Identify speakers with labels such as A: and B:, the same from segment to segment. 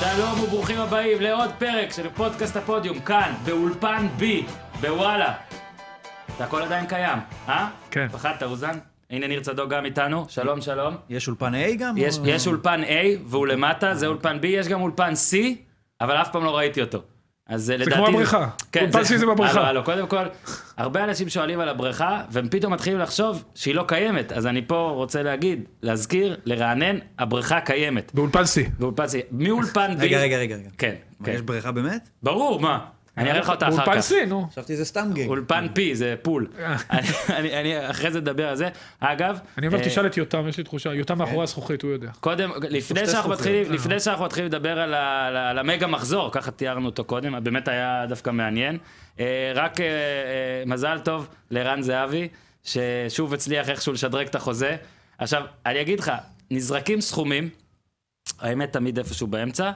A: שלום וברוכים הבאים לעוד פרק של פודקאסט הפודיום, כאן, באולפן בי, בוואלה. זה הכל עדיין קיים, אה?
B: כן.
A: פחדת, אוזן? הנה ניר צדוק גם איתנו, שלום, שלום.
C: יש אולפן A גם?
A: יש,
C: או-
A: יש אולפן A והוא למטה, זה אולפן B, יש גם אולפן C, אבל אף פעם לא ראיתי אותו. אז אה, לדעתי... כן,
B: כמו הבריכה. אולפן C זה בבריכה.
A: הלו, הלו, קודם כל, הרבה אנשים שואלים על הבריכה, והם פתאום מתחילים לחשוב שהיא לא קיימת. אז אני פה רוצה להגיד, להזכיר, לרענן, הבריכה קיימת.
B: באולפן C.
A: באולפן C, מאולפן B...
C: רגע, רגע, רגע. רגע.
A: כן,
C: מה,
A: כן.
C: יש בריכה באמת?
A: ברור, מה? אני אראה לך אותה אחר
B: באולפן
A: כך.
B: C, נו.
C: חשבתי זה סתם גג.
A: אולפן פי, זה פול. אני- אני אני אחרי זה אדבר על זה. אגב...
B: אני אומר,
A: אה, כן.
B: תשאל את יותם, יש לי תחושה, יותם מאחורי הזכוכית, הוא יודע.
A: קודם,
C: שתי
A: לפני
C: אה.
A: שאנחנו
C: זכוכיות.
A: מתחילים, לפני שאנחנו מתחילים לדבר על, ה, על, ה- על המגה מחזור, ככה תיארנו אותו קודם, באמת היה דווקא מעניין. אה, רק אה, אה, מזל טוב לרן זהבי, ששוב הצליח איכשהו לשדרג את החוזה. עכשיו, אני אגיד לך, נזרקים סכומים, האמת תמיד איפשהו באמצע,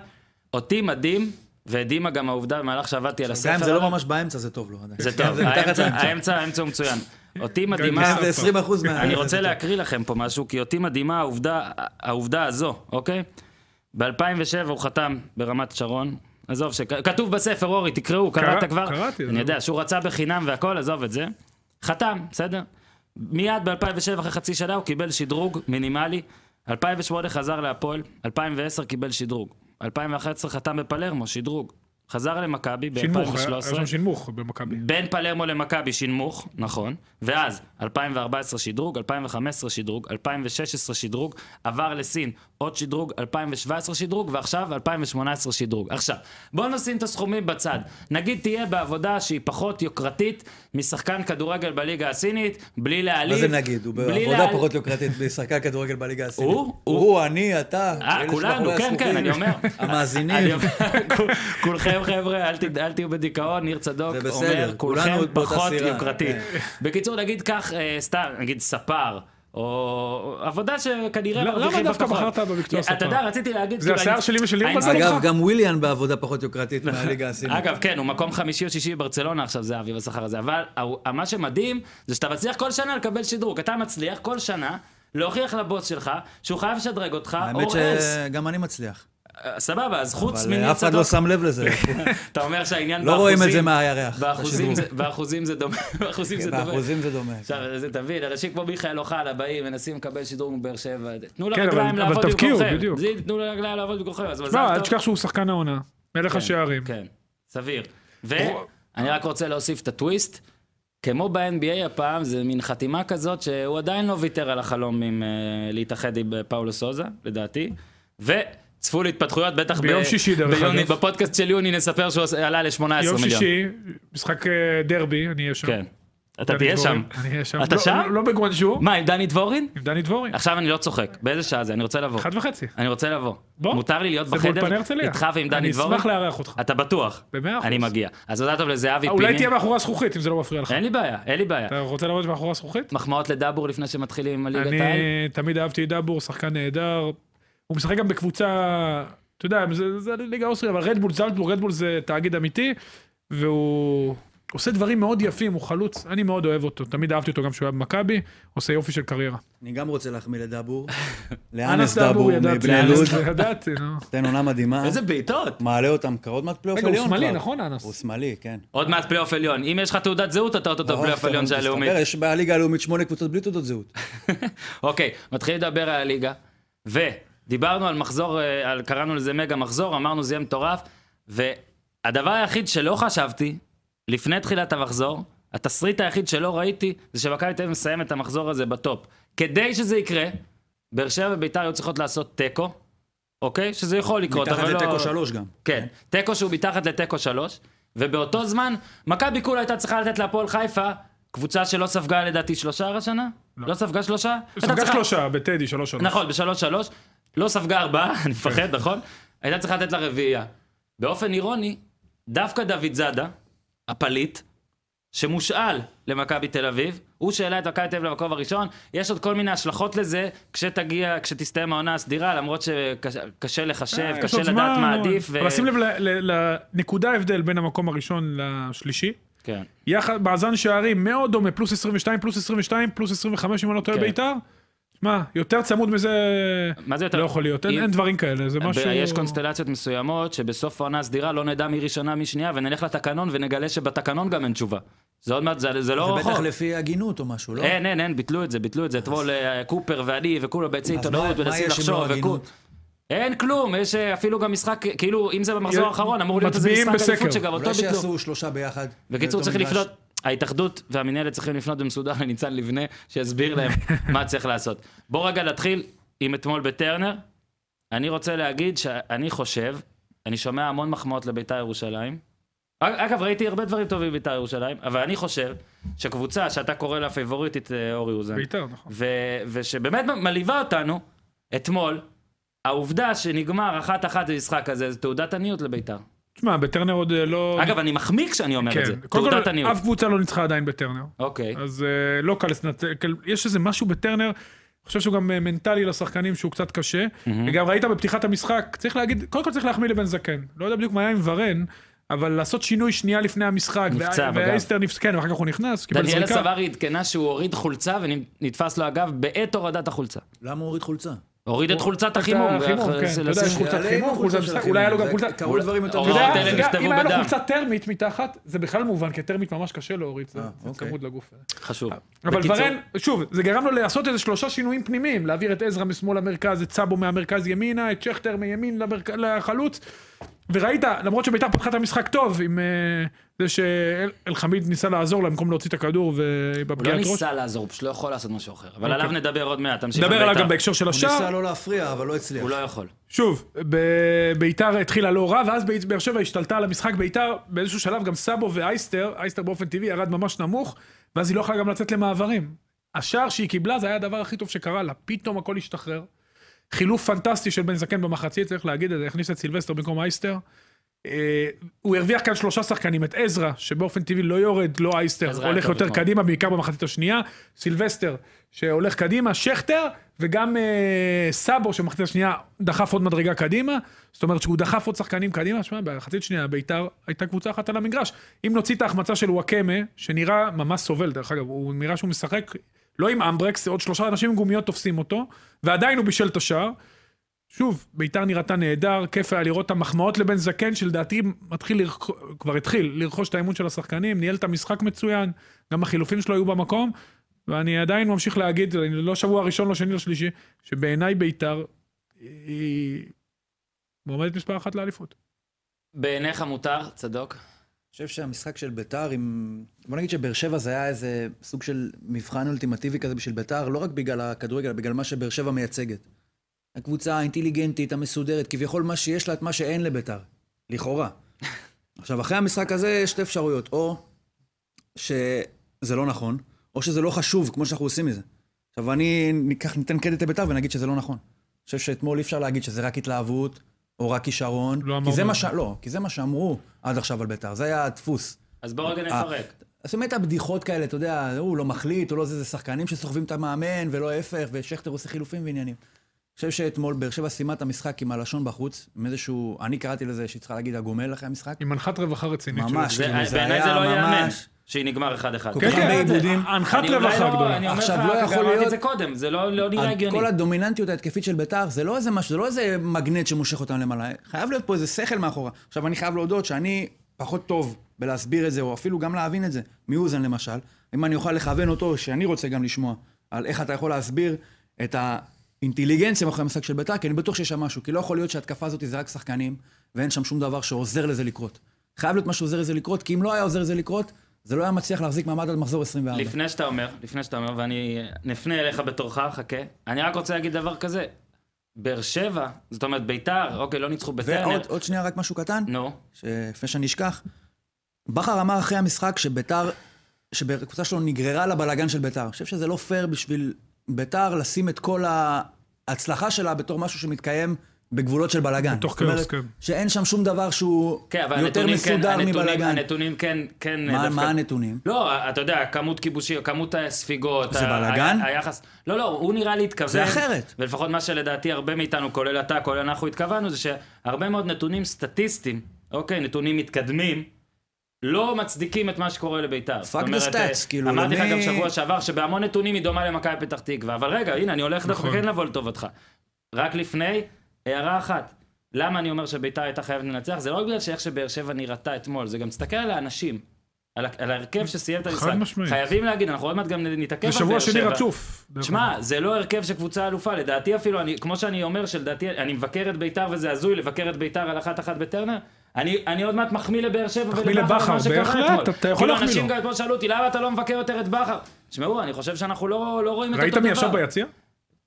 A: אותי מדהים, והדהימה גם העובדה במהלך שעבדתי על הספר.
C: גם אם זה
A: עליו,
C: לא ממש באמצע, זה טוב לו. עדיין.
A: זה
D: כן,
C: גם אם
A: טוב,
C: זה מתחת
A: האמצע-
C: לאמצע. כן,
A: האמצע האמצע הוא מצוין. אותי
B: גם
A: מדהימה,
B: אם
C: זה 20 אחוז מה...
A: אני
C: זה
A: רוצה
C: טוב.
A: להקריא לכם פה משהו, כי אותי מדהימה העובדה, העובדה הזו, אוקיי? ב-2007 הוא חתם ברמת שרון. עזוב, שכ- כתוב בספר, אורי, תקראו,
B: קרא-
A: קראת כבר?
B: קראתי,
A: אני
B: זה
A: יודע, שהוא רצה בחינם והכל, עזוב את זה. חתם, בסדר? מיד ב-2007, אחרי חצי שנה, הוא קיבל שדרוג מינימלי. 2008 חזר להפועל, 2010 קיבל שדרוג. 2011 חתם בפלרמו, שדרוג. חזר למכבי
B: שינמוך, היה היה
A: ב-2013.
B: שם שינמוך במכבי.
A: בין פלרמו למכבי שינמוך, נכון, ואז 2014 שדרוג, 2015 שדרוג, 2016 שדרוג, עבר לסין עוד שדרוג, 2017 שדרוג, ועכשיו 2018 שדרוג. עכשיו, בואו נשים את הסכומים בצד. נגיד תהיה בעבודה שהיא פחות יוקרתית משחקן כדורגל בליגה הסינית, בלי להעליב.
C: מה זה נגיד? הוא
A: בלי
C: בעבודה
A: להעל-
C: פחות יוקרתית בשחקן כדורגל בליגה הסינית.
A: הוא?
C: הוא, אני, אתה.
A: אה,
C: אלה
A: כולנו,
C: שמאחורי
A: כן, כן, אני
C: הזכוכית,
A: אומר. אני
C: המאזינים.
A: אומר, כולכם חבר'ה, אל תד- אל תהיו בדיכאון, ניר צדוק
C: זה בסדר,
A: אומר, כולכם
C: כולנו באותה
A: פחות
C: סירה,
A: יוקרתי.
C: כן.
A: בקיצור, נגיד כך, אה, סתם, נגיד ספר. או עבודה שכנראה
B: למה
A: מרוויחים בה
B: לא, דווקא
A: פחות.
B: בחרת במקצוע
A: אתה
B: ספר?
A: יודע, רציתי להגיד...
B: זה
A: כאילו,
B: השיער
A: אני-
B: שלי ושל ניר
A: אני-
B: בזמן.
C: אגב,
B: אותך?
C: גם וויליאן בעבודה פחות יוקרתית מהליגה הסינית.
A: אגב, כן, הוא מקום חמישי או שישי בברצלונה עכשיו, זה אביב השכר הזה. אבל ה- מה שמדהים, זה שאתה מצליח כל שנה לקבל שדרוג. אתה מצליח כל שנה להוכיח לבוס שלך שהוא חייב לשדרג אותך,
C: האמת
A: or else.
C: שגם אני מצליח.
A: אה, סבבה, אז חוץ
C: אבל
A: מניר
C: אף אחד לא
A: צדוק-
C: שם לב לזה.
A: אתה אומר שהעניין
C: לא רואים את זה
A: באחוזים-
C: מהירח.
A: באחוזים
C: את
A: זה-
C: השדרוג.
A: באחוזים זה דומה, באחוזים זה
C: כן,
A: דומה.
C: באחוזים זה דומה.
A: עכשיו, זה תבין, אנשים כמו מיכאל אוחנה באים, מנסים לקבל שדרוג מבאר שבע, תנו
B: כן,
A: לרגליים
B: אבל-
A: לעבוד
B: אבל תבקיעו,
A: במקומכם.
B: בדיוק.
A: זיו, תנו לרגליים לעבוד במקומכם, אז מזל
B: לא, אל
A: טוב.
B: תשכח שהוא שחקן העונה. מלך השערים.
A: כן, סביר.
B: הוא-
A: ואני רק רוצה להוסיף את הטוויסט. כמו ב-NBA הפעם, זה מין חתימה כזאת שהוא עדיין לא ויתר על החלום עם אה, להתאחד עם אה, פאולו סוזה, לדעתי. וצפו להתפתחויות, בטח ב-
B: ביום שישי, דרך
A: ביוני-
B: אגב.
A: בפודקאסט של יוני נספר שהוא עלה ל-18 מיליון.
B: יום שישי, משחק אה, דרבי, אני אהיה שם.
A: כן. אתה
B: דני
A: תהיה
B: דבורין.
A: שם.
B: אני אהיה שם.
A: אתה
B: לא-
A: שם?
B: לא בגואנג'ו,
A: מה, עם דני דבורין?
B: עם דני דבורי.
A: עכשיו אני לא צוחק. באיזה שעה זה? אני רוצה לבוא.
B: אחד וחצי.
A: אני רוצה לבוא.
B: בוא.
A: מותר לי להיות
B: זה
A: בחדר
B: באולפן הרצליה.
A: איתך ועם דני
B: אני
A: דבורין?
B: אשמח לארח אותך.
A: אתה בטוח.
B: במאה אחוז. אה,
A: אני מגיע. אז תודה טוב לזהבי פיני.
B: אולי תהיה מאחורי הזכוכית, אם זה לא מפריע לך.
A: אין לי בעיה, אין לי בעיה.
B: אתה רוצה לעבוד מאחורי הזכוכית?
A: מחמאות לדאבור לפני שמתחילים עם הליגת העל?
B: אני תמיד אהבתי את דאבור, שחקן נהדר. הוא משחק גם בקבוצה, אתה יודע, זה- זה ליגה אוסטריה, אבל רדבול זלטבורג, רדבול זה תאגיד אמיתי, והוא עושה דברים מאוד יפים, הוא חלוץ, אני מאוד אוהב אותו, תמיד אהבתי אותו גם כשהוא היה במכבי, עושה יופי של קריירה.
C: אני גם רוצה להחמיא לדאבור. לאנס
B: דאבור,
C: דאבור
B: ידעתי.
C: מבני
B: אנס
C: לוד.
B: דאבור, ידעתי, נו.
C: נותן עונה מדהימה.
A: איזה בעיטות.
C: מעלה אותם כבר עוד מעט פלייאוף
B: רגע, הוא
C: עליון.
B: שמאלי,
C: כבר.
B: נכון, אנס?
C: הוא שמאלי, כן.
A: עוד מעט פלייאוף עליון. אם יש לך תעודת זהות, אתה אוטוטו לא, פלייאוף
D: לא
A: עליון של הלאומית.
C: מסתבר, יש בליגה הלאומית שמונה קבוצות בלי תעודות זהות.
A: אוקיי, מתחילים לדבר על הליגה, ודיברנו על מחזור, אה, על, קראנו לזה מגה מחזור, אמרנו זה יהיה מטורף, והדבר היחיד שלא חשבתי, לפני תחילת המחזור, התסריט היחיד שלא ראיתי, זה שמכבי תל אביב מסיים את המחזור הזה בטופ. כדי שזה יקרה, באר שבע וביתר היו צריכות לעשות תיקו, אוקיי? שזה יכול לקרות,
C: מתחת
A: אבל לא...
C: לתיקו שלוש גם.
A: כן, תיקו שהוא מתחת לתיקו שלוש, ובאותו זמן, מכבי כולה הייתה צריכה לתת להפועל חיפה, קבוצה שלא ספגה לדעתי שלושה הר השנה? לא. לא ספגה שלושה? הייתה
B: ספגה
A: צריכה-
B: שלושה, בטדי, שלוש שלוש.
A: נכון, בשלוש שלוש, לא ספגה ארבעה, אני
B: כן.
A: מפחד, נכון? הייתה צריכה לתת לה רביעייה. באופן אירוני, דווקא דוד זאדה, הפליט, שמושאל למכבי תל אביב, הוא שהעלה את מכבי תל אביב למקום הראשון, יש עוד כל מיני השלכות לזה כשתגיע, כשתסתיים העונה הסדירה, למרות שקשה לחשב,
B: אה, יש
A: קשה
B: עוד
A: לדעת מה
B: זמן.
A: עדיף. ו-
B: אבל שים לב ל- ל- לנקודה ההבדל בין המקום הראשון לשלישי.
A: כן.
B: יחד, מאזן שערים מאוד דומה, פלוס 22, פלוס 22, פלוס 25, אם אני לא טועה
A: כן.
B: בית"ר. מה, יותר צמוד מזה
A: מה זה יותר?
B: לא יכול להיות. אין
A: אם-
B: אין דברים כאלה, זה משהו...
A: יש קונסטלציות מסוימות שבסוף העונה סדירה לא נדע מי ראשונה מי שנייה ונלך לתקנון ונגלה שבתקנון גם אין תשובה. זה עוד מעט, זה, זה לא כן,
D: זה
A: רחוק.
D: בטח לפי הגינות או משהו, לא?
A: אין, אין, אין, ביטלו את זה, ביטלו את זה. אתמול אה, קופר ואני וכולם ביצי
D: אז
A: עיתונאות
D: מה- מה
A: מנסים
D: יש אם לא
A: לחשוב. וכו-
D: הגינות?
A: אין כלום, יש אה, אפילו גם משחק, כאילו, אם זה במחזור
B: י-
A: האחרון, אמור להיות איזה
B: מצביעים
A: משחק
B: בסקר.
A: אליפות שגם אותו
D: אולי
A: ביטלו.
D: שיעשו שלושה ביחד.
A: בקיצור,
D: באותו
A: צריך
D: מגרש.
A: לפנות, ההתאחדות והמינהלת צריכים לפנות במסודר לניצן לבנה, שיסביר להם מה צריך לעשות. בוא רגע נתחיל עם אתמול בטרנר. אני רוצה להגיד שאני חושב, אני שומע המון מחמאות לביתר ירושלים. אג- אגב, ראיתי הרבה דברים טובים בביתר ירושלים, אבל אני חושב שקבוצה שאתה קורא לה פייבוריטית, אה, אורי אוזן,
B: בעיקר, נכון.
A: ו- ושבאמת מ- מלהיבה אותנו, אתמול, העובדה שנגמר אחת-אחת במשחק הזה, זה תעודת עניות לביתר.
B: תשמע, בטרנר עוד אה, לא...
A: אגב, אני מחמיא כשאני אומר את זה,
B: כן. קודם
A: תעודת
B: כל,
A: עניות.
B: אף קבוצה לא ניצחה עדיין בטרנר.
A: אוקיי.
B: אז אה, לא קל לסנטר, כל- יש איזה משהו בטרנר, אני חושב שהוא גם אה, מנטלי לשחקנים שהוא קצת קשה. וגם ראית בפתיחת המשחק, צריך להגיד, קודם כל צריך להחמיא לבן זקן. לא יודע בדיוק מה היה עם ורן, אבל לעשות שינוי שנייה לפני המשחק.
A: נפצע
B: וה-
A: בגב.
B: והאיסטר נפצע, כן, ואחר כך הוא נכנס, קיבל
A: דניאלה
B: זריקה.
A: סברי עדכנה שהוא הוריד חולצה ונתפס לו הגב בעת הורדת החולצה.
D: למה הוא הוריד חולצה?
A: הוריד את חולצת החימום.
B: החימום, כן,
A: ואחרי זה
B: אתה יודע,
A: לשים-
B: יש חולצת
D: יעלה עם
B: חימום,
D: החולצה
B: חולצת
D: של
B: משחק,
D: החימום.
B: אולי היה לו
D: זה-
B: גם חולצת-
D: קרו דברים יותר
A: אולי
B: אתה יודע,
A: הוראות אלה
B: גם
A: נכתבו
B: אוקיי. אם היה לו
A: בדם.
B: חולצה טרמית מתחת, זה בכלל מובן, כי טרמית ממש קשה להוריד, זה
D: אה,
B: זה
D: אוקיי.
B: צמוד לגוף.
A: חשוב.
B: אבל
A: בקיצור,
B: ורן, שוב, זה גרם לו לעשות איזה שלושה שינויים פנימיים, להעביר את עזרא משמאל למרכז, את סאבו מהמרכז ימינה, את שכטר מימין למרכ... לחלוץ, וראית, למרות שביתר פתחה את המשחק טוב, עם אה, זה שאלחמיד ניסה לעזור לה במקום להוציא את הכדור
A: הוא לא
B: ובפגיעת ראש.
A: ניסה לעזור, הוא פשוט לא יכול לעשות משהו אחר. אבל
B: כן, אוקיי.
A: עליו נדבר עוד מעט, תמשיך.
B: נדבר
A: על
B: עליו
A: בית"ר.
B: גם בהקשר של
D: הוא ניסה
B: השער.
D: לא להפריע, אבל לא הצליח.
A: הוא לא יכול.
B: שוב, ב- ביתר התחילה לא רע, ואז בית- באר שבע השתלטה על המשחק ביתר, באיזשהו שלב גם סאבו ואייסטר, אייסטר באופן טבעי ירד ממש נמוך, ואז היא לא יכלה גם לצאת למעברים. השער שהיא קיבלה זה היה הדבר הכי טוב שקרה לה, פתאום הכל השתחרר. חילוף פנטסטי של בן זקן במחצית, צריך להגיד את זה, הכניס את סילבסטר במקום אייסטר. אה, הוא הרוויח כאן שלושה שחקנים, את עזרא, שבאופן טבעי לא יורד, לא
A: עזרא
B: אייסטר,
A: היה
B: הולך
A: טוב
B: יותר
A: אתמול.
B: קדימה, בעיקר במחצית השנייה, סילבסטר, שהולך קדימה, שכטר, וגם אה, סאבו, שבמחצית השנייה דחף עוד מדרגה קדימה, זאת אומרת שהוא דחף עוד שחקנים קדימה, שמע, במחצית שנייה בית"ר הייתה קבוצה אחת על המגרש. אם נוציא את ההחמצה של וואקמה, שנראה ממש סובל, דרך אגב, הוא נראה שהוא משחק לא עם אמברקס, עוד שלושה אנשים עם גומיות תופסים אותו, ועדיין הוא בישל את השער. שוב, ביתר נראתה נהדר, כיף היה לראות את המחמאות לבן זקן, שלדעתי מתחיל, לרכ... כבר התחיל, לרכוש את האמון של השחקנים, ניהל את המשחק מצוין, גם החילופים שלו היו במקום, ואני עדיין ממשיך להגיד, אני לא שבוע ראשון, לא שני, לא שלישי, שבעיניי ביתר היא מועמדת מספר אחת לאליפות.
A: בעיניך מותר, צדוק.
D: חושב שהמשחק של ביתר עם... בוא נגיד שבאר שבע זה היה איזה סוג של מבחן אולטימטיבי כזה בשביל ביתר, לא רק בגלל הכדורגל, אלא בגלל מה שבאר שבע מייצגת. הקבוצה האינטליגנטית, המסודרת, כביכול מה שיש לה, את מה שאין לביתר. לכאורה. עכשיו, אחרי המשחק הזה יש שתי אפשרויות, או שזה לא נכון, או שזה לא חשוב, כמו שאנחנו עושים מזה. עכשיו, אני ניקח, ניתן קרדיט לביתר ונגיד שזה לא נכון. אני חושב שאתמול אי אפשר להגיד שזה רק התלהבות, או רק כישרון.
B: לא
D: כי זה
B: אמרנו.
D: מה ש... לא, כי זה מה שאמרו עד עכשיו על ביתר, זה היה הדפוס.
A: אז בוא רגע
D: אה,
A: נפרק.
D: אז באמת הבדיחות כאלה, אתה יודע, הוא לא מחליט, הוא לא זה, זה שחקנים שסוחבים את המאמן, ולא ההפך, ושכטר עושה חילופים ועניינים. אני חושב שאתמול באר שבע סיימה את המשחק עם הלשון בחוץ, עם איזשהו, אני קראתי לזה שהיא צריכה להגיד הגומל אחרי המשחק.
B: עם מנחת רווחה רצינית.
D: ממש.
A: זה-
D: כאילו, זה
A: בעיניי זה
D: היה
A: לא ייאמן
D: ממש-
A: שהיא נגמר אחד אחד.
D: כן, כן. בעיבודים.
B: הנחת
A: אני אולי
B: רווחה
A: לא-
B: גדולה.
A: אני אומר לך,
D: עכשיו, לא
A: גם
D: יכול
A: אמרתי את
D: להיות-
A: זה קודם, זה לא לא נראה הגיוני.
D: כל הדומיננטיות ההתקפית של ביתר, זה לא איזה משהו, זה לא איזה מגנט שמושך אותם למעלה. חייב להיות פה איזה שכל מאחורה. עכשיו, אני חייב להודות שאני פחות טוב בלהסביר את זה, או אפילו גם להבין את זה, מאוזן למשל. אם אני אוכל לכוון אותו, שאני רוצה גם לשמוע, על איך אתה יכול להסביר את האינטליגנציה מאחורי המשחק של ביתר, כי אני בטוח שיש שם משהו. כי לא יכול להיות שההתקפה הזאת זה רק שחקנים, ואין שם שום דבר שעוזר לזה לקרות. חייב להיות מה שעוזר לזה לקרות, כי אם לא היה עוזר לזה לקרות, זה לא היה מצליח להחזיק מעמד עד מחזור 24.
A: לפני שאתה אומר, לפני שאתה אומר, ואני אה, נפנה אליך בתורך, חכה. אני רק רוצה להגיד דבר כזה. באר שבע, זאת אומרת ביתר, אוקיי, לא ניצחו בטרנר.
D: ועוד עוד שנייה רק משהו קטן.
A: נו,
D: שלפני שאני אשכח, בכר אמר אחרי המשחק שביתר, שהקבוצה שלו נגררה לבלגן של ביתר. אני חושב שזה לא פייר בשביל ביתר לשים את כל ההצלחה שלה בתור משהו שמתקיים בגבולות של בלגן.
B: בתוך
D: זאת אומרת,
B: כאוס, כן.
D: שאין שם שום דבר שהוא
A: כן, אבל
D: יותר
A: הנתונים כן,
D: מסודר
A: הנתונים,
D: מבלגן.
A: הנתונים כן, כן
D: מה,
A: דווקא.
D: מה הנתונים?
A: לא, אתה יודע, כמות כיבושי, כמות הספיגות.
D: זה
A: ה-
D: בלגן?
A: ה- היחס... לא, לא, הוא נראה לי התכוון.
D: זה אחרת.
A: ולפחות מה שלדעתי הרבה מאיתנו, כולל אתה, כולל אנחנו, התכוונו, זה שהרבה מאוד נתונים סטטיסטיים, אוקיי, נתונים מתקדמים, לא מצדיקים את מה שקורה לביתר. זאת
D: the
A: אומרת,
D: stats,
A: אה,
D: כאילו,
A: אמרתי לך
D: למי-
A: גם שבוע שעבר שבהמון נתונים היא דומה למכבי פתח תקווה, אבל רגע, הנה, אני הולך דווקא
B: נכון.
A: כן לבוא לטובתך. רק לפני, הערה אחת. למה אני אומר שביתר הייתה חייבת לנצח? זה לא בגלל שאיך שבאר שבע נראתה אתמול, זה גם תסתכל על האנשים. על ה- על ההרכב שסיים את המשחק.
B: חד משמעית.
A: חייבים להגיד, אנחנו עוד מעט גם נתעכב על
B: זה
A: באר שבע.
B: שבוע שני רצוף. נכון. דרך
A: תשמע,
B: אגב.
A: זה לא הרכב של קבוצה אלופה, לדעתי אפילו, אני, כמו שאני אומר, שלדעתי, אני מבקר את ביתר וזה הזוי לבקר את ביתר על אחת-אחת בטרנר, אני, אני עוד מעט מחמיא לבאר שבע
B: מחמיא
A: ולבכר על
B: לבכר,
A: מה שקרה
B: בהחלט,
A: אתמול.
B: אתה- אתה יכול
A: כאילו,
B: להחמיא
A: אנשים
B: לו.
A: גם אתמול שאלו אותי, למה אתה לא מבקר יותר את בכר? תשמעו, אני חושב שאנחנו לא, לא רואים את אותו
B: ראית
A: דבר.
B: מי ישב ביציע?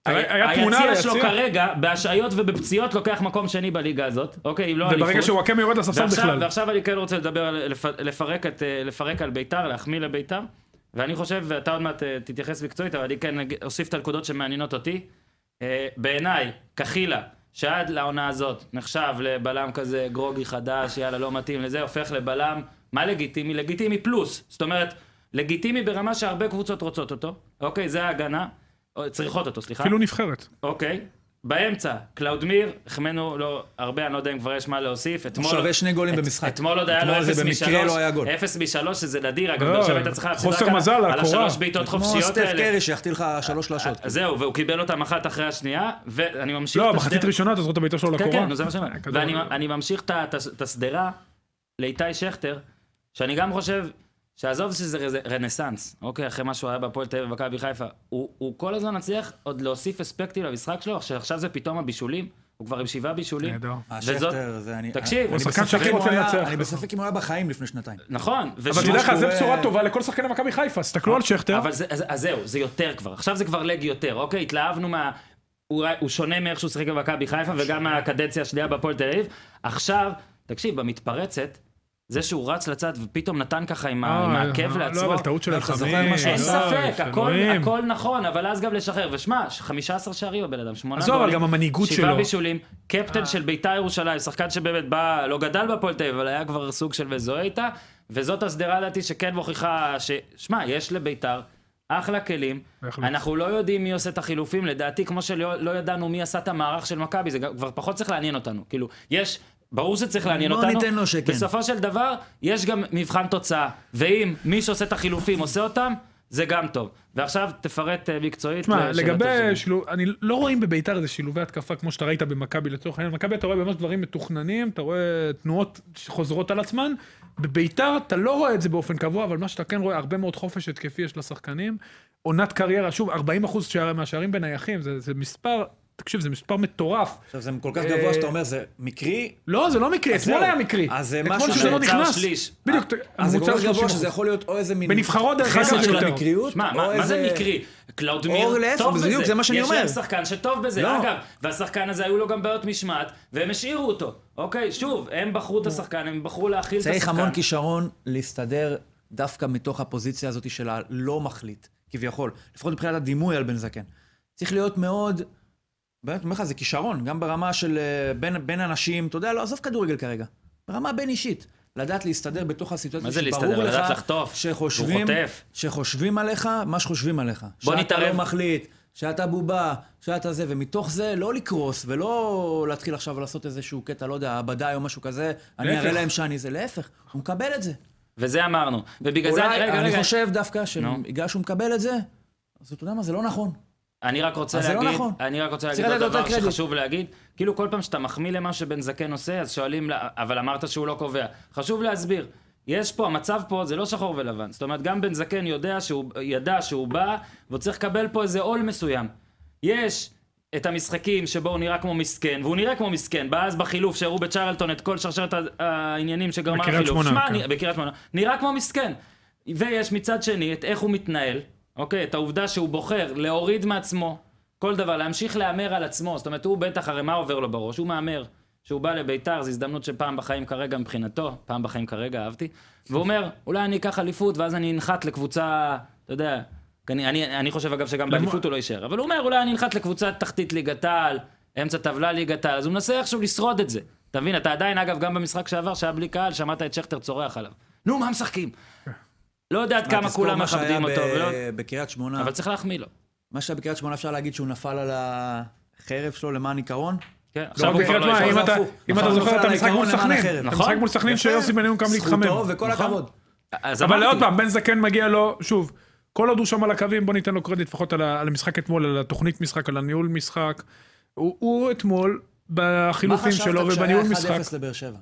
B: היה היה תמונה על
A: היציע שלו
B: היציע?
A: כרגע, בהשעיות ובפציעות, לוקח מקום שני בליגה הזאת. אוקיי, אם לא אליפות.
B: וברגע שוואקמה יורד לספסל
A: ועכשיו,
B: בכלל.
A: ועכשיו אני כן רוצה לדבר, על, לפ, לפרק, את, אה, לפרק על ביתר, להחמיא לביתר, ואני חושב, ואתה עוד מעט אה, תתייחס מקצועית, אבל אני כן אג- אוסיף את הנקודות שמעניינות אותי. אה, בעיניי, קחילה, שעד לעונה הזאת נחשב לבלם כזה גרוגי חדש, יאללה, לא מתאים לזה, הופך לבלם, מה לגיטימי? לגיטימי פלוס. זאת אומרת, לגיטימי ברמה שהרבה קבוצות רוצות אותו, אוקיי, זה ההגנה, או, צריכות אותו, סליחה.
B: אפילו כאילו נבחרת.
A: אוקיי. באמצע, קלאודמיר, החמאנו לו הרבה, אני לא יודע אם כבר יש מה להוסיף. אתמול...
D: עכשיו יש שני גולים במשחק.
A: אתמול עוד היה לו
D: אתמול זה
A: אפס
D: במקרה
A: משלוש,
D: לא היה גול.
A: אפס משלוש שזה נדיר, אגב,
B: לא,
A: באר שבע הייתה צריכה להפסיד
B: חוסר
A: רק על-
B: מזל,
A: על
B: הקורה.
A: השלוש בעיטות
D: כמו
A: חופשיות
D: סטף
A: האלה.
D: קרי שיחטיא לך שלוש שלשות.
A: זהו, והוא קיבל אותם אחת אחרי השנייה, ואני ממשיך
B: לא,
A: את
B: מחצית
A: השדה-
B: ראשונה, אתה זוכר את הביתו שלו
A: כאילו, כן,
B: לקורה?
A: כן, נו, זה מה שאני אומר.
B: הכדור-
A: ואני אני ממשיך את ה- את הש- את השדרה לאיתי שכטר, שאני גם חושב, שעזוב שזה רז- רנסאנס, אוקיי, אחרי מה שהוא היה בהפועל תל אביב ובמכבי חיפה, הוא הוא כל הזמן מצליח עוד להוסיף אספקטים למשחק שלו, שעכשיו זה פתאום הבישולים, הוא כבר עם שבעה בישולים.
B: נהדר.
A: וזאת-
D: השכטר, זה אני...
A: תקשיב,
D: אני
A: הוא
B: שחקן
D: בספק
B: שהכי
D: אם הוא
B: רוצה
D: היה-
B: לנצח.
D: אני בספק אם הוא היה בחיים לפני שנתיים.
A: נכון.
B: אבל
A: ושהוא-
B: תדע לך, זו
D: שהוא,
B: בשורה
D: אה,
B: טובה לכל שחקני מכבי חיפה, תסתכלו על שכטר.
A: אבל זה, אז, אז זהו, זה יותר כבר. עכשיו זה כבר לג יותר, אוקיי? התלהבנו מה... הוא, הוא שונה מאיך שהוא שיחק במכבי חיפה, וגם מהקדנציה השנייה בהפועל תל אביב. עכשיו, תקשיב, במתפרצת, זה שהוא רץ לצד ופתאום נתן ככה עם, ה- עם
B: אה,
A: העקב
B: לא,
A: לעצמו,
B: אבל טעות של
D: לא, אתה זוכר
B: אלחמיד.
D: מה שהוא
A: אין
B: לא,
A: ספק, הכל,
B: אלוהים.
A: הכל נכון, אבל אז גם לשחרר. ושמע, 15 שערים הבן אדם, שמונה
B: עזוב,
A: גולים.
B: אבל גם המנהיגות
A: שבעה
B: שלו.
A: בישולים,
D: אה.
A: קפטן של ביתר ירושלים, שחקן שבאמת בא, לא גדל בהפועל תל אביב, אבל היה כבר סוג של מזוהה איתה, וזאת הסדרה לדעתי שכן מוכיחה ש... שמע, יש לביתר אחלה כלים.
B: בהחלט.
A: אנחנו לא יודעים מי עושה את החילופים, לדעתי, כמו שלא לא ידענו מי עשה את המערך של מכבי, זה גם- כבר פחות צריך לעניין אותנו. כאילו, יש... ברור שצריך לעניין
D: בוא
A: אותנו.
D: לא ניתן לו שכן.
A: בסופו של דבר, יש גם מבחן תוצאה. ואם מי שעושה את החילופים עושה אותם, זה גם טוב. ועכשיו תפרט אה, מקצועית.
B: תשמע,
A: לשאלות השני.
B: לגבי שילוב, אני לא רואים בביתר איזה שילובי התקפה כמו שאתה ראית במכבי לצורך העניין. במכבי אתה רואה ממש דברים מתוכננים, אתה רואה תנועות שחוזרות על עצמן. בביתר אתה לא רואה את זה באופן קבוע, אבל מה שאתה כן רואה, הרבה מאוד חופש התקפי יש לשחקנים. עונת קריירה, שוב, 40 אחוז מהשערים בנייחים, זה, זה מספר, תקשיב, זה מספר מטורף.
D: עכשיו, זה כל כך
B: אה,
D: גבוה שאתה אומר, זה מקרי,
B: לא, זה לא מקרי, אתמול
D: זהו.
B: היה מקרי.
D: אז
C: אה,
D: זה
B: אתמול
D: משהו
B: שזה לא
A: שנעצר
B: נכנס.
A: שליש.
B: בדיוק,
A: אה,
D: אז זה כל
B: הממוצע
D: כך גבוה
B: 30%.
D: שזה יכול להיות או איזה מין...
B: בנבחרות דרך
D: חסד
B: אגב זה
D: של
B: יותר.
D: המקריות,
A: שמע,
D: או
A: מה, מה זה
D: איזה-
A: מקרי? קלאודמיר
D: אור לאפר,
A: טוב בזה.
D: בדיוק, זה מה שאני
A: יש
D: אומר.
A: להם שחקן שטוב בזה,
D: לא.
A: אגב. והשחקן הזה היו לו גם בעיות משמעת, והם השאירו אותו. אוקיי, שוב, הם בחרו את השחקן, הם בחרו להכיל את השחקן.
D: צריך המון כישרון להסתדר דווקא מתוך הפוזיציה הזאת של הלא מחליט, כביכול. לפחות מבחינת הדימוי על בן זקן. צריך להיות מאוד... באמת, אומר לך, זה כישרון, גם ברמה של אה, בין, בין אנשים, אתה יודע, לא, עזוב כדורגל כרגע. ברמה בין אישית. לדעת להסתדר בתוך
A: מה
D: הסיטואציה
A: זה
D: שברור
A: להסתדר?
D: לך
A: לדעת לחטוף. והוא
D: שחושבים,
A: חוטף.
D: שחושבים עליך מה שחושבים עליך.
A: בוא
D: שאתה
A: נתערב.
D: לא מחליט, שאתה בובה, שאתה זה, ומתוך זה לא לקרוס ולא להתחיל עכשיו לעשות איזשהו קטע, לא יודע, הבדאי או משהו כזה, אני אראה
B: להפך.
D: להם שאני זה, להפך, הוא מקבל את זה.
A: וזה אמרנו. ובגלל זה,
D: אולי,
A: אני- רגע,
D: אני
A: רגע,
D: חושב דווקא
A: נו.
D: שבגלל שהוא מקבל את זה, אז אתה יודע מה, זה לא נכון.
A: אני רק רוצה
D: אז זה לא
A: להגיד,
D: נכון.
A: אני רק רוצה
D: צריך
A: להגיד עוד
D: לתת לו את
A: דבר
D: הקרדיט.
A: שחשוב להגיד, כאילו כל פעם שאתה מחמיא למה שבן זקן עושה, אז שואלים, לה, אבל אמרת שהוא לא קובע. חשוב להסביר. יש פה, המצב פה זה לא שחור ולבן. זאת אומרת, גם בן זקן יודע שהוא, ידע שהוא בא, והוא צריך לקבל פה איזה עול מסוים. יש את המשחקים שבו הוא נראה כמו מסכן, והוא נראה כמו מסכן, בא אז בחילוף שהראו בצ'רלטון את כל שרשרת ה- העניינים שגרמה
B: בקריית
A: לחילוף.
B: שמונה,
A: שמע,
B: כן.
A: אני- בקריית שמונה, נראה כמו מסכן. ויש מצד שני את איך הוא מתנהל, אוקיי? את העובדה שהוא בוחר להוריד מעצמו כל דבר, להמשיך להמר על עצמו. זאת אומרת, הוא בטח, הרי מה עובר לו בראש? הוא מהמר. שהוא בא לביתר, זו הזדמנות שפעם בחיים כרגע מבחינתו, פעם בחיים כרגע, אהבתי. והוא אומר, אולי אני אקח אליפות, ואז אני אנחת לקבוצה, אתה יודע, אני, אני, אני חושב אגב שגם באליפות הוא לא יישאר, אבל הוא אומר, אולי אני אנחת לקבוצה תחתית ליגת העל, אמצע טבלה ליגת העל, אז הוא מנסה איכשהו לשרוד את זה. אתה מבין, אתה עדיין, אגב, גם במשחק שעבר, שהיה בלי קהל, שמעת את שכטר צורח עליו. נו, מה משחקים? לא יודעת כמה
D: תזכור
A: כולם
D: מה שהיה
A: מכבדים
D: ב-
A: אותו, ולא...
D: בקריית שמונה,
A: אבל צריך להחמיא לו.
D: מה שהיה בקריית שמונה אפשר להגיד שהוא נפל על החרב שלו למען עיקרון?
A: כן,
B: לא
A: עכשיו
B: רק
A: הוא כבר
B: בקריית
A: לא
B: מים,
A: ישן.
B: אם אתה-
C: הפוך.
B: אם אתה
C: נכון,
B: זוכר
C: נופל
B: את
C: על
B: המשחק
C: המשחק
B: מול
C: מול למען אחרת.
B: סכנין, המשחק
A: נכון.
B: מול סכנין
C: יפה.
B: שיוסי בניון קם להתחמם.
C: זכותו וכל
A: נכון.
C: הכבוד.
A: אז
B: אבל
A: אמרתי,
B: עוד פעם, בן זקן מגיע לו, שוב, כל עוד הוא שם על הקווים, בוא ניתן לו קרדיט לפחות על ה- על המשחק אתמול, על התוכנית משחק, על הניהול משחק. הוא- הוא אתמול, בחילופים שלו ובניהול
C: מה חשבת
B: משחק,
C: כשהיה 1-0 לבאר שבע?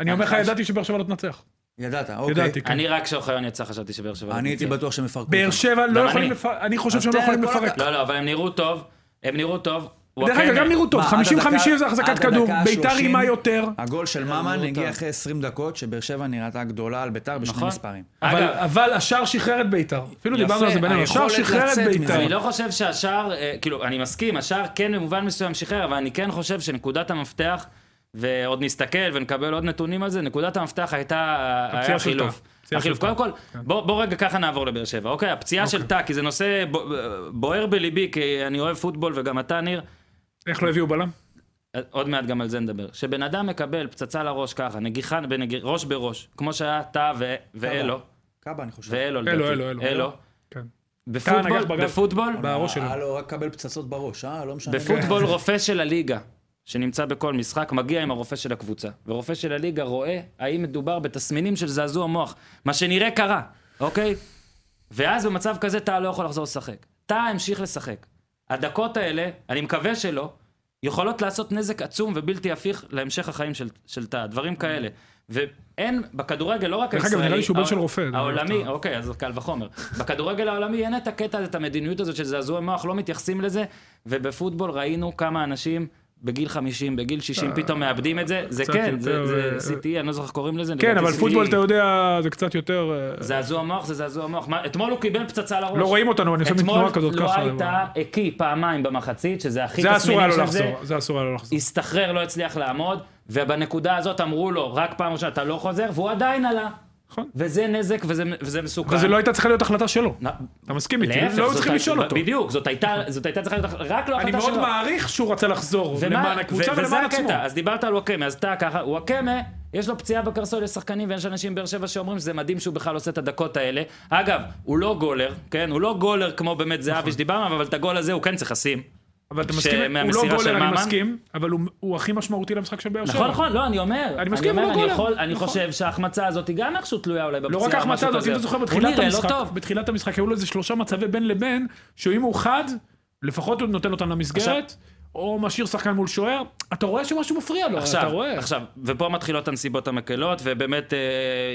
B: אני אומר לך,
C: חש-
B: ידעתי שבאר שבע לא תנצח.
C: ידעת, אוקיי.
B: ידעתי, כן.
A: אני רק כשאוחיון יצא חשבתי שבאר שבע...
C: אני הייתי
A: תנצח.
C: בטוח שהם יפרקו.
B: באר
C: אותם.
B: שבע לא
A: גם
B: יכולים
A: אני.
B: לפרק, אני חושב שהם
C: אז
B: לא
C: תן
B: יכולים
C: לכל
B: לפרק.
A: לא, לא, אבל הם נראו טוב, הם נראו טוב.
B: דרך אגב,
A: וואקמה-
B: גם נראו טוב,
C: לא, כן, מה, עד
B: 50-50 זה
C: הדקה-
B: החזקת
C: עד
B: כדור,
C: הדקה
B: ביתר
C: 30?
B: אימה יותר.
C: הגול
A: אה,
C: של ממן
A: גמרו
C: הגיע
A: אותם.
C: אחרי 20 דקות, שבאר שבע נראתה גדולה על ביתר בשני
A: נכון.
C: מספרים.
B: אבל,
A: אגב-
B: אבל השער שחרר את ביתר. אפילו
C: יפה,
B: דיברנו על זה בינינו, השער
C: היכולת
B: שחרר את
C: לצאת מזה.
B: ביתר.
A: אני לא חושב שהשער, אה, כאילו, אני מסכים, השער כן במובן מסוים שחרר, אבל אני כן חושב שנקודת המפתח, ועוד נסתכל ונקבל עוד נתונים על זה, נקודת המפתח הייתה, אה,
B: הפציעה
A: היה
B: של
A: חילוף.
B: טאה. הפציעה
A: החילוף.
B: של כן. טאה.
A: קודם כל, בוא בוא רגע ככה נעבור לבאר שבע. אוקיי, הפציעה של טאה, כי זה נושא בו- בוער בליבי, כי אני אוהב פוטבול וגם אתה, ניר. אה,
B: איך לא הביאו בלם?
A: עוד מעט גם על זה נדבר. שבן אדם מקבל פצצה לראש ככה, נגיחה, בנגיח, ראש בראש, כמו שהיה טאה ו- ואלו,
C: קאבה, אני חושב.
A: ואלו לדעתי.
B: אלו, אלו, אלו.
A: לא אלו. לא
B: כן. נגח
A: בפוטבול,
B: בגב.
A: בפוטבול,
B: בראש שלו.
C: אה, לא, רק קבל פצצות בראש, אה? לא משנה.
A: בפוטבול רופא של הליגה, שנמצא בכל משחק, מגיע עם הרופא של הקבוצה. ורופא של הליגה רואה האם מדובר בתסמינים של זעזוע מוח. מה שנראה קרה, אוקיי? ואז במצב כזה טאה לא יכול לחזור לשחק. טאה המשיך לשחק. הדקות האלה, אני מקווה שלא, יכולות לעשות נזק עצום ובלתי הפיך להמשך החיים של- של טאה, דברים כאלה. ואין, בכדרגל, לא רק
B: דרך אגב,
A: הישראלי,
B: נראה לי שהוא בן
A: העול-
B: של רופא, זה
A: העולמי,
B: לא
A: אוקיי, אז קל וחומר. בכדורגל העולמי אין את הקטע הזה, את המדיניות הזאת של זעזועי מוח, לא מתייחסים לזה, ובפוטבול ראינו כמה אנשים... בגיל 50, בגיל 60, פתאום מאבדים את זה, זה
B: אה, קצת
A: כן, זה
B: יותר,
A: זה
B: אה,
A: CTE, אני לא זוכר איך קוראים לזה.
B: כן,
A: לדעתי
B: אבל
A: CTE.
B: פוטבול, אתה יודע, זה קצת יותר... אה,
A: זעזוע מוח זה זעזוע מוח. מה, אתמול הוא קיבל פצצה לראש.
B: לא רואים אותנו, אני עושה מין תנועה כזאת
A: אתמול
B: ככה.
A: לא הייתה הקיא פעמיים במחצית, שזה הכי
B: זה אסור היה
A: תסמינים של
B: לו
A: זה.
B: לחזור, זה אסור היה לו לחזור.
A: הסתחרר, לא הצליח לעמוד, ובנקודה הזאת אמרו לו, רק פעם ראשונה אתה לא חוזר, והוא עדיין עלה.
B: נכון.
A: וזה נזק וזה, וזה מסוכן.
B: וזה לא הייתה צריכה להיות החלטה שלו.
A: נ-
B: אתה מסכים איתי?
A: להפך,
B: לא היו
A: זאת
B: צריכים
A: הי-
B: לשאול אותו.
A: בדיוק, זאת הייתה, זאת הייתה צריכה להיות רק לא החלטה
B: אני
A: שלו.
B: מאוד מעריך שהוא רצה לחזור
A: ומה-
B: למען הקבוצה
A: ו- וזה
B: ולמען עצמו.
A: הקטע, אז דיברת על וואקמה, אז אתה ככה, וואקמה, יש לו פציעה בקרסול, יש שחקנים ויש אנשים באר שבע שאומרים שזה מדהים שהוא בכלל עושה את הדקות האלה. אגב, הוא לא גולר, כן? הוא לא גולר כמו
B: נכון.
A: באמת זהבי שדיברנו, עליו, אבל את הגול הזה הוא כן צריך לשים.
B: אבל אתה מסכים, הוא
A: שמהמסירה
B: לא
A: של
B: גולר, אני
A: ממן?
B: מסכים, אבל הוא- הוא הכי משמעותי למשחק של באר שבע.
A: נכון, נכון, לא, אני אומר.
B: מסכים,
A: אומר,
B: הוא לא
A: אני
B: גולר.
A: יכול- אני
B: נכון.
A: חושב שההחמצה הזאת היא גם איכשהו תלויה אולי
B: לא
A: בפציעה.
B: רק
A: או
B: ההחמצה
A: משהו
B: הזאת,
A: כזה.
B: אם אתה זוכר,
A: הוא
B: בתחילת
A: נראה לא
B: המשחק,
A: טוב.
B: בתחילת המשחק היו לו איזה שלושה מצבי בין לבין, שאם הוא חד, לפחות הוא נותן אותם למסגרת,
A: עכשיו-
B: או משאיר שחקן מול שוער, אתה רואה שמשהו מפריע לו, לא, אתה
A: עכשיו,
B: רואה.
A: עכשיו, ופה מתחילות הנסיבות המקלות, ובאמת, אה,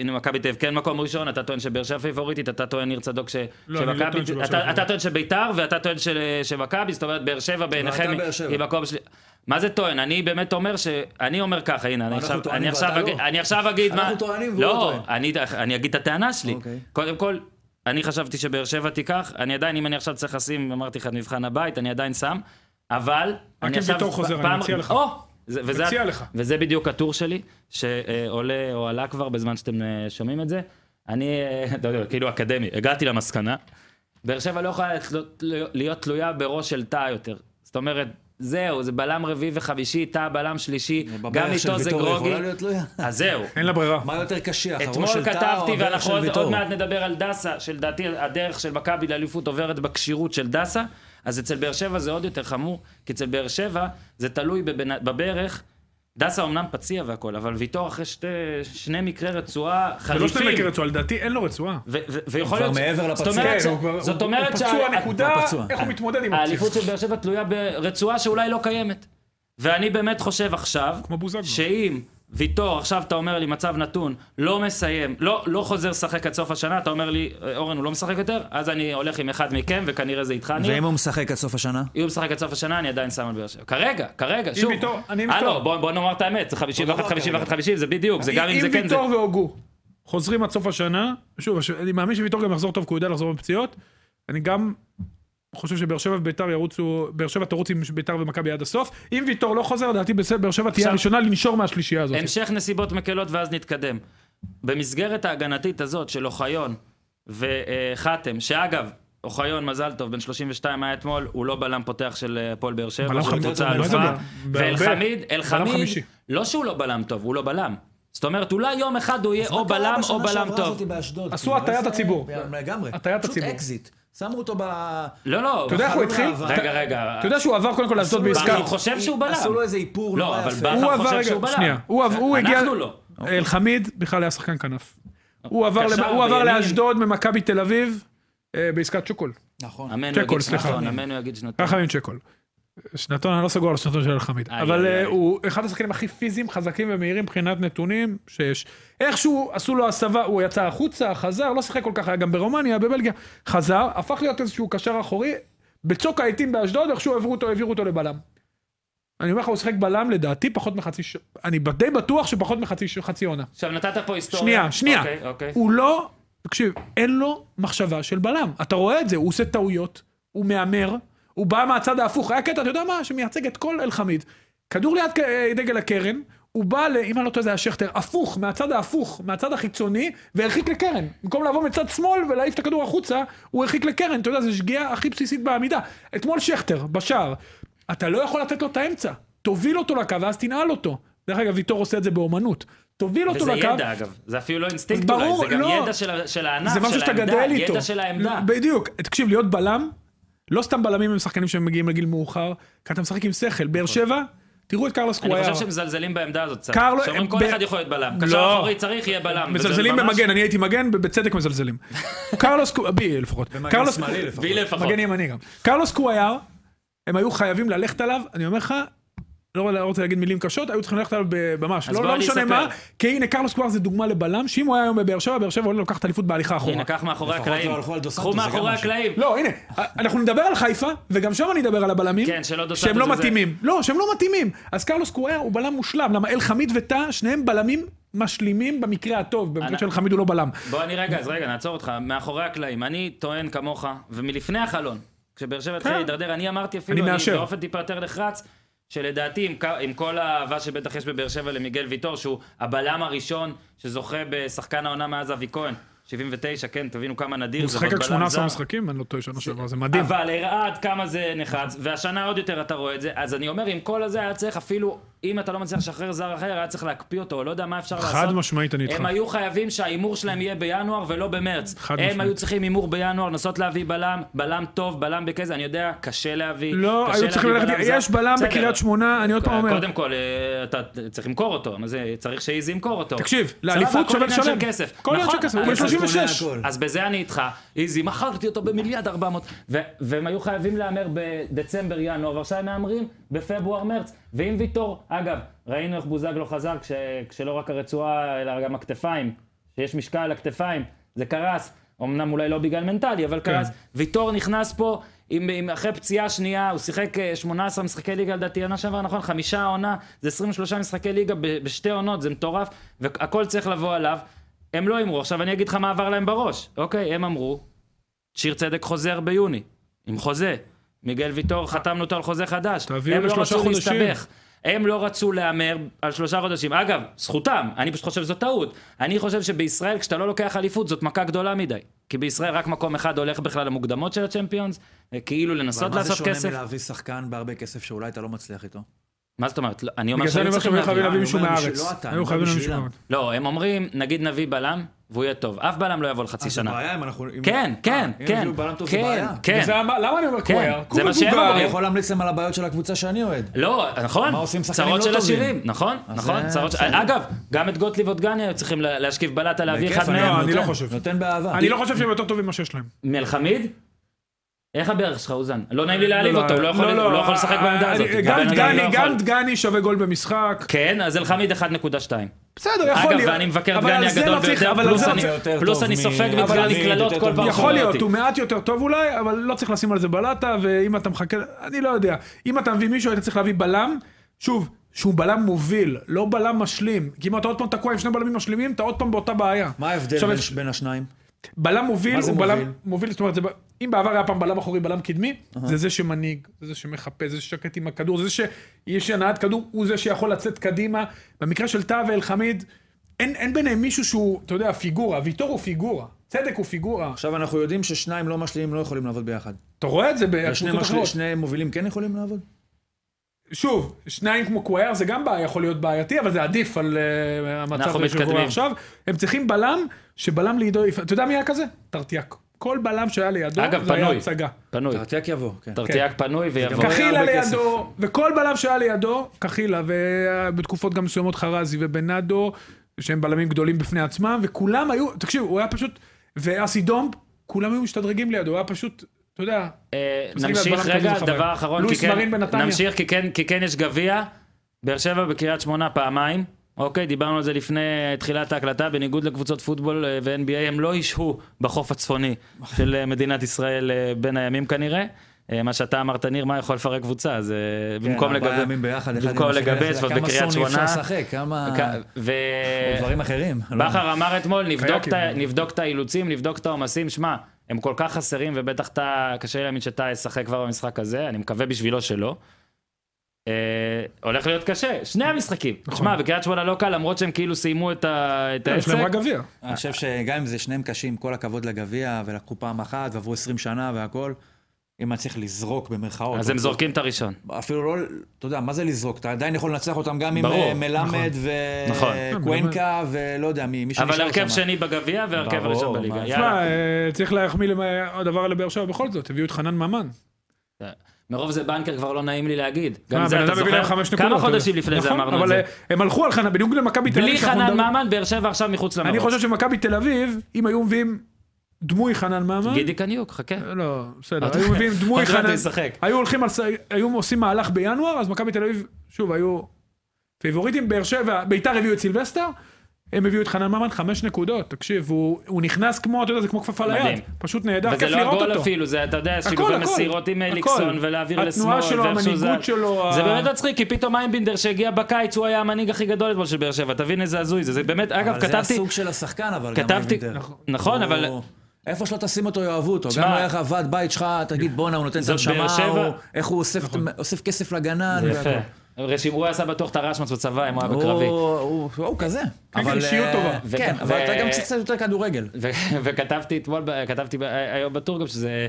A: הנה מכבי תל אביב כן מקום ראשון, אתה טוען שבאר שבע פייבוריטית, אתה טוען ניר צדוק ש...
B: לא, אני לא
A: שמכבי-
B: טוען שבאר שבע
A: אתה-
B: פייבוריטית.
A: אתה טוען שביתר, ואתה טוען של- שמכבי, זאת אומרת, באר שבע בעיניכם
C: ואתה לא, באר שבע.
A: היא מקום שלי. מה זה טוען? אני באמת אומר ש... אני אומר ככה, הנה, אני
C: אנחנו
A: עכשיו-
C: טוענים
A: אני עכשיו
C: ואתה
A: אגיד-
C: לא.
A: אני עכשיו אגיד מה...
C: אנחנו טוענים והוא לא
A: לא
C: טוען.
A: אני אני אגיד את הטענה שלי.
C: אוקיי.
A: קודם כל, אני חשבתי שבאר שבע תיקח, אני עדיין, אם אני עכשיו צריך לשים, אמרתי לך, את מבחן הבית, אני עדיין שם, אבל... אני
B: אם
A: עכשיו-
B: ויטור חוזר, אני
A: פעם-
B: מציע לך.
A: או! זה- וזה-
B: מציע לך.
A: וזה בדיוק הטור שלי, שעולה או עלה כבר בזמן שאתם אה, שומעים את זה. אני, אה, אתה יודע, כאילו אקדמי, הגעתי למסקנה. באר שבע לא יכולה להיות- להיות תלויה בראש של תא יותר. זאת אומרת, זהו, זה בלם רביעי וחמישי, תא בלם שלישי,
C: אה,
A: גם איתו זה גרוגי. אז זהו.
B: אין לה ברירה.
C: מה יותר קשיח, הראש
A: אתמול
C: של טאה או
A: כתבתי,
C: הברך
A: ואנחנו
C: של
A: עוד- עוד
C: ויטור?
A: מעט נדבר על דסה, שלדעתי הדרך של מכבי לאליפות עוברת בכשירות של דסה, אז אצל באר שבע זה עוד יותר חמור, כי אצל באר שבע זה תלוי בבנ- בברך. דסה אמנם פציע והכל, אבל ויטור אחרי שתי, שני מקרי רצועה
B: זה לא שאתה
A: חריפים.
B: מכיר רצועה, לדעתי אין לו רצועה.
A: ו- ו- ויכול
C: כבר
A: להיות... ש-
C: מעבר
A: כן, זאת
C: לפציעה.
A: אומרת
B: כן,
A: ש-
B: הוא כבר-
A: זאת
B: הוא-
A: אומרת
B: הוא
A: שה-
B: פצוע נקודה,
C: פצוע.
B: איך הוא מתמודד עם
A: האליפות
B: הפציעה.
A: של באר שבע תלויה ברצועה שאולי לא קיימת. ואני באמת חושב עכשיו,
B: כמו בוזגלו.
A: שאם ויטור, עכשיו אתה אומר לי מצב נתון, לא מסיים, לא, לא חוזר לשחק עד סוף השנה, אתה אומר לי, "אה, אורן הוא לא משחק יותר, אז אני הולך עם אחד מכם, וכנראה זה איתך ניר.
C: ואם הוא משחק עד סוף השנה?
A: אם הוא משחק עד סוף השנה, אני עדיין שם על באר שבע. כרגע, כרגע, שוב.
B: ויטור, אני עם
A: הלו,
B: ויטור.
A: בוא, בוא נאמר את האמת, זה 51,
C: אותו דבר
A: 51, 50, זה בדיוק, זה גם אם זה כן זה.
B: ויטור והוגו חוזרים עד סוף השנה, שוב, הש- אני מאמין שוויטור גם יחזור טוב, כי הוא יודע לחזור מפציעות. אני גם חושב שבאר שבע וביתר ירוצו, באר שבע תרוץ עם ביתר ומכבי עד הסוף. אם ויטור לא חוזר, לדעתי בסדר, באר שבע תהיה
A: עכשיו-
B: הראשונה לנשור מהשלישייה הזאת.
A: המשך נסיבות מקלות ואז נתקדם. במסגרת ההגנתית הזאת של אוחיון וחתם, שאגב, אוחיון, מזל טוב, בן 32 היה אתמול, הוא לא בלם פותח של אה, הפועל באר שבע,
B: בלם
A: של
B: חמישי,
A: קבוצה
B: מה זה
A: אלופה.
B: בלם? בהרבה.
A: ואלחמיד,
B: בלם
A: אלחמיד,
B: חמישי.
A: לא שהוא לא בלם טוב, הוא לא בלם. זאת אומרת, אולי יום אחד הוא יהיה או בלם או בלם טוב.
B: עשו הטיית הציבור.
C: כאילו, אה, לגמרי.
B: הטיית
C: פשוט
B: הציבור.
C: אקזיט. שמו אותו ב...
A: לא, לא.
B: אתה יודע איך הוא
C: בחלון העבר.
B: התחיל?
A: רגע, רגע.
B: אתה יודע שהוא עבר קודם כל לאשדוד
C: אסור
B: בעסקה.
A: בכר חושב שהוא בלם.
C: עשו לו איזה איפור
A: לא,
C: נורא
A: אבל
C: יפה.
B: הוא
A: בכר
B: עבר,
A: חושב
B: רגע,
A: שהוא בלם.
B: שנייה. הוא עב- הוא הגיע...
A: אנחנו לא.
B: אלחמיד בכלל היה שחקן כנף. הוא עבר
A: קשר
B: למ- הוא עבר
A: בימין.
B: לאשדוד ממכבי תל אביב אה, בעסקת שוקול.
C: נכון.
A: אמן הוא
B: צ'קול,
A: יגיד
B: סליחה.
A: שנתון, אמן הוא יגיד שנתון.
B: ככה עם צ'קול. שנתון, אני לא סגור על השנתון של אלחמיד.
A: איי,
B: אבל
A: איי,
B: אה,
A: איי.
B: הוא אחד השחקנים הכי פיזיים, חזקים ומהירים מבחינת נתונים שיש. איכשהו עשו לו הסבה, הוא יצא החוצה, חזר, לא שיחק כל כך, היה גם ברומניה, בבלגיה. חזר, הפך להיות איזשהו קשר אחורי. בצוק העיתים באשדוד, איכשהו העבירו אותו, העבירו אותו לבלם. אני אומר לך, הוא שיחק בלם לדעתי פחות מחצי, ש- אני די בטוח שפחות מחצי ש- חצי עונה.
A: עכשיו נתת פה היסטוריה.
B: שנייה, שנייה.
A: אוקיי, אוקיי.
B: הוא לא, תקשיב, אין לו מחשבה של בלם. אתה רואה את זה, הוא עושה טעויות, הוא מהמר, הוא בא מהצד ההפוך. היה קטע, אתה יודע מה, שמייצג את כל אלחמיד. כדור ליד כ- אה, דגל הקרן, הוא בא, ל- אם אני לא טועה זה היה שכטר, הפוך, מהצד ההפוך, מהצד החיצוני, והרחיק לקרן. במקום לבוא מצד שמאל ולהעיף את הכדור החוצה, הוא הרחיק לקרן. אתה יודע, זו שגיאה הכי בסיסית בעמידה. אתמול שכטר, בשער, אתה לא יכול לתת לו את האמצע. תוביל אותו לקו ואז תנעל אותו. דרך אגב, ויטור עושה את זה באומנות. תוביל אותו
A: וזה
B: לקו.
A: ידע אגב, זה אפילו לא אינסטינקט
B: ברור,
A: אולי, זה גם
B: לא.
A: ידע של ה- של הענף,
B: זה משהו
A: אה, של
B: שאתה
A: העמדה,
B: גדל איתו.
A: ידע של העמדה.
B: בדיוק. תקשיב, להיות בלם, לא סתם בלמים הם שחקנים שמגיעים לגיל מאוחר, כי אתה משחק עם שכל. באר שבע, תראו את קרלוס
A: נכון. אני חושב
B: קוויאר.
A: שמזלזלים בעמדה הזאת קצת.
B: קרלו-
A: שאומרים
B: ב-
A: כל אחד יכול להיות בלם. קשר
B: לא.
A: אחורי צריך, יהיה בלם. וזה
B: מזלזלים
A: ממש-
B: במגן, אני הייתי מגן, ובצדק מזלזלים. קרלוס קו... בי לפחות. קרלוס-
C: שמאלי לפחות.
A: בי לפחות.
B: מגן ימני גם. קרלוס קוויאר, הם היו חייבים ללכת עליו, אני אומר לך, לא לא רוצה להגיד מילים קשות, היו צריכים ללכת עליו ב- ממש.
A: אז
B: לא
A: בוא
B: לא
A: אני
B: משנה
A: אספר.
B: מה, כי הנה קרלוס קוויאר זה דוגמה לבלם, שאם הוא היה היום בבאר שבע, באר שבע עולה לוקחת אליפות בהליכה אחורה.
A: הנה, קח מאחורי
C: לפחות
A: הקלעים.
C: לא הלכו על דו
A: קחו
C: סנטוס, זה גם
A: מאחורי
C: משהו.
A: הקלעים.
B: לא, הנה, אנחנו נדבר על חיפה, וגם שם אני אדבר על הבלמים.
A: כן, שלא דו
B: שהם
A: סנטוס
B: לא
A: וזה.
B: מתאימים. לא, שהם לא מתאימים. אז קרלוס קוויאר הוא בלם מושלם, למה אל חמיד וטאה, שניהם בלמים משלימים במקרה הטוב, במקרה
A: אני-
B: של חמיד הוא לא בלם.
A: בוא אני רגע, אז רגע, נעצור אותך. מאחורי הקלעים, אני טוען כמוך, ומלפני החלון, כשבאר שבע התחילה
B: כן.
A: להידרדר, אני אמרתי
B: אני
A: אפילו, אני
B: מאשר.
A: באופן טיפה יותר נחרץ, שלדעתי עם כ- עם כל האהבה שבטח יש בבאר שבע למיגל ויטור, שהוא הבלם הראשון שזוכה בשחקן העונה מאז אבי כהן, 79, כן, תבינו כמה נדיר
B: הוא
A: זה,
B: שיחק
A: אבל
B: רק
A: בלם
B: 18
A: זר.
B: משחקים, אני לא טועה שנה שעברה, זה מדהים.
A: אבל הראה עד כמה זה נחרץ, והשנה עוד יותר אתה רואה את זה, אז אני אומר, עם כל הזה היה צריך אפילו, אם אתה לא מצליח לשחרר זר אחר, היה צריך להקפיא אותו, או לא יודע מה אפשר לעשות.
B: חד משמעית אני איתך.
A: הם היו חייבים שההימור שלהם יהיה בינואר ולא במרץ.
B: חד
A: הם
B: משמעית.
A: היו צריכים הימור בינואר, לנסות להביא בלם, בלם טוב, בלם בכזה, אני יודע, קשה להביא.
B: לא,
A: קשה
B: היו צריכים
A: להביא
B: ללכת,
A: זר.
B: יש בלם
A: בסדר.
B: בקריית שמונה, אני עוד פעם אומר.
A: קודם כל, אה, אתה צריך למכור אותו, מה זה, צריך שאיזי ימכור אותו.
B: תקשיב,
A: סבבה,
B: לאליפות
A: הכל
B: שווה
A: עניין של
B: לשלם.
A: כסף.
B: כל עניין של
A: נכון,
B: כסף, הוא בן
A: אז-
B: 36.
C: קונה הכל.
A: אז בזה אני איתך, איזי, מכרתי אותו במיליארד 400, ו- והם היו חייבים להמר בדצמבר, ינואר, ועכשיו הם מהמרים בפברואר, מרץ. ועם ויטור, אגב, ראינו איך בוזגלו חזר כש- כשלא רק הרצועה, אלא גם הכתפיים, שיש משקל על הכתפיים, זה קרס. אמנם אולי לא בגלל מנטלי, אבל
B: כן.
A: קרס. ויטור נכנס פה עם, עם, אחרי פציעה שנייה, הוא שיחק אה, 18 משחקי ליגה לדעתי, עונה שעברה, נכון? חמישה עונה, זה 23 משחקי ליגה ב- בשתי עונות, זה מטורף, והכל צריך לבוא עליו. הם לא אמרו. עכשיו אני אגיד לך מה עבר להם בראש. אוקיי, הם אמרו, שיר צדק חוזר ביוני, עם חוזה. מיגל ויטור, חתמנו אותו על חוזה חדש.
B: תביאו
A: הם לא
B: לשלושה
A: רצו
B: חודשים.
A: להסתבך. הם לא רצו להמר על שלושה חודשים. אגב, זכותם, אני פשוט חושב שזו טעות. אני חושב שבישראל, כשאתה לא לוקח אליפות, זאת מכה גדולה מדי. כי בישראל רק מקום אחד הולך בכלל למוקדמות של הצ'מפיונס, אה, כאילו לנסות
C: מה זה
A: לעשות
C: שונה
A: כסף.
C: מלהביא שחקן בהרבה כסף שאולי אתה לא מצליח איתו?
A: מה זאת אומרת? לא, אני אומר
B: בגלל זה
A: שהיו
B: אני אומר
A: צריכים
B: שהם היו חייבים
A: להביא.
B: להביא
C: אני
B: מישהו
C: אומר
B: מהארץ.
C: שלא אתה,
B: היו
C: אני
B: חייבים
C: בא
B: להביא מישהו
C: בשבילם.
B: מהארץ.
A: לא, הם אומרים, נגיד נביא בלם, והוא יהיה טוב. אף בלם לא יבוא לחצי
C: אז
A: שנה.
C: הבעיה אם אנחנו... אם-
A: כן,
C: אה,
A: כן,
C: אם
A: כן,
C: הביאו בלם טוב, זה
A: כן,
C: בעיה.
A: כן.
B: וזה אמר- למה אני אומר קוויאר?
A: זה מה שהם
C: אני
A: אומרים.
C: יכול להמליץ להם על הבעיות של הקבוצה שאני אוהד.
A: לא, נכון,
C: מה עושים שחקנים
A: צרות
C: לא
A: של
C: טובים?
A: עשירים, נכון,
C: אז
A: נכון,
C: זה
A: צרות של...
C: בסדר.
A: אגב, גם את גוטליב עוד גני היו צריכים לה- להשכיב בלטה להביא
C: בכיף,
A: אחד מהם.
B: לא, אני לא
C: נותן,
B: חושב.
C: נותן באהבה.
B: אני לא חושב שהם יותר טובים ממה שיש להם.
A: מאלחמיד? איך הברך שלך, אוזן? לא נעים לי להעליב
B: לא,
A: אותו, הוא לא יכול-
B: לא,
A: הוא לא
B: לא,
A: יכול לשחק
B: אה,
A: בעמדה
B: אה,
A: הזאת.
B: אה,
A: הבן
B: גם
A: אדם
B: דגני,
A: לא יכול.
B: גם דגני שווה גול במשחק.
A: כן, אז אלחמיד 1.2.
B: בסדר, יכול
A: אגב,
B: להיות.
A: ואני מבקר את
B: אבל על
A: גני
B: זה
A: הגדול
B: לא צריך-
A: ביותר,
B: אבל על
A: פלוס
B: זה לא
A: אני-
B: צריך-
C: יותר
A: פלוס
C: טוב
A: אני
C: מ-
A: סופג
C: אבל
A: בכלל
C: אני-
A: קללות
C: יותר
A: כל
C: טוב
A: פעם.
C: מ-
A: שהוא
B: יכול
A: רואה
B: להיות,
A: אותי.
B: הוא מעט יותר טוב אולי, אבל לא צריך לשים על זה בלטה, ואם אתה מחכה, אני לא יודע. אם אתה מביא מישהו, היית צריך להביא בלם, שוב, שהוא בלם מוביל, לא בלם משלים. כי אם אתה עוד פעם תקוע עם שני בלמים משלימים, אתה עוד פעם באותה בעיה.
C: מה ההבדל
B: עכשיו,
C: בין- בין השניים?
B: בלם מוביל
C: מה זה
B: הוא בלם
C: מוביל?
B: מוביל, זאת אומרת, זה ב- אם בעבר היה פעם בלם אחורי, בלם קדמי, זה זה שמנהיג, זה זה שמחפה, זה ששקט עם הכדור, זה שיש הנעת כדור, הוא זה שיכול לצאת קדימה. במקרה של טאה ואלחמיד, אין אין ביניהם מישהו שהוא, אתה יודע, פיגורה, ויטור הוא פיגורה, צדק הוא פיגורה.
C: עכשיו אנחנו יודעים ששניים לא משלימים לא יכולים לעבוד ביחד.
A: כן,
B: אתה רואה את זה
C: שני,
B: בקבוצות
C: משל...
B: אחרות.
C: שני מובילים כן יכולים לעבוד?
B: שוב, שניים כמו קוויאר זה גם בעיה, יכול להיות בעייתי, אבל זה עדיף על אה, המצב
A: אנחנו
B: הזה שקורה
A: מתקדמים.
B: עכשיו. הם צריכים בלם, שבלם לידו, יפ- אתה יודע מי היה כזה? טרטיאק. כל בלם שהיה לידו,
A: אגב,
B: זה היה
A: פנוי.
B: הצגה.
A: פנוי.
D: תרטיאק יבוא, כן.
A: תרטיאק פנוי ויבוא.
C: כן.
D: גם-
B: קחילה
D: הרבה כסף.
B: לידו, וכל בלם שהיה לידו, קחילה, ובתקופות גם מסוימות חרזי ובנאדו, שהם בלמים גדולים בפני עצמם, וכולם היו, תקשיב, הוא היה פשוט, ואסי דומב, כולם היו משתדרגים לידו, הוא היה פשוט, אתה יודע,
A: אה,
B: משחקים
A: נמשיך
B: בהגבלת כדור
A: רגע,
B: זה
A: דבר
B: חבל.
A: אחרון, כי
B: לואיס מרין
A: כן,
B: בנתניה.
A: נמשיך כי כן- כי כן יש גביע, באר שבע בקריית שמונה פעמיים, אוקיי, דיברנו על זה לפני תחילת ההקלטה, בניגוד לקבוצות פוטבול אה, ו-NBA, הם לא ישהו בחוף הצפוני של אה, מדינת ישראל אה, בין הימים כנראה. אה, מה שאתה אמרת, ניר, מה יכול לפרק קבוצה? זה
C: כן,
A: במקום
D: כן, ארבעה
A: לגבי...
D: ימים ביחד, אחד עם
A: במקום
D: השני,
A: לגבש,
D: אתה
A: ועוד
D: יודע,
A: בקריית
D: כמה סוני
A: שמונה.
D: אפשר לשחק, כמה...
A: כ- ו...
D: דברים אחרים. לא.
A: בכר אמר אתמול, נבדוק את
B: קייקים.
A: ה- נבדוק את האילוצים, נבדוק את העומסים. שמע, הם כל כך חסרים, ובטח אתה, קשה לי להאמין שאתה ישחק כבר במשחק הזה, אני מקווה בשבילו שלא. אה, הולך להיות קשה, שני המשחקים. שמע, בקריית שמונה לא קל, למרות שהם כאילו סיימו את ה- את
B: נכון. כן, יש להם
A: העסק.
B: רק גביע.
D: אני חושב שגם אם זה שניהם קשים, כל הכבוד לגביע, ולקחו פעם אחת, ועברו 20 שנה והכל, אם היה צריך לזרוק במרכאות.
A: אז הם זורקים את הראשון.
D: אפילו לא, אתה יודע, מה זה לזרוק? אתה עדיין יכול לנצח אותם גם עם
A: ברור,
D: אה, מלמד
A: נכון.
D: וקוונקה ולא יודע מי, מי שנשאר
A: אבל
D: שם.
A: הרכב שני בגביע והרכב
D: ברור,
A: הראשון
D: מה
A: בליגה.
D: זה?
A: יאללה.
B: תשמע, אה, צריך להחמיא למה- הדבר לבאר שבע בכל זאת, הביאו את חנן ממן.
A: מרוב זה בנקר כבר לא נעים לי להגיד.
B: אה,
A: גם זה,
B: בן
A: אתה
B: אדם הביא להם חמש
A: זוכר?
B: נקודות,
A: כמה
B: אתה יודע.
A: חודשים לפני זה
B: נכון,
A: אמרנו את זה.
B: אבל אה, הם הלכו על חנן, בדיוק למכבי תל אביב.
A: בלי
B: שאנחנו
A: חנן
B: מדברים-
A: ממן, באר שבע עכשיו מחוץ למרוץ.
B: אני חושב שמכבי תל אביב, אם היו מביאים דמוי חנן ממן,
A: גידי קניוק, חכה.
B: לא, בסדר, היו מביאים דמוי
A: עוד מעט הוא
B: חנן,
A: ישחק.
B: היו הולכים על, ס- היו עושים מהלך בינואר, אז מכבי תל אביב, שוב, היו פיבוריטים, באר שבע, ביתר הביאו את סילבסטר, הם הביאו את חנן ממן, חמש נקודות, תקשיב, הוא, הוא נכנס כמו, אתה יודע, זה כמו כפפה
A: מדהים.
B: ליד, פשוט נהדר,
A: וזה
B: כיף
A: לא
B: לראות
A: הגול
B: אותו.
A: אפילו, זה, אתה יודע, שילובי
B: הכל.
A: מסירות עם
B: הכל.
A: אליקסון ולהעביר לשמאל.
B: התנועה שלו,
A: ואיכשהו זה-
B: המנהיגות שלו,
A: זה
B: ה-
A: באמת מצחיק, כי פתאום איינבינדר שהגיע בקיץ, הוא היה המנהיג הכי גדול אתמול של באר שבע, תבין איזה הזוי זה. זה באמת, אגב,
D: אבל זה
A: כתבתי,
D: הסוג של השחקן, אבל גם...
A: כתבתי,
D: אייבינדר.
A: נכון, אבל
D: הוא- איפה שלא תשים אותו, יאהבו אותו.
A: תשמע-
D: גם לא יהיה לך ועד בית שלך, תגיד, בואנה, הוא נותן את
A: זאת באר
D: הנשמה,
A: שבע.
D: הוא- איך הוא אוסף- אוסף כסף לגנן.
A: נכון. זה
D: והכל.
A: יפה. רשימו, הוא עשה בטוח את הרשמץ בצבא, אם הוא היה
D: הוא-
A: בקרבי.
D: הוא הוא כזה. אבל,
B: אישיות
D: אה,
B: טובה.
D: כן,
A: וכ-
D: אבל
A: ו-
D: אתה גם צריך קצת יותר כדורגל.
A: ו- וכתבתי אתמול, ב- כתבתי ב- אה, היום בטור גם שזה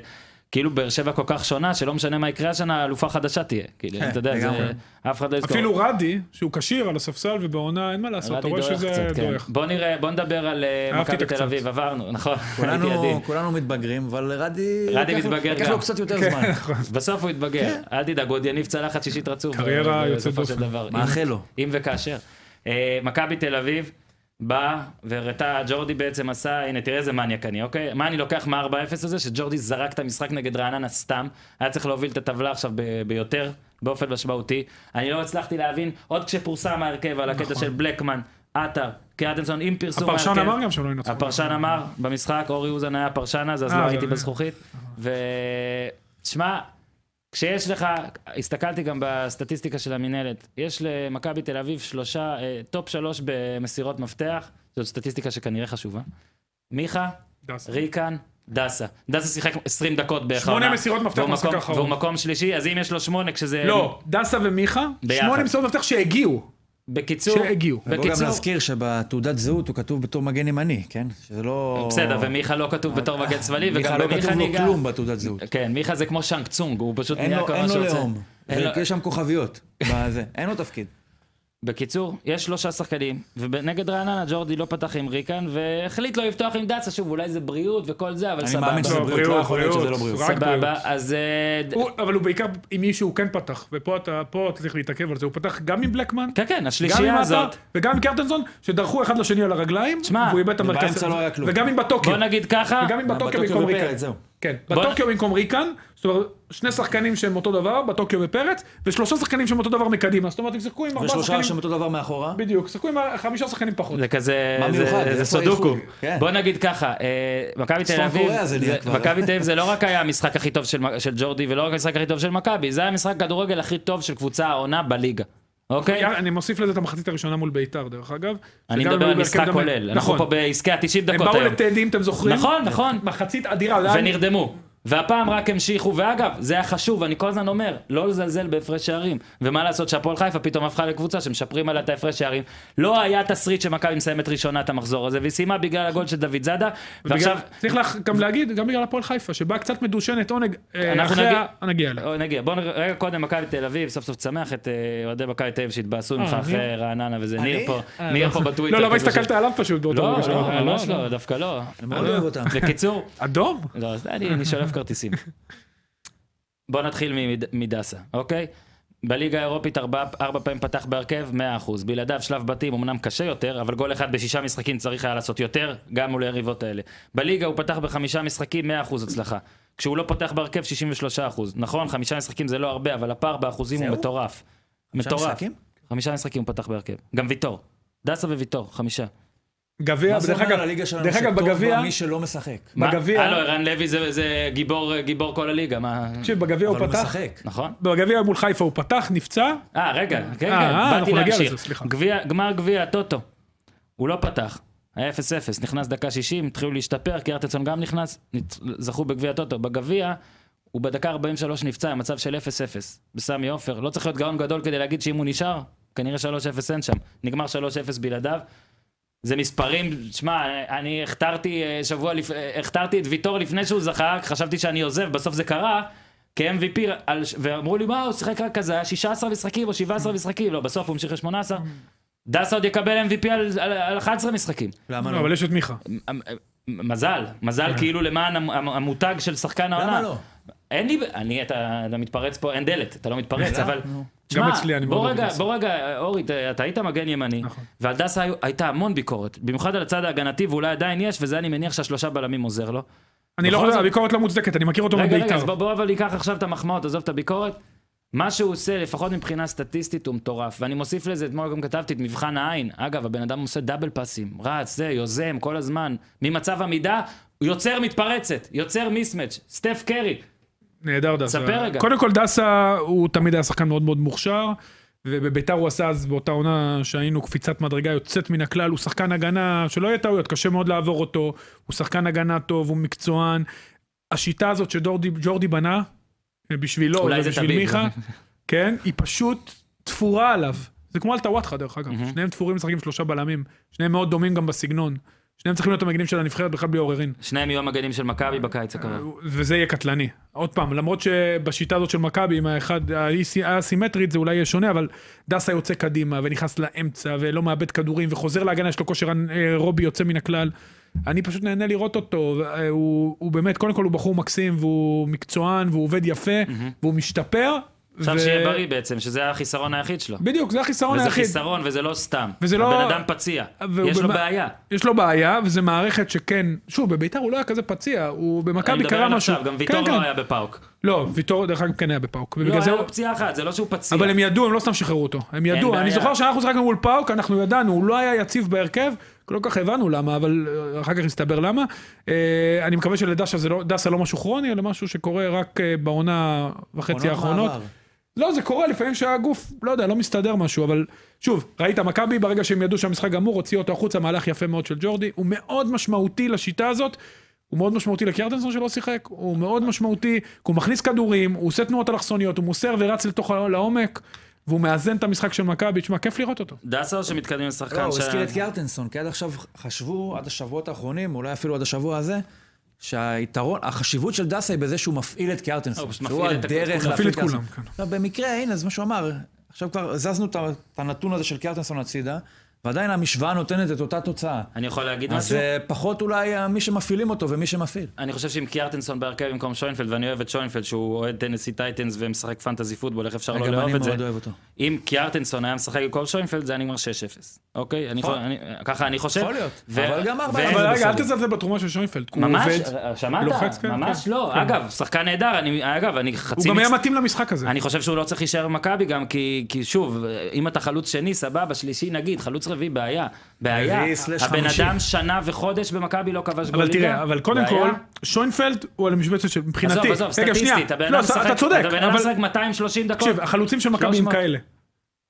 A: כאילו באר שבע כל כך שונה, שלא משנה מה יקרה השנה, אלופה חדשה תהיה. כאילו,
D: כן,
A: אתה יודע, זה-
D: לגמרי.
A: אף אחד לא יזכור.
B: אפילו רדי, שהוא כשיר על הספסל ובעונה, אין מה לעשות, אתה
A: רדי
B: רואה
A: דועך
B: שזה
A: קצת, כן.
B: דועך.
A: בוא נראה, בוא נדבר על אה,
B: אהבתי
A: מכבי
B: את
A: תל
B: הקצת.
A: אביב, עברנו, נכון, הייתי עדין.
D: כולנו, כולנו מתבגרים, אבל רדי...
A: רדי
D: לקח לו-
A: מתבגר גם.
D: לקח
A: כן. נכון.
D: לו קצת יותר זמן.
A: בסוף הוא יתבגר, אל תדאג, הוא עוד יניב צלחת שישית רצוף.
B: כן. קריירה
A: אה,
B: יוצאת
A: בסופו של
B: דופן.
A: דבר.
D: מאחל לו.
A: אם- אם וכאשר. אה, מכבי תל אביב באה והראתה, ג'ורדי בעצם עשה, הנה תראה איזה מניאק אני, אוקיי? מה אני לוקח מה-4-0 הזה? שג'ורדי זרק את המשחק נגד רעננה סתם, היה צריך להוביל את הטבלה עכשיו ב- ביותר, באופן משמעותי. אני לא הצלחתי להבין, עוד כשפורסם ההרכב על הקטע של בלקמן, עטר, קרטנסון, עם פרסום ההרכב.
B: הפרשן אמר גם שהם לא ינצחו.
A: כן. הפרשן אמר במשחק, אורי אוזן היה הפרשן אז, אז
B: אה,
D: אוקיי,
A: לא
B: זה-
A: הייתי בזכוכית. ושמע, כשיש לך, הסתכלתי גם בסטטיסטיקה של המינהלת, יש למכבי תל אביב שלושה, אה, טופ שלוש במסירות מפתח, זאת סטטיסטיקה שכנראה חשובה. מיכה,
B: דסה.
A: ריקן, דסה. דסה שיחק 20 דקות בערך.
B: שמונה
A: העונה,
B: מסירות מפתח
A: והוא
B: במשחק
A: מקום-
B: האחרון.
A: והוא מקום שלישי, אז אם יש לו שמונה כשזה...
B: לא, דסה ומיכה,
A: ביחד.
B: שמונה מסירות מפתח שהגיעו,
A: בקיצור,
B: שהגיעו.
D: בוא גם
A: בקיצור,
D: נזכיר שבתעודת זהות הוא כתוב בתור מגן ימני, כן? שזה לא...
A: בסדר, ומיכה לא כתוב בתור מגן שמאלי,
D: אה, מיכה
A: וגם
D: לא כתוב
A: במיכה
D: לו
A: ניגע.
D: כלום בתעודת זהות.
A: כן, מיכה זה כמו שאנג צונג, הוא פשוט
D: אין
A: נהיה
D: לו
A: כל
D: אין
A: אה, מה
D: לו
A: שהוא רוצה.
D: לאום.
A: אין לו-
D: יש שם כוכביות. בזה. אין לו תפקיד.
A: בקיצור, יש שלושה שחקנים, ונגד רעננה ג'ורדי לא פתח עם ריקן, והחליט לא לפתוח עם דאצה, שוב, אולי זה בריאות וכל זה, אבל
D: אני
A: סבבה.
D: מאמין שזה
B: לא,
D: בריאות, לא
B: בריאות,
D: יכול להיות שזה לא
B: בריאות.
D: בריאות.
B: רק בריאות.
A: סבבה, אז... אה, ד-
B: הוא- אבל הוא בעיקר עם מישהו הוא כן פתח, ופה אתה פה אתה צריך להתעכב על זה, הוא פתח גם עם בלקמן,
A: כן, כן,
B: גם עם
A: השלישייה
B: עטר
A: הזאת.
B: וגם עם קרטנזון, שדרכו אחד לשני על הרגליים,
A: שמע,
B: והוא איבד את המרכז.
D: ובאמצע לא היה כלום.
B: וגם עם בטוקיו,
A: בוא נגיד ככה,
B: וגם עם בטוקיו
D: בטוקיו
B: במקום
D: ופרץ,
B: ריקן.
D: זהו.
B: כן,
A: בוא-
B: בטוקיו במקום ריקן, זאת אומרת, שני שחקנים שהם אותו דבר, בטוקיו ופרץ, ושלושה שחקנים שהם אותו דבר מקדימה, זאת אומרת, הם שיחקו עם ארבעה
D: ושלושה שהם
B: שחקנים,
D: אותו דבר מאחורה.
B: בדיוק, שיחקו עם חמישה שחקנים פחות.
A: זה כזה,
D: מה
A: זה-
D: מיוחד?
A: זה
D: איפה
A: סודוקו.
D: האיחוד? כן.
A: בוא נגיד ככה, אה, מכבי תל
D: צפון
A: אביב,
D: קוריאה זה נהיה כבר.
A: מכבי תל אביב זה לא רק היה המשחק הכי טוב של מ- של ג'ורדי, ולא רק המשחק הכי טוב של מכבי, זה היה המשחק כדורגל הכי טוב של קבוצה העונה בליגה. אוקיי?
B: יא- אני מוסיף לזה את המחצית הראשונה מול ביתר, דרך אגב.
A: אני
B: שגם הם
A: מדבר
B: היו
A: על
B: בהרכב
A: משחק
B: דומה.
A: כולל. אנחנו
B: נכון.
A: פה בעסקי ה-90
B: הם
A: דקות
B: באו כן.
A: היום.
B: לטדי, אם אתם זוכרים.
A: נכון, נכון.
B: מחצית אדירה. זה היה-
A: ונרדמו. והפעם רק המשיכו, ואגב, זה היה חשוב, אני כל הזמן אומר, לא לזלזל בהפרש שערים. ומה לעשות שהפועל חיפה פתאום הפכה לקבוצה שמשפרים עליה את ההפרש שערים. לא היה תסריט שמכבי מסיימת ראשונה את המחזור הזה, והיא סיימה בגלל הגול של דוד זאדה, ועכשיו...
B: ועכשיו... צריך לך גם להגיד, גם בגלל הפועל חיפה, שבאה קצת מדושנת עונג, אה,
A: אנחנו
B: אחרי
A: נגיע-
B: ה... נגיע אליה.
A: אוי, נגיע, בואו נראה, רגע קודם מכבי תל אביב, סוף סוף תשמח את אה, אוהדי מכבי תל אביב שהתבאסו ממך
B: אה,
A: אחרי
B: ניר?
A: רעננה וזה,
C: אני?
A: ניר פה,
B: אה,
A: ניר פה בטוויטר.
B: לא, לא, אבל
A: כזה
B: הסתכלת
A: ש-
B: עליו פשוט באותו
A: לא,
B: רגע שלו.
A: לא, ממש לא, דווקא לא.
C: אני מאוד אוהב אותם.
A: בקיצור,
B: אדום?
A: לא, אז אני, אני שולף כרטיסים. בוא נתחיל מד- מדסה, אוקיי? בליגה האירופית ארבע, ארבע פעמים פתח בהרכב, 100%. בלעדיו שלב בתים אמנם קשה יותר, אבל גול אחד בשישה משחקים צריך היה לעשות יותר, גם מול היריבות האלה. בליגה הוא פתח בחמישה משחקים, 100% הצלחה. כשהוא לא פתח בהרכב, 63%. נכון, חמישה משחקים זה לא הרבה, אבל הפער באחוזים הוא
C: זהו?
A: מטורף.
C: חמישה
A: מטורף.
C: משחקים?
A: חמישה משחקים הוא פתח בהרכב. גם ויטור. דסה וויטור, חמישה.
B: גביע,
C: מה זה
B: דרך
C: אומר על
B: אגב,
C: הליגה שלנו?
B: דרך אגב,
C: שטוב בה
B: בגביע,
C: מי שלא משחק.
A: מה?
B: בגביע-
A: הלו, ערן לוי זה, זה גיבור, גיבור כל הליגה, מה...
B: תקשיב, בגביע הוא
C: אבל הוא
B: פתח, לא,
C: משחק.
A: נכון?
B: בגביע מול חיפה הוא פתח, נפצע,
A: אה, רגע, כן, כן,
B: אה, אה,
A: באתי
B: אנחנו נגיע
A: להמשיך.
B: לזה, סליחה.
A: גביע- גמר גביע הטוטו. הוא לא פתח. היה 0-0, נכנס דקה 60, התחילו להשתפר, קיארטסון גם נכנס, ניצ- זכו בגביע הטוטו. בגביע, הוא בדקה 43 נפצע, עם מצב של 0-0, בסמי עופר. לא צריך להיות גאון גדול כדי להגיד שאם הוא נשאר, כנראה 3-0 אין שם. נגמר 3-0 בלעדיו. זה מספרים, שמע, אני הכתרתי אה, שבוע, לפ... אה, הכתרתי את ויטור לפני שהוא זכה, חשבתי שאני עוזב, בסוף זה קרה, כ-MVP, על... ש- ואמרו לי, מה, הוא שיחק רק כזה, היה 16 משחקים או 17 משחקים, לא, בסוף הוא המשיך ל-18. דסה עוד יקבל MVP על, על, על 11 משחקים.
C: למה
B: לא,
C: לא?
B: אבל יש את מיכה.
A: מ- מזל, מזל כאילו למען המ- המ- המותג של שחקן העונה.
C: כן. למה לא?
A: אין לי, אני, אתה, אתה מתפרץ פה, אין דלת, אתה לא מתפרץ,
C: למה?
A: אבל...
C: נו.
B: גם
A: תשמע,
B: אצלי אני מאוד
A: בוא
B: אוהב
A: רגע,
B: את דסה.
A: בוא רגע, אורי, ת- אתה היית מגן ימני,
B: נכון.
A: ועל דסה היו- הייתה המון ביקורת, במיוחד על הצד ההגנתי, ואולי עדיין יש, וזה אני מניח שהשלושה בלמים עוזר לו.
C: נכון,
B: אני לא
A: בכל
B: חושב,
A: זאת-
B: הביקורת לא מוצדקת, אני מכיר אותו
A: רגע, רגע,
B: בעיקר.
A: אז בוא, בוא אבל ניקח עכשיו את המחמאות, עזוב את הביקורת. מה שהוא עושה, לפחות מבחינה סטטיסטית, הוא מטורף. ואני מוסיף לזה, אתמול גם כתבתי את מבחן העין. אגב, הבן אדם עושה דאבל פאסים, רץ, זה, יוזם, כל הזמן. ממצב עמידה, הוא יוצר מתפרצת, יוצר מיסמץ'. סטף קרי,
B: נהדר דסה.
A: ספר רגע.
B: קודם כל דסה הוא תמיד היה שחקן מאוד מאוד מוכשר, ובביתר הוא עשה אז באותה עונה שהיינו קפיצת מדרגה יוצאת מן הכלל, הוא שחקן הגנה שלא יהיה טעויות, קשה מאוד לעבור אותו, הוא שחקן הגנה טוב, הוא מקצוען. השיטה הזאת שג'ורדי בנה, בשבילו,
A: אולי זה
B: ובשביל
A: תביב.
B: מיכה, כן, היא פשוט תפורה עליו. זה כמו אלטוואטחה דרך אגב, שניהם תפורים משחקים שלושה בלמים, שניהם מאוד דומים גם בסגנון. שניהם צריכים להיות המגנים של הנבחרת בכלל בלי עוררין.
A: שניהם יהיו המגנים של מכבי בקיץ הקרוב.
B: וזה יהיה קטלני. עוד פעם, למרות שבשיטה הזאת של מכבי, עם האחד, האי- האסימטרית זה אולי יהיה שונה, אבל דסה יוצא קדימה ונכנס לאמצע ולא מאבד כדורים וחוזר להגנה, יש לו כושר אה, רובי יוצא מן הכלל. אני פשוט נהנה לראות אותו, אה, הוא, הוא באמת, קודם כל הוא בחור מקסים והוא מקצוען והוא עובד יפה והוא משתפר.
A: עכשיו שיהיה בריא בעצם, שזה החיסרון היחיד שלו.
B: בדיוק, זה החיסרון
A: וזה
B: היחיד.
A: חיסרון, וזה לא סתם.
B: וזה לא-
A: הבן אדם פציע.
B: והוא
A: יש לו
B: במ-
A: בעיה.
B: יש לו בעיה, וזו מערכת שכן, שוב, בביתר הוא לא היה כזה פציע, הוא
A: אני
B: במכבי
A: מדבר
B: קרה
A: על
B: משהו.
A: עכשיו, גם ויטור
B: כן,
A: לא
B: כן.
A: היה בפאוק.
B: לא, ויטור דרך אגב כן היה בפאוק. ובגלל
A: לא,
B: זה
A: היה
B: הוא-
A: לו פציעה אחת, זה לא שהוא פציע.
B: אבל הם ידעו, הם לא סתם שחררו אותו. הם ידעו, אני
A: בעיה.
B: זוכר שאנחנו שחקנו מול פאוק, אנחנו ידענו, הוא לא היה יציב בהרכב, לא כל כך הבנו למה, אבל אה, אחר כך הסתבר למה. אה, אני מקווה שלדסה זה לא, דסה לא משהו כרוני, אלא משהו שקורה רק אה, בעונה וחצי
C: עונות
B: האחרונות.
C: מעבר.
B: לא, זה קורה לפעמים שהגוף, לא יודע, לא מסתדר משהו, אבל שוב, ראית מכבי, ברגע שהם ידעו שהמשחק גמור, הוציאו אותו החוצה, מהלך יפה מאוד של ג'ורדי, הוא מאוד משמעותי לשיטה הזאת, הוא מאוד משמעותי לקיארטנסון שלא שיחק, הוא מאוד משמעותי, כי הוא מכניס כדורים, הוא עושה תנועות אלכסוניות, הוא מוסר ורץ לתוך ה- לעומק, והוא מאזן את המשחק של מכבי, תשמע, כיף לראות אותו.
A: דסה או שמתקדמים
C: לא,
A: לשחקן
C: הוא
A: ש-
C: הזכיר את קיארטנסון, כי עד עכשיו חשבו, עד השבועות האחרונים, אולי אפילו עד השבוע הזה, שהיתרון, החשיבות של דסה היא בזה שהוא מפעיל את
A: לא, הוא
C: קיארטנסון.
A: פשוט
C: שהוא
A: מפעיל את הכ-
C: הדרך
A: הוא
B: מפעיל את
C: קיארטנסון.
B: כולם, כן.
C: לא, במקרה, הנה, זה מה שהוא אמר. עכשיו כבר הזזנו את ה- את הנתון הזה של קיארטנסון הצידה, ועדיין המשוואה נותנת את אותה תוצאה.
A: אני יכול להגיד
C: אז
A: משהו? לא,
C: אה, פחות אולי אה, מי שמפעילים אותו ומי שמפעיל.
A: אני חושב שעם קיארטנסון בהרכב במקום שוינפלד, ואני אוהב את שוינפלד שהוא אוהד טנסי טייטנס ומשחק פנטזי פוטבול, איך אפשר לא
C: גם
A: לאהוב
C: אני
A: את זה?
C: מאוד אוהב אותו.
A: אם קיארטנסון היה משחק במקום שוינפלד, זה היה נגמר 6-0. אוקיי? אני
C: יכול-
A: חו- אני- ככה אני חושב.
C: יכול להיות.
A: ו-
C: אבל גם ארבע-
A: ו-
C: זה
B: אבל רגע, אל
C: בסדר.
B: תזלזל בתרומה של שוינפלד, הוא
A: ממש,
B: עובד,
A: ר- שמעת?
B: לוחץ, כן,
A: ממש
B: כן,
A: לא.
B: כן.
A: אגב, שחקן נהדר, אני- אגב, אני
B: הוא
A: חצי
B: גם היה
A: מצ-
B: מתאים למשחק הזה.
A: אני חושב שהוא לא צריך להישאר במכבי גם, כי, כי שוב, אם אתה חלוץ שני, סבבה, שלישי נגיד, חלוץ רביעי, בעיה. בעיה.
C: רביעי סלש
A: הבן
C: חמישי.
A: אדם שנה וחודש במכבי לא כבש גול
B: אבל
A: ליגה.
B: תראה, אבל קודם
A: בעיה.
B: כל, שוינפלד הוא על המשבצת של מבחינתי.
A: עזוב, עזוב,
B: רגע, שנייה.
A: סטטיסטית, הבן
B: לא,
A: אדם
B: אתה-
A: משחק,
B: אתה צודק,
A: הבן אדם
B: אבל
A: משחק 230 דקות.
B: תקשיב, החלוצים של מכבי הם
A: 300.
B: כאלה.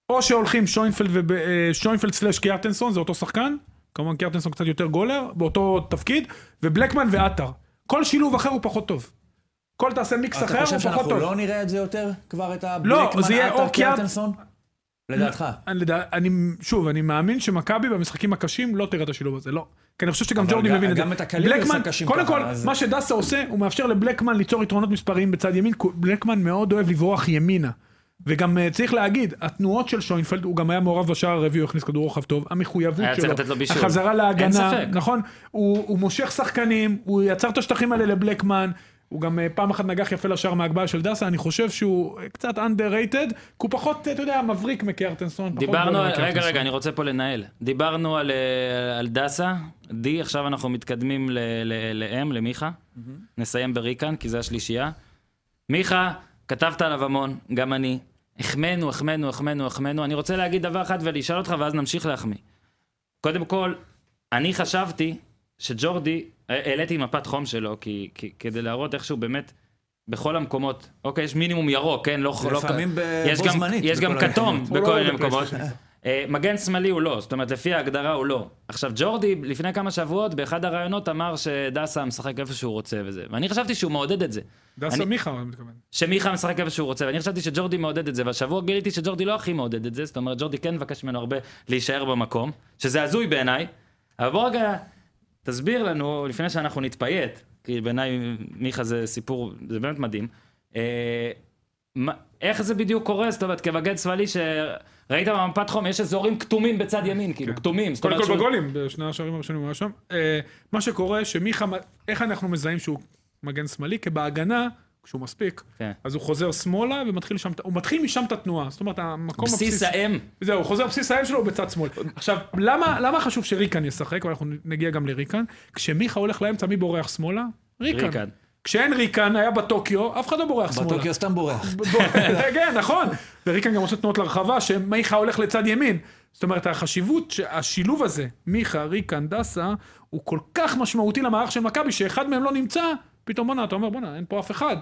B: או שהולכים שוינפלד וב- אה, שוינפלד סלאש קיארטנסון, זה אותו שחקן, כמובן קיארטנסון קצת יותר גולר, באותו תפקיד, ובלקמן ועטר. כל שילוב אחר הוא פחות טוב. כל תעשה מיקס אחר,
C: אתה חושב
B: הוא פחות
C: שאנחנו
B: טוב.
C: לא נראה את זה יותר? כבר את
B: לא,
C: הבלקמן
B: זה יהיה לא. או
C: עטה
B: קיארט-
C: קיארטנסון? לדעתך.
B: אני, לדע- אני, שוב, אני מאמין שמכבי במשחקים הקשים לא תראה את השילוב הזה, לא. כי אני חושב שגם
C: אבל
B: ג'ורדי
C: גם-
B: מבין את זה.
C: גם את הקליל הוא עושה
B: בלקמן-
C: קשים
B: קודם
C: ככה,
B: כל,
C: אז-
B: מה שדסה עושה, הוא מאפשר לבלקמן ליצור יתרונות מספריים בצד ימין, כי בלקמן מאוד אוהב לברוח ימינה. וגם אה, צריך להגיד, התנועות של שוינפלד, הוא גם היה מעורב בשער הרביעי, הוא הכניס כדור רוחב טוב, המחויבות
A: היה צריך
B: שלו,
A: לתת לו בישול.
B: החזרה
A: אין
B: להגנה,
A: ספק.
B: נכון? הוא, הוא מושך שחקנים, הוא יצר את השטחים האלה לבלקמן, הוא גם אה, פעם אחת נגח יפה לשער מהגבהה של דסה, אני חושב שהוא אה, קצת underrated, כי הוא פחות, אה, אתה יודע, מבריק מקיארטנסון. פחות
A: דיברנו,
B: גדול
A: על- רגע,
B: מקיארטנסון.
A: רגע, אני רוצה פה לנהל. דיברנו על, אה, על דסה, די, עכשיו אנחנו מתקדמים ל- ל- לאם, למיכה. נסיים בריקן, כי זה השלישייה. מיכה, כתבת עליו המון, גם אני. החמאנו, החמאנו, החמאנו, החמאנו. אני רוצה להגיד דבר אחד ולשאל אותך, ואז נמשיך להחמיא. קודם כל, אני חשבתי שג'ורדי, אה, העליתי מפת חום שלו, כי, כי, כדי להראות איך שהוא באמת, בכל המקומות, אוקיי, יש מינימום ירוק, כן? לא, לא-
C: לפעמים ב-
A: יש
C: בו
A: גם-
C: זמנית
A: יש גם
C: בכל המקומות.
A: כתום
B: הוא לא
A: בכל מיני
B: עולה
A: מקומות.
B: לפלייסטיישן.
A: אה, מגן שמאלי הוא לא, זאת אומרת, לפי ההגדרה הוא לא. עכשיו, ג'ורדי, לפני כמה שבועות, באחד הראיונות אמר שדסה משחק איפה שהוא רוצה וזה, ואני חשבתי שהוא מעודד את זה.
B: דסה
A: אני-
B: מיכה, אני מתכוון.
A: שמיכה משחק איפה שהוא רוצה, ואני חשבתי שג'ורדי מעודד את זה, והשבוע גיליתי שג'ורדי לא הכי מעודד את זה, זאת אומרת, ג'ורדי כן מבקש ממנו הרבה להישאר במקום, שזה הזוי בעיניי, אבל בוא רגע, תסביר לנו, לפני שאנחנו נתפייט, כי בעיניי מיכה זה סיפור, זה באמת מדהים, אה, מה- איך זה בדיוק קורה, זאת אומרת, כמגן שמאלי שראית במפת חום, יש אזורים כתומים בצד ימין, כאילו,
B: כן.
A: כתומים, זאת
B: קודם
A: אומרת
B: כל
A: שהוא...
B: בגולים, בשני השערים הראשונים הוא היה שם. אה, מה שקורה, שמיכה, איך אנחנו מזהים שהוא מגן שמאלי? כי בהגנה, כשהוא מספיק,
A: כן.
B: אז הוא חוזר שמאלה ומתחיל שם, הוא מתחיל משם את התנועה. זאת אומרת, המקום
A: בסיס האם,
B: זהו, חוזר בסיס האם שלו הוא בצד שמאל. עכשיו, למה, למה חשוב שריקן ישחק, ואנחנו נגיע גם לריקן? כשמיכה הולך לאמצע, מי בורח שמאלה? ריקן.
A: ריקן.
B: כשאין ריקן, היה בטוקיו, אף אחד לא בורח שמאלה.
C: בטוקיו סתם בורח.
B: בוא- כן, נכון. וריקן גם עושה תנועות לרחבה, שמיכה הולך לצד ימין. זאת אומרת, החשיבות, השילוב הזה, מיכה, ריקן, דסה, הוא כל כך משמעותי למערך של מכבי, שאחד מהם לא נמצא, פתאום בואנה, אתה אומר, בואנה, אין פה אף אחד,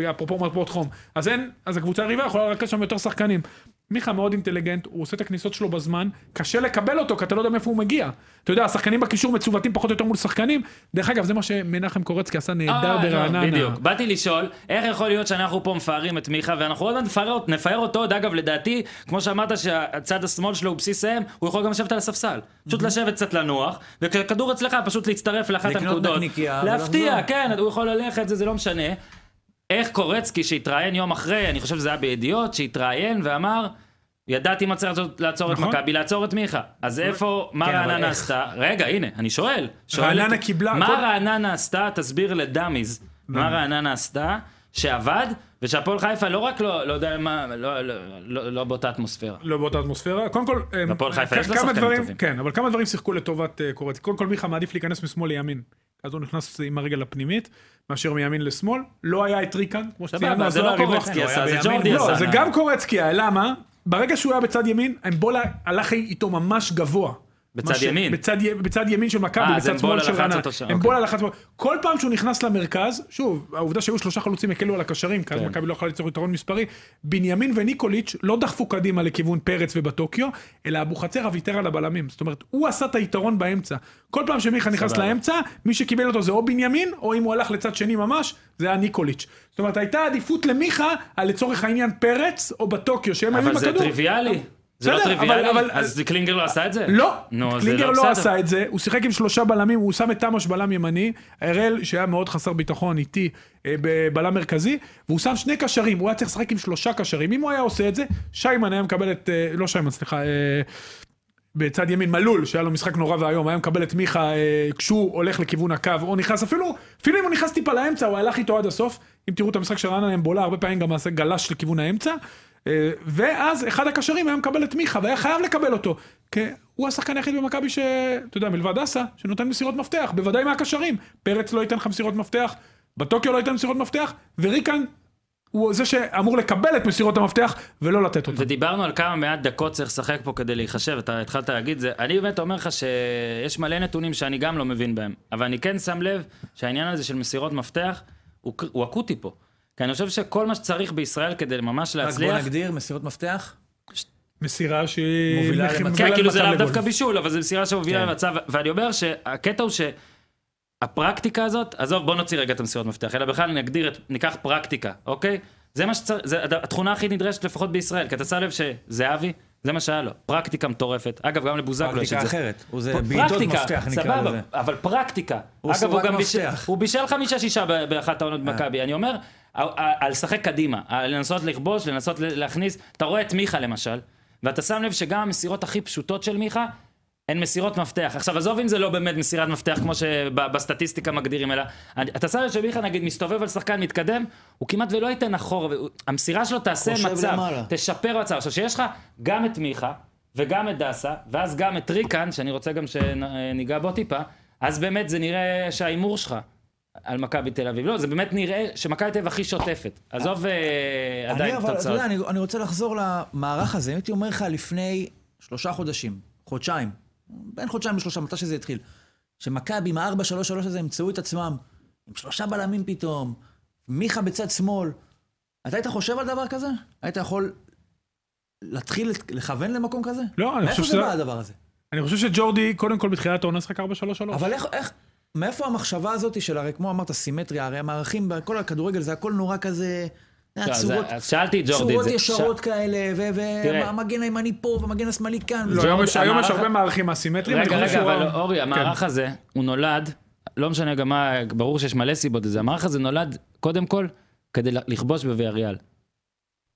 B: אה, אפרופו מרפאות חום. אז אין, אז הקבוצה היריבה יכולה לרכז שם יותר שחקנים. מיכה מאוד אינטליגנט, הוא עושה את הכניסות שלו בזמן, קשה לקבל אותו, כי אתה לא יודע מאיפה הוא מגיע. אתה יודע, השחקנים בקישור מצוותים פחות או יותר מול שחקנים. דרך אגב, זה מה שמנחם קורצקי עשה נהדר
A: אה,
B: ברעננה.
A: לא, בדיוק. באתי לשאול, איך יכול להיות שאנחנו פה מפארים את מיכה, ואנחנו עוד מעט נפאר, נפאר אותו, עוד אגב, לדעתי, כמו שאמרת שהצד השמאל שלו הוא בסיס האם, הוא יכול גם לשבת על הספסל. פשוט לשבת קצת לנוח, וכשהכדור אצלך, פשוט להצטרף לאחת
C: לקנות
A: הנקודות.
C: נקניקייה
A: להפתיע,
C: ולחזור.
A: כן, הוא יכול ללכת, זה, זה לא משנה. איך קורצקי שהתראיין יום אחרי, אני חושב שזה היה בידיעות, שהתראיין ואמר, ידעתי מה צריך לעשות- לעצור את
B: נכון.
A: מכבי, לעצור את מיכה. אז איפה, מה
C: כן, אבל
A: רעננה
C: איך?
A: עשתה? רגע, הנה, אני שואל. שואל
B: רעננה
A: את-
B: קיבלה-
A: מה
B: כל-
A: רעננה עשתה, תסביר לדאמיז, מה רעננה עשתה, שעבד, ושהפועל חיפה לא רק לא, לא יודע מה, לא, לא, לא, לא באותה אטמוספירה.
B: לא באותה אטמוספירה. קודם כל, אמ,
A: הפועל חיפה
B: כ-
A: יש לה
B: כמה
A: שחקנים
B: דברים,
A: טובים.
B: כן, אבל כמה דברים שיחקו לטובת אה, קורצקי. קודם כל מיכה מעדיף להיכנס משמאל לימין. אז הוא נכנס עם הרגל הפנימית, מאשר מימין לשמאל. לא היה את ריקן, כמו שציינו,
A: סבבה,
B: אז
A: זה לא
B: היה ריווח.
A: קורצקי
C: הוא
A: עשה,
C: היה
A: זה
C: בימין.
A: ג'ורדי עשה. אה.
B: לא, זה גם קורצקי היה, למה? ברגע שהוא היה בצד ימין, אמבולה הלך איתו ממש גבוה.
A: בצד
B: מה ש-
A: ימין?
B: בצד, י- בצד ימין של מכבי,
A: אה, אז
B: בצד שמאל
A: אמבולה
B: של
A: לחץ
B: רעננה.
A: אותו שם,
B: אמבולה לחץ... כל פעם שהוא נכנס למרכז, שוב, העובדה שהיו שלושה חלוצים הקלו על הקשרים, כי אז
A: כן.
B: מכבי לא יכולה ליצור יתרון מספרי, בנימין וניקוליץ' לא דחפו קדימה לכיוון פרץ ובטוקיו, אלא אבוחצירא ויתר על הבלמים. זאת אומרת, הוא עשה את היתרון באמצע. כל פעם שמיכה נכנס
A: סבבה.
B: לאמצע, מי שקיבל אותו זה או בנימין, או אם הוא הלך לצד שני ממש, זה היה ניקוליץ'. זאת אומרת, הייתה עדיפות למיכה על לצורך העניין פרץ או בטוקיו, שהם היו עם
A: אבל זה
B: הכדור.
A: טריוויאלי. זה לא
B: בסדר, אבל-
A: טריוויאלי?
B: אבל-
A: אז קלינגר לא עשה את זה?
B: לא,
A: נו, זה
B: קלינגר לא
A: בסדר.
B: עשה את זה, הוא שיחק עם שלושה בלמים, הוא שם את תמוש בלם ימני, הראל שהיה מאוד חסר ביטחון איתי אה, בבלם מרכזי, והוא שם שני קשרים, הוא היה צריך לשחק עם שלושה קשרים, אם הוא היה עושה את זה, שיימן היה מקבל את, אה, לא שיימן, סליחה, אה, בצד ימין מלול, שהיה לו משחק נורא ואיום, היה מקבל את מיכה אה, כשהוא הולך לכיוון הקו, או נכנס, אפילו, אפילו אם הוא נכנס טיפה לאמצע, הוא הלך איתו עד הסוף. אם תראו את המשחק של רעננה אמבולה, הרבה פעמים גם עשה גלש לכיוון האמצע. אה, ואז אחד הקשרים היה מקבל את מיכה, והיה חייב לקבל אותו. כי הוא השחקן היחיד במכבי ש... אתה יודע, מלבד אסה, שנותן מסירות מפתח, בוודאי מהקשרים. פרץ לא ייתן לך מסירות מפתח, בטוקיו לא ייתן מסירות מפתח, וריקן הוא זה שאמור לקבל את מסירות המפתח, ולא לתת אותן.
A: ודיברנו על כמה מעט דקות צריך לשחק פה כדי להיחשב, אתה התחלת להגיד זה. אני באמת אומר לך שיש מלא נתונים שאני גם לא מבין בהם, אבל אני כן שם לב שהעניין הזה של מסירות מפתח הוא, ק- הוא אקוטי פה. כי אני חושב שכל מה שצריך בישראל כדי ממש
C: רק בוא
A: להצליח,
C: נגדיר, מסירות מפתח.
B: מסירה שהיא...
C: מובילה
B: מכי-
C: למצב.
A: כן, כאילו זה
B: למצב
A: לאו
B: לגול.
E: כן.
A: דווקא בישול, אבל זו מסירה שהובילה
C: כן.
A: למצב, ואני אומר שהקטע הוא ש... הפרקטיקה הזאת, עזוב, בוא נוציא רגע את המסירות מפתח, אלא בכלל נגדיר, את, ניקח פרקטיקה, אוקיי? זה מה שצריך, זה הד- התכונה הכי נדרשת לפחות בישראל, כי אתה שם לב שזהבי, זה מה שהיה לו, פרקטיקה מטורפת. אגב, גם לבוזגלו יש
E: פרקטיקה
A: את זה.
E: אחרת. הוא לא, זה
A: פ-
E: בעיטות
A: פרקטיקה,
E: מפתח נקרא
A: סבבה,
E: לזה.
A: אבל פרקטיקה.
E: הוא
A: אגב, הוא
E: סורג
A: גם בישל,
E: מפתח. אה.
A: הוא בישל חמישה-שישה ב- באחת העונות במכבי. אני אומר, ה- ה- ה- לשחק קדימה, ה- לנסות לכבוש, לנסות ל- להכניס. אתה רואה את מיכה למשל, ואתה שם לב שגם המסירות הכי פשוטות של מיכה, הן מסירות מפתח. עכשיו, עזוב אם זה לא באמת מסירת מפתח, כמו שבסטטיסטיקה מגדירים, אלא... אני- אתה שם לב שמיכה, נגיד, מסתובב על שחקן מתקדם, הוא כמעט ולא ייתן אחורה, והוא- המסירה שלו תעשה
D: חושב
A: מצב,
D: למעלה.
A: תשפר מצב. עכשיו, שיש לך גם את מיכה, וגם את דסה, ואז גם את ריקן, שאני רוצה גם שניגע בו טיפה, אז באמת זה נראה שההימור שלך על מכבי תל אביב. לא, זה באמת נראה שמכבי תל אביב הכי שוטפת. עזוב אה,
E: אני
A: עדיין
E: אבל, אתה
A: תוצאות.
E: יודע, אני-
D: אני רוצה לחזור למערך הזה. אם הייתי אומר לך לפני שלושה חודשים, חודשיים, בין חודשיים לשלושה, מתי שזה התחיל, שמכבי עם ה-4-3-3 הזה ימצאו את עצמם עם שלושה בלמים פתאום, מיכה בצד שמאל. אתה היית חושב על דבר כזה? היית יכול להתחיל לכוון למקום כזה?
B: לא, אני
D: מאיפה
B: חושב
D: זה
B: שזה...
D: בא הדבר הזה?
B: אני חושב שג'ורדי, קודם כל בתחילת העונה שחק 4-3-3.
D: אבל איך, איך, מאיפה המחשבה הזאת של הרי, כמו אמרת, סימטריה, הרי המערכים, בכל הכדורגל זה הכל נורא כזה,
A: לא, אז-
D: הצורות,
A: אז שאלתי את ג'ורדי.
D: צורות
A: זה-
D: ישרות
A: ש-
D: כאלה,
A: תראה.
D: והמגן הימני פה, והמגן השמאלי כאן.
B: לא,
D: וזה-
B: היום יש- היום יש
A: המערך-
B: הרבה מערכים אסימטריים.
A: רגע,
B: אני
A: רגע,
B: חושב שהוא- כן.
A: אבל אורי, המערך הזה, הוא נולד, לא משנה גם מה, ברור שיש מלא סיבות לזה, המערך הזה נולד, קודם כל, כדי לכבוש בוויאריאל.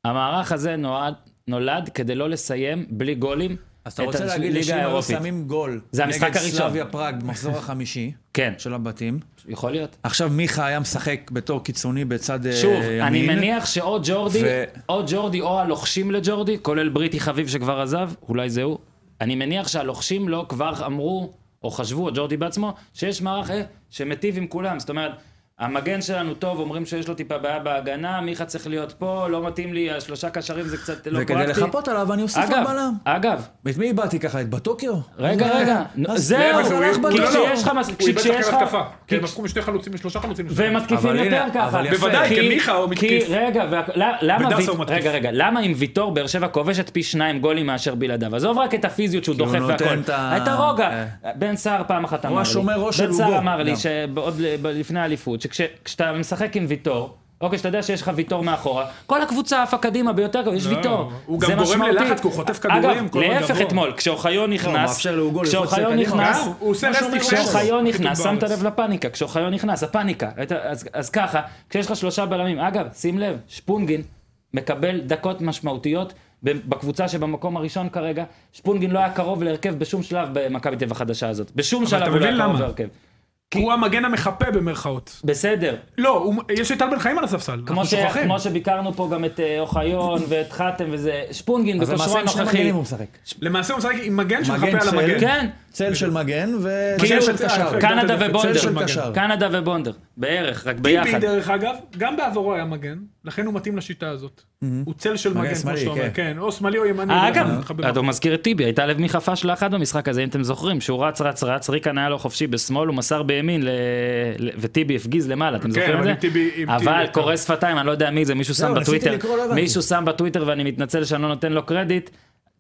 A: המערך הזה נועד, נולד כדי לא לסיים בלי גולים.
D: אז אתה
A: את
D: רוצה
A: הש-
D: להגיד לי
A: ליגה
D: שאם היו
A: האירופית.
D: שמים גול
A: זה המשחק
D: נגד
A: הראשון.
D: סלאביה פראג במחזור החמישי
A: כן,
D: של הבתים,
A: יכול להיות.
D: עכשיו מיכה היה משחק בתור קיצוני בצד אה,
A: שוב,
D: ימין.
A: אני מניח שאו ג'ורדי,
D: ו-
A: או ג'ורדי או הלוחשים לג'ורדי, כולל בריטי חביב שכבר עזב, אולי זה הוא, אני מניח שהלוחשים לו כבר אמרו, או חשבו, או ג'ורדי בעצמו, שיש מערך אה, שמטיב עם כולם. זאת אומרת, המגן שלנו טוב, אומרים שיש לו טיפה בעיה בהגנה, מיכה צריך להיות פה, לא מתאים לי, השלושה קשרים זה קצת לא
D: וכדי
A: פרקטי.
D: לחפות עליו אני אוסיף עוד
A: אגב,
D: בלם.
A: אגב,
D: את מי איבדתי ככה? את בטוקיו? אה,
A: רגע, רגע, נו,
D: אז-
B: כן,
A: זהו,
D: להפך, הוא-
A: כי
D: הוא- לא, לא.
A: כשיש לך מס-
B: הוא איבד
A: כשיש לך-
B: שחקן
D: כן,
B: התקפה. כי הם
A: כי-
B: הפכו משתי חלוצים לשלושה חלוצים. לשלושה.
A: והם מתקיפים
D: אבל
A: יותר
D: הנה,
A: ככה.
D: אבל יפה.
B: בוודאי, כי מיכה הוא מתקיף.
A: כי רגע, וה- ל- למה
B: ודסה
A: ויט-
B: הוא מתקיף.
A: רגע, רגע, למה אם ויטור באר שבע כובשת פי שניים גולים מאשר בלעדיו? עזוב רק את הפיזיות שהוא
D: הוא
A: דוחף
D: נותן
A: והכל.
D: את ה- אה.
A: את הרוגע. בן סער פעם אחת אמר לי.
D: השומר ראש של לא.
A: בן סער
D: עוגו.
A: אמר לי,
D: גם.
A: שעוד ל- ב- לפני האליפות, שכשאתה משחק עם ויטור, אוקיי, שאתה יודע שיש לך ויטור מאחורה, כל הקבוצה עפה קדימה ביותר, גבוה, יש
B: לא,
A: ויטור.
B: הוא גם
A: זה
B: גורם
A: משמעותי.
B: ללחץ, כי הוא חוטף כדורים
A: אגב,
B: כל הזמן
A: להפך
B: גבוה.
A: אתמול, כשאוחיון נכנס,
D: לא, מאפשר לאוגו ללחוץ
A: כשאוחיון
D: לקדימה.
A: נכנס,
B: הוא- הוא עושה
A: מה שאומר
B: רסטיק
A: אוגו,
B: שש.
A: כשאוחיון
B: הכי טוב
A: נכנס, שמת
B: בארץ.
A: לב לפאניקה, כשאוחיון נכנס, הפאניקה. הייתה- אז, אז ככה, כשיש לך שלושה בלמים, אגב, שים לב, שפונגין מקבל דקות משמעותיות ב- בקבוצה שבמקום הראשון כרגע, שפונגין לא היה קרוב להרכב בשום שלב במכבי טבע החדשה הזאת. בשום
B: אתה
A: שלב הוא לא היה
B: מבין
A: קרוב
B: למה?
A: להרכב.
B: הוא המגן המחפה במרכאות.
A: בסדר,
B: לא, הוא- יש את טל בן חיים על הספסל.
A: כמו,
B: אנחנו
A: ש...
B: שוכחים.
A: כמו שביקרנו פה גם את אה, אוחיון ואת חתם וזה, שפונגין
D: אז
A: בכושרו
D: למעשה עם שני
A: הנוכחי.
D: מגנים הוא משחק.
B: למעשה הוא משחק עם מגן
D: מגן
B: שמחפה על
D: צל.
B: המגן.
A: כן,
D: צל של מגן וצל
A: כאילו,
D: של קשר.
A: קנדה
B: צל
A: ובונדר,
B: של
D: קשר.
A: קנדה ובונדר, בערך, רק ביחד.
B: טיבי דרך אגב, גם בעברו היה מגן, לכן הוא מתאים לשיטה הזאת. הוא צל של מגן, כמו
D: שמאלי,
B: שאתה אומר,
D: כן.
B: כן, או שמאלי או ימני.
A: אה,
B: בדרך כלל,
A: אגב,
B: מתחבר.
A: אתה מזכיר את טיבי, הייתה לב מיכה פשלה אחת במשחק הזה, אם אתם זוכרים, שהוא רץ, רץ, רץ, ריקן היה לו חופשי בשמאל, הוא מסר בימין, ל- ל- וטיבי הפגיז למעלה, אתם
B: כן,
A: זוכרים את
B: אבל
A: זה?
B: עם טיבי- עם
A: אבל
B: טיבי,
A: קורא שפתיים, אני לא יודע מי זה, מישהו שם
D: ניסיתי
A: בטוויטר,
D: לקרוא, לא הבנתי.
A: מישהו שם בטוויטר ואני מתנצל שאני לא נותן לו קרדיט,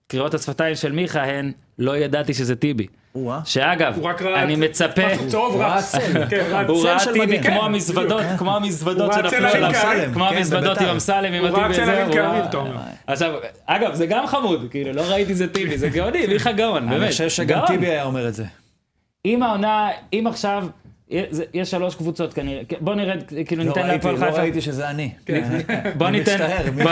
A: קריאות השפתיים של מיכה הן, לא ידעתי שזה טיבי.
D: או-אה.
A: שאגב,
B: הוא רק ראה-
A: אני מצפה,
B: פס צהוב
D: הוא
B: רץ.
D: ראה צל.
B: כן, ראה
A: הוא
B: צל
A: ראה
B: של
A: טיבי
B: מגן. כן,
A: כמו המזוודות, כמו המזוודות
B: הוא ראה
A: שנפלו
B: צל על
A: עליו,
B: קהל.
A: כמו
D: כן,
A: המזוודות
D: בביתר.
A: עם אמסלם, עם
B: הוא ראה
A: הטיבי
B: צל
A: וזה,
B: על
A: הוא
B: קריב,
A: ראה-
B: אתה אומר.
A: עכשיו, אגב, זה גם חמוד, כאילו, לא ראיתי זה טיבי, זה גאוני, מיכה גאון, באמת.
D: אני חושב שגם
A: גאון.
D: טיבי היה אומר את זה.
A: אם העונה, אם עכשיו, זה- יש שלוש קבוצות כנראה, בוא נרד, כאילו,
D: לא
A: ניתן
D: ראיתי,
A: להפועל
D: לא ראיתי
A: חיפה. כן.
D: שזה אני.
A: בוא
D: אני
A: ניתן,
D: מצטער, מי-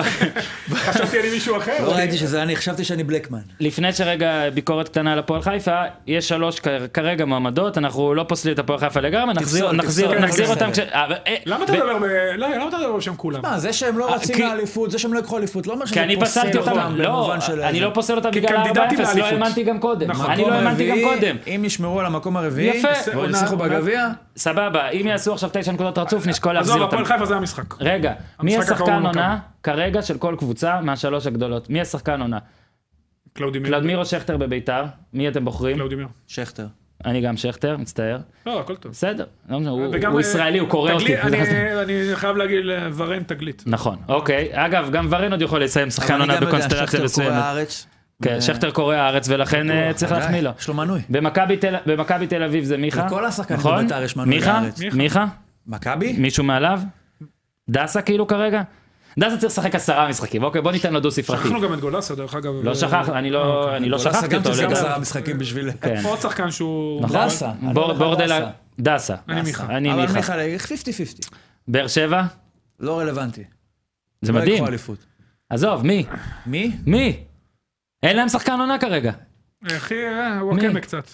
A: בוא-
B: חשבתי על מישהו אחר.
D: לא ראיתי שזה אני, חשבתי שאני בלקמן.
A: לפני שרגע ביקורת קטנה על הפועל חיפה, יש שלוש כ- כרגע מועמדות, אנחנו לא פוסלים את הפועל חיפה לגמרי, נחזיר-
D: תפסול,
A: נחזיר
D: תפסול,
A: נחזיר
D: כן,
A: אותם כש...
D: בסדר.
A: אה, אה,
B: למה אתה
A: ו-
B: מדבר ב... לא, למה אתה מדבר בשם כולם?
D: מה, זה שהם לא רצים
A: אה, כי-
D: לאליפות, זה שהם לא יקחו אליפות, לא אומר
A: כי
D: שזה
A: אני
D: פוסל
A: פסלתי אותם, לא,
D: במובן של...
A: אני
D: זה.
A: לא פוסל אותם בגלל
B: כקנדידטים
A: ה-4-0, לא
B: לאליפות.
A: האמנתי גם קודם,
B: נכון.
A: אני לא
D: מקום
A: האמנתי גם
D: רביעי,
A: קודם.
D: אם ישמרו על המקום הרביעי,
A: יפה.
D: או
B: עונה-
D: יצליחו
B: עונה-
D: בגביע,
A: סבבה, אם יעשו עכשיו תשע נקודות רצוף, נשקול
B: אה, עזוב,
A: להחזיר אותם.
B: הפועל חיפה זה המשחק.
A: רגע, מי
B: המשחק
A: השחקן
B: האחרון
A: עונה כרגע של כל קבוצה מהשלוש הגדולות? מי השחקן עונה?
B: קלאודימיר.
A: ולדימירו שכטר בביתר, מי אתם בוחרים?
B: קלאודימיר.
D: שכטר.
A: אני גם שכטר, מצטער.
B: לא, הכל טוב.
A: בסדר, לא משנה, הוא-
B: וגם,
A: הוא
B: אה,
A: ישראלי, הוא קורא אותי.
B: תגלית- אני- אה, אני חייב להגיד, לברן תגלית.
A: נכון, אוקיי. אגב, גם ורן עוד יכול לסיים שחקן
D: אבל אני
A: עונה
D: גם יודע,
A: בקונסטלציה
D: שכטר קורא אה,
A: מסוימת.
D: הארץ.
A: כן, שכטר קורא הארץ, ולכן אה, צריך
C: ודאי,
A: להחמיא לו.
C: יש לו מנוי.
A: במכבי תל- במכבי תל אביב זה מיכה.
C: לכל השחקנים
A: נכון?
C: בבית"ר יש מנוי
A: מיכה?
C: לארץ.
B: מיכה.
A: מיכה?
C: מכבי?
A: מישהו מעליו? דסה כאילו כרגע? דסה צריך לשחק עשרה משחקים, אוקיי, בוא ניתן לו דו ספרתי.
B: שכחנו גם אוקיי. את גולסה, דרך אגב.
A: לא שכח, אני לא אני לא
C: גולסה
A: שכחתי
C: גם
A: אותו.
C: צריך
A: לגמרי.
C: עשרה משחקים בשביל...
A: כן.
B: עוד שחקן שהוא...
A: נכון.
C: דסה. אני
A: בור-
C: אומר לך
A: בורדלה,
C: דסה.
A: דסה.
B: לא אני מיכה.
A: אני
C: אבל
A: מיכה.
C: מיכה, 50-50.
A: באר שבע?
C: לא רלוונטי.
A: זה
C: לא
A: מדהים.
C: יקחו אליפות.
A: עזוב, מי?
C: מי?
A: מי? אין להם שחקן עונה כרגע.
B: הכי... אה, וואקמה
A: מי?
B: קצת.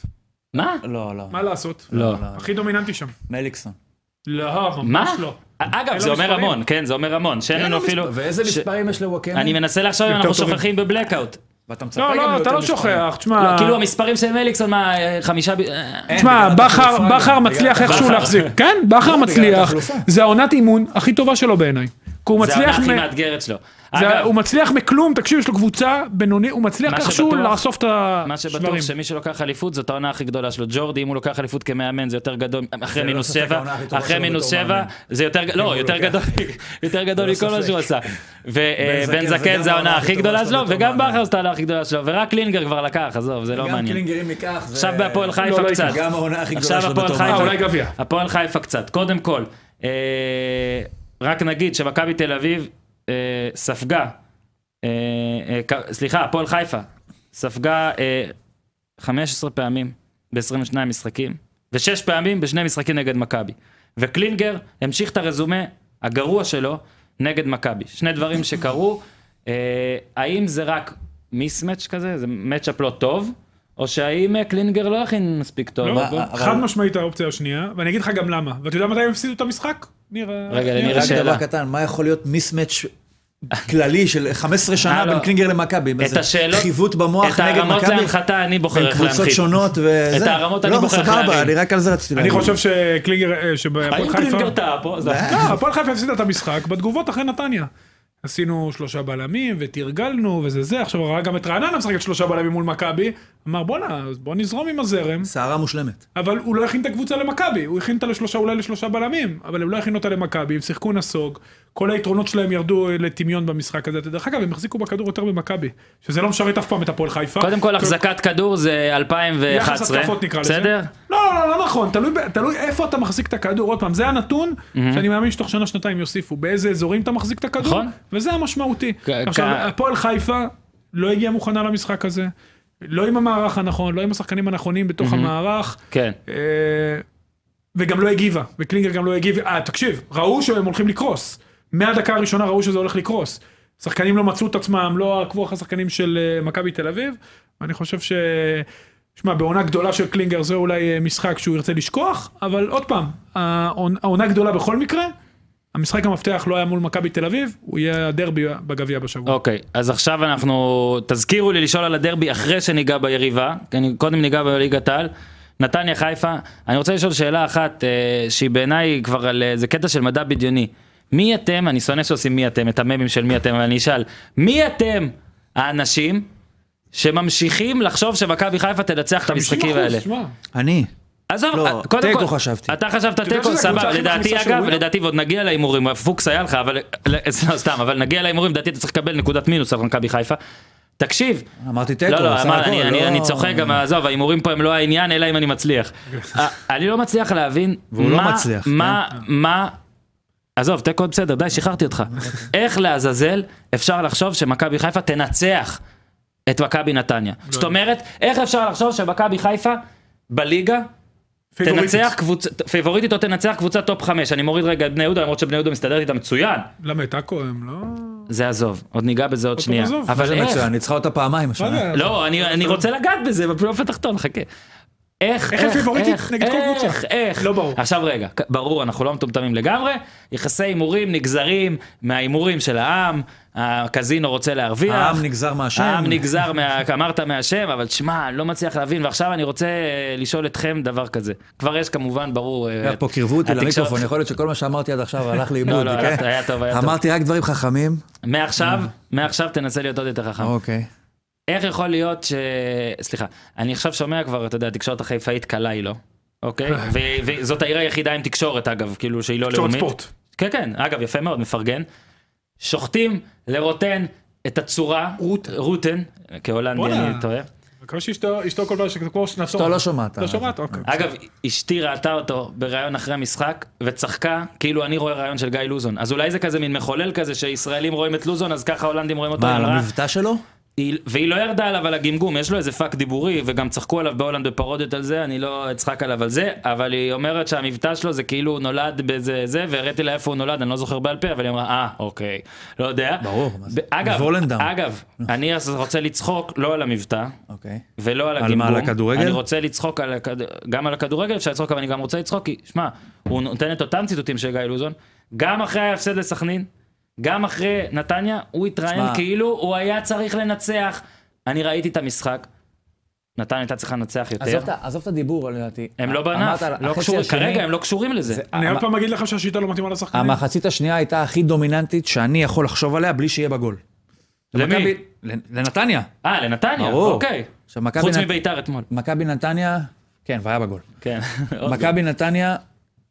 A: מה?
C: לא, לא.
B: מה לעשות?
A: לא.
B: הכי דומיננטי שם.
C: מליקסון.
B: לא,
A: מה?
B: ממש לא.
A: אגב,
B: לו
A: זה אומר
B: מספרים.
A: המון, כן, זה אומר המון. שאין לנו אפילו...
C: ואיזה
A: ש-
C: מספרים יש לוואקמה?
A: אני מנסה לחשוב אם אנחנו
B: טובים.
A: שוכחים בבלקאוט.
C: ואתה מצפה
B: לא,
C: גם
B: לא, אתה
C: ליותר
B: לא
C: מספרים.
B: שוכח. תשמע,
A: כאילו המספרים של מליקסון, מה, אה, חמישה... ב- אה,
C: אין,
B: תשמע,
C: בגלל
B: בכר-
C: התחלופה
B: בכר
C: גם,
B: מצליח
C: בגלל
B: איכשהו
A: בכר.
B: להחזיק. כן,
A: אה,
B: בכר מצליח.
C: התחלופה.
B: זה העונת אימון הכי טובה שלו בעיניי. כי הוא
A: זה
B: מצליח...
A: העונה הכי
B: מ-
A: מאתגרת שלו.
B: זה-
A: אגב,
B: הוא מצליח מכלום, תקשיב, יש לו קבוצה בינוני, הוא מצליח
A: מה
B: איכשהו
A: שבטוח-
B: לאסוף את
A: מה שבטוח
B: השברים.
A: שמי שלוקח אליפות זאת העונה הכי גדולה שלו. ג'ורדי, אם הוא לוקח אליפות כמאמן, זה יותר גדול, אחרי
C: לא
A: מינוס
C: ספק
A: שבע,
C: העונה הכי טובה
A: אחרי
C: שלו
A: מינוס
C: בתור
A: שבע,
C: מאמן.
A: זה יותר, ג- לא,
C: הוא
A: יותר
C: לוקח.
A: גדול, יותר גדול
C: ללא
A: מכל מה
C: ספק.
A: שהוא עשה. ובן
C: זקן זה
A: זקן
C: גם
A: זה העונה
C: העונה
A: הכי
C: הכי
A: גדולה
C: טובה
A: שלו,
C: שלו בתור
A: וגם
C: מאמן.
A: בכר זאת העונה הכי גדולה שלו, ורק קלינגר כבר לקח, עזוב, זה לא
C: גם
A: מעניין.
C: קלינגרים ייקח. זה-
A: עכשיו בהפועל חיפה
B: לא
A: קצת.
B: יקרה.
C: גם העונה הכי
A: עכשיו
C: גדולה שלו
A: הפועל
C: בתור
A: חיפה.
B: אה,
C: מאמן.
B: אולי גביע.
A: הפועל חיפה קצת. קודם כל, אה, רק נגיד שמכבי תל אביב אה, ספגה, אה, אה, ק- סליחה, הפועל חיפה ספגה אה, 15 פעמים ב-22 משחקים, ושש פעמים בשני משחקים נגד מכבי. וקלינגר המשיך את הרזומה הגרוע שלו נגד מכבי. שני דברים שקרו, אה, האם זה רק מיסמץ' כזה, זה מצ'אפ לא טוב, או שהאם אה, קלינגר לא הכין מספיק טוב?
B: לא,
A: בוא-
C: אבל-
B: חד משמעית האופציה השנייה, ואני אגיד לך גם למה. ואתה יודע מתי הם הפסידו את המשחק? אה, נראה...
A: רגע,
B: נראה-
A: לנירה
C: רק
A: שאלה.
C: דבר קטן, מה יכול להיות מיסמץ' כללי של 15
A: אה,
C: שנה
A: לא.
C: בין קלינגר למכבי?
A: את
C: זה
A: השאלות,
C: חיווט במוח
A: את
C: נגד
A: הרמות
C: מכבי?
A: להנחתה אני בוחר
C: בין
A: איך
C: קבוצות
A: להנחית.
C: שונות וזה.
A: את הרמות אני בוחר
C: לא,
A: להרים.
C: סבבה, אני רק על זה רציתי
B: אני
C: להגיד.
B: חושב שקלינגר, אה, שבהפועל
A: האם
B: חיפה...
A: קלינגר טעה פה? זה-
B: לא, הפועל חיפה הפסידה את המשחק בתגובות אחרי נתניה. עשינו שלושה בלמים ותרגלנו וזה זה, עכשיו הוא ראה גם את רעננה משחקת שלושה בלמים מול מכבי, אמר בואנה, אז בוא נזרום עם הזרם,
C: סערה מושלמת.
B: אבל הוא לא הכין את הקבוצה למכבי, הוא הכין אותה לשלושה, אולי לשלושה בלמים, אבל הם לא הכינו אותה למכבי, הם שיחקו נסוג, כל היתרונות שלהם ירדו אה, לטמיון במשחק הזה, דרך אגב הם החזיקו בכדור יותר ממכבי, שזה לא משרת אף פעם את הפועל חיפה. כאילו,
A: קודם כל
B: אתה-
A: החזקת כדור זה
B: יחס
A: 2011,
B: התקפות נקרא לזה.
A: בסדר?
B: לא, לא, לא נכון, תלוי, ב- תלוי איפה אתה מחזיק את הכדור, עוד פעם, זה הנתון
A: Mhm.
B: שאני מאמין שתוך שנה, שנתיים יוסיפו, באיזה אזורים אתה מחזיק את הכדור,
A: נכון.
B: וזה המשמעותי.
A: כ-
B: עכשיו,
A: כ-
B: הפועל חיפה לא הגיעה מוכנה למשחק הזה, לא עם המערך הנכון, לא עם השחקנים הנכונים בתוך המערך,
A: Mhm. כן.
B: אה, וגם לא הגיבה, וקלינגר גם לא הגיב, אה, תקשיב, ראו שהם הולכים לקרוס, מהדקה הראשונה ראו שזה הולך לקרוס. שחקנים לא מצאו את עצמם, לא עקבו אחרי שחקנים של אה, מכבי תל אביב, ואני חושב ש... שמע, בעונה גדולה של קלינגר זה אולי אה, משחק שהוא ירצה לשכוח, אבל עוד פעם, העונ- העונה גדולה בכל מקרה, המשחק המפתח לא היה מול מכבי תל אביב, הוא יהיה הדרבי בגביע בשבוע.
A: אוקיי, אז עכשיו אנחנו... תזכירו לי לשאול על הדרבי אחרי שניגע ביריבה, כי אני קודם ניגע בליגת העל. נתניה חיפה, אני רוצה לשאול שאלה אחת אה, שהיא בעיניי כבר על... אה, זה קטע של מדע בדיוני. מי אתם, אני שונא שעושים מי אתם, את הממים של מי אתם, אבל אני אשאל, מי אתם האנשים שממשיכים לחשוב שמכבי חיפה תנצח את
B: 50%,
A: המשחקים האלה?
B: שמע,
C: אני.
A: עזוב, אה,
C: לא,
A: קודם כל,
C: תיקו חשבתי.
A: אתה חשבת
B: יודע
A: תיקו,
B: שזה
A: סבבה,
B: הקבוצה הכי
A: לדעתי
B: מכניסה של
A: אגב,
B: ווילר?
A: לדעתי ועוד נגיע להימורים, הפוקס היה לך, אבל, לא, סתם, אבל נגיע להימורים, לדעתי אתה צריך לקבל נקודת מינוס על מכבי חיפה. תקשיב,
C: אמרתי תיקו,
A: לא, לא,
C: סך
A: אמר,
C: הכל,
A: אני,
C: לא-
A: אני, אני צוחק, גם עזוב, ההימורים פה הם לא העניין, אלא אם אני מצליח. אה, אני לא מצליח להבין,
C: והוא לא
A: מה-
C: מצליח,
A: מה, מה, עזוב, תיקו עוד בסדר, די, שחררתי אותך. איך לעזאזל אפשר לחשוב שמכבי חיפה תנצח את מכבי נתניה?
B: לא
A: זאת אומרת, איך אפשר לחשוב שמכבי חיפה בליגה
B: פיבוריטית.
A: תנצח קבוצה, פייבוריטית או תנצח קבוצה טופ חמש, אני מוריד רגע את בני יהודה למרות שבני יהודה מסתדרת איתה מצוין,
B: למה את עכו הם לא...
A: זה עזוב, עוד ניגע בזה עוד
B: טוב,
A: שנייה,
B: עזוב,
A: אבל
C: זה
A: איך,
C: מצוין, ניצחה אותה פעמיים
B: מה
C: השנה.
B: זה?
A: לא אני אני רוצה לגעת בזה בפלייאוף התחתון חכה, איך,
B: איך הם פייבוריטית נגד כל קבוצה?
A: איך, איך,
B: לא ברור.
A: עכשיו רגע, כ- ברור אנחנו לא מטומטמים לגמרי, יחסי הימורים נגזרים מההימורים של העם, הקזינו רוצה להרוויח,
C: העם נגזר מהשם.
A: העם נגזר, מה, אמרת מהשם, אבל שמע, אני לא מצליח להבין, ועכשיו אני רוצה אה, לשאול אתכם דבר כזה. כבר יש כמובן, ברור... אה,
C: פה קירבו אותי
A: התקשורת-
C: למיקרופון, יכול להיות שכל מה שאמרתי עד עכשיו הלך
A: לא,
C: לאיבוד,
A: לא,
C: כן?
A: היה טוב, היה טוב.
C: אמרתי רק דברים חכמים,
A: מעכשיו, מעכשיו תנסה להיות עוד יותר חכם.
C: אוקיי.
A: איך יכול להיות ש... סליחה, אני עכשיו שומע כבר, אתה יודע, התקשורת החיפאית קלה היא לא, אוקיי? ו- וזאת העיר היחידה עם תקשורת, אגב, כאילו, שהיא לא
B: תקשורת
A: לאומית.
B: ספורט.
A: כן, כן, אגב, יפה מאוד, מפרגן. שוחטים לרוטן את הצורה,
C: רוטן.
A: רוטן, כהולנדי
B: בואנה.
A: אני טועה.
B: מקווה שאשתו אשתו כל פעם שזה כמו שנתון.
C: אשתו לא שומעת.
B: לא שומעת, אוקיי.
A: אה. אגב, אשתי ראתה אותו בריאיון אחרי המשחק, וצחקה כאילו אני רואה ריאיון של גיא לוזון. אז אולי זה כזה מין מחולל כזה שישראלים רואים את לוזון, אז ככה הולנדים רואים אותו.
C: מה,
A: היא
C: על
A: אמרה-
C: המבטא שלו?
A: היא- והיא לא ירדה עליו על הגמגום, יש לו איזה פאק דיבורי, וגם צחקו עליו בהולנד בפרודיות על זה, אני לא אצחק עליו על זה, אבל היא אומרת שהמבטא שלו זה כאילו הוא נולד באיזה זה, והראיתי לה איפה הוא נולד, אני לא זוכר בעל פה, אבל היא אמרה, אה, אוקיי, לא יודע.
C: ברור, מה זה?
A: ב- אגב,
C: וולנדם.
A: אגב, אני אז רוצה לצחוק לא על המבטא,
C: אוקיי.
A: ולא
F: על
A: על הגמגום.
F: מה, על הכדורגל?
A: אני רוצה לצחוק על הכד... גם על הכדורגל אפשר לצחוק, אבל אני גם רוצה לצחוק, כי שמע, הוא נותן את אותם ציטוטים של גיא לוזון, גם אחרי ההפסד לסכנין, גם אחרי נתניה, הוא התראיין
C: שמע.
A: כאילו הוא היה צריך לנצח. אני ראיתי את המשחק, נתניה הייתה צריכה לנצח יותר.
D: עזוב את ה- עזוב את הדיבור לדעתי.
A: הם לא
D: אמרת
A: בענף,
D: על
A: לא
D: החצי
A: קשורים,
D: השני,
A: כרגע הם לא קשורים לזה.
D: זה-
B: אני עוד
D: המ-
B: פעם אגיד לך שהשיטה לא מתאימה
A: אה,
B: לשחקנים.
D: המחצית השנייה הייתה הכי דומיננטית שאני יכול לחשוב עליה בלי שיהיה בה גול.
A: למי?
D: מכבי- לנ- לנתניה.
A: אה, לנתניה,
D: ברור.
A: אוקיי.
C: עכשיו, מכבי
A: חוץ
C: נת-
A: מביתר אתמול.
D: מכבי נתניה, כן, והיה בה גול.
A: כן. עוד
D: מכבי נתניה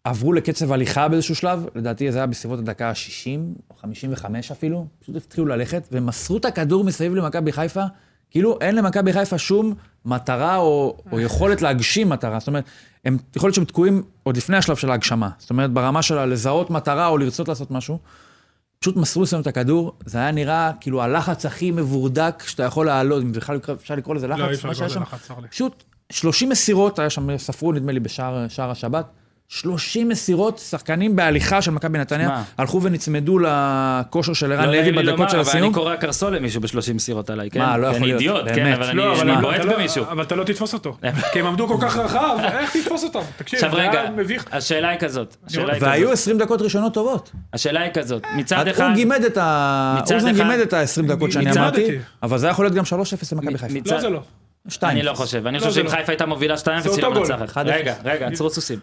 D: עברו לקצב הליכה באיזשהו שלב, לדעתי זה היה בסביבות הדקה ה-60, או 55 אפילו, פשוט התחילו ללכת, ומסרו את הכדור מסביב למכבי חיפה, כאילו אין למכבי חיפה שום מטרה או, או יכולת להגשים מטרה. זאת אומרת, הם, יכול להיות שהם תקועים עוד לפני השלב של ההגשמה. זאת אומרת, ברמה של לזהות מטרה או לרצות לעשות משהו. פשוט מסרו שם את הכדור, זה היה נראה כאילו הלחץ הכי מבורדק שאתה יכול להעלות, אם בכלל אפשר לקרוא לזה לחץ,
B: לא, אי אפשר
D: מה שהיה
B: לקרוא לזה
D: שם.
B: לחץ, צר לי.
D: פשוט 30 מסירות, היה שם, ספרו נדמה לי בשער שער השבת, 30 מסירות, שחקנים בהליכה של מכבי נתניה,
A: מה?
D: הלכו ונצמדו לכושר של ערן
A: לא
D: לוי
A: נעים לי
D: בדקות
A: לומר,
D: של
A: אבל
D: הסיום.
A: אני קורא קרסול למישהו בשלושים מסירות עליי, כן?
D: מה, לא
A: כי
D: יכול להיות,
A: אני אידיוט, כן,
D: באמת.
A: אבל
B: לא,
A: אני-
B: אבל
A: אני
B: אתה
A: בועט
B: לא-
A: במישהו. אה.
B: אבל אתה לא תתפוס אותו. כי הם עמדו כל כך רחב, איך תתפוס אותם? תקשיב,
A: עכשיו
B: זה היה
A: רגע,
B: מביך.
A: השאלה היא כזאת, השאלה היא
D: והיו
A: כזאת,
D: 20 דקות ראשונות טובות.
A: השאלה היא כזאת,
B: אה,
A: מצד אחד,
D: הוא גימד את ה...
A: מצד
D: אוזן
A: אחד-
D: גימד את ה-20 דקות שאני
B: מצד-
D: אמרתי,
B: מצדתי.
D: אבל זה יכול להיות גם 3-0 למכבי חיפה.
A: מצד-
B: לא, זה לא.
D: שתיים.
A: אני לא חושב, אני
B: לא,
A: חושב
B: זה
A: שאם
B: לא.
A: חיפה הייתה מובילה 2-0
B: זה
A: היא לא
B: אותו גול.
A: מנצחת,
D: 1-0.
A: רגע, רגע, עצרו סוסים.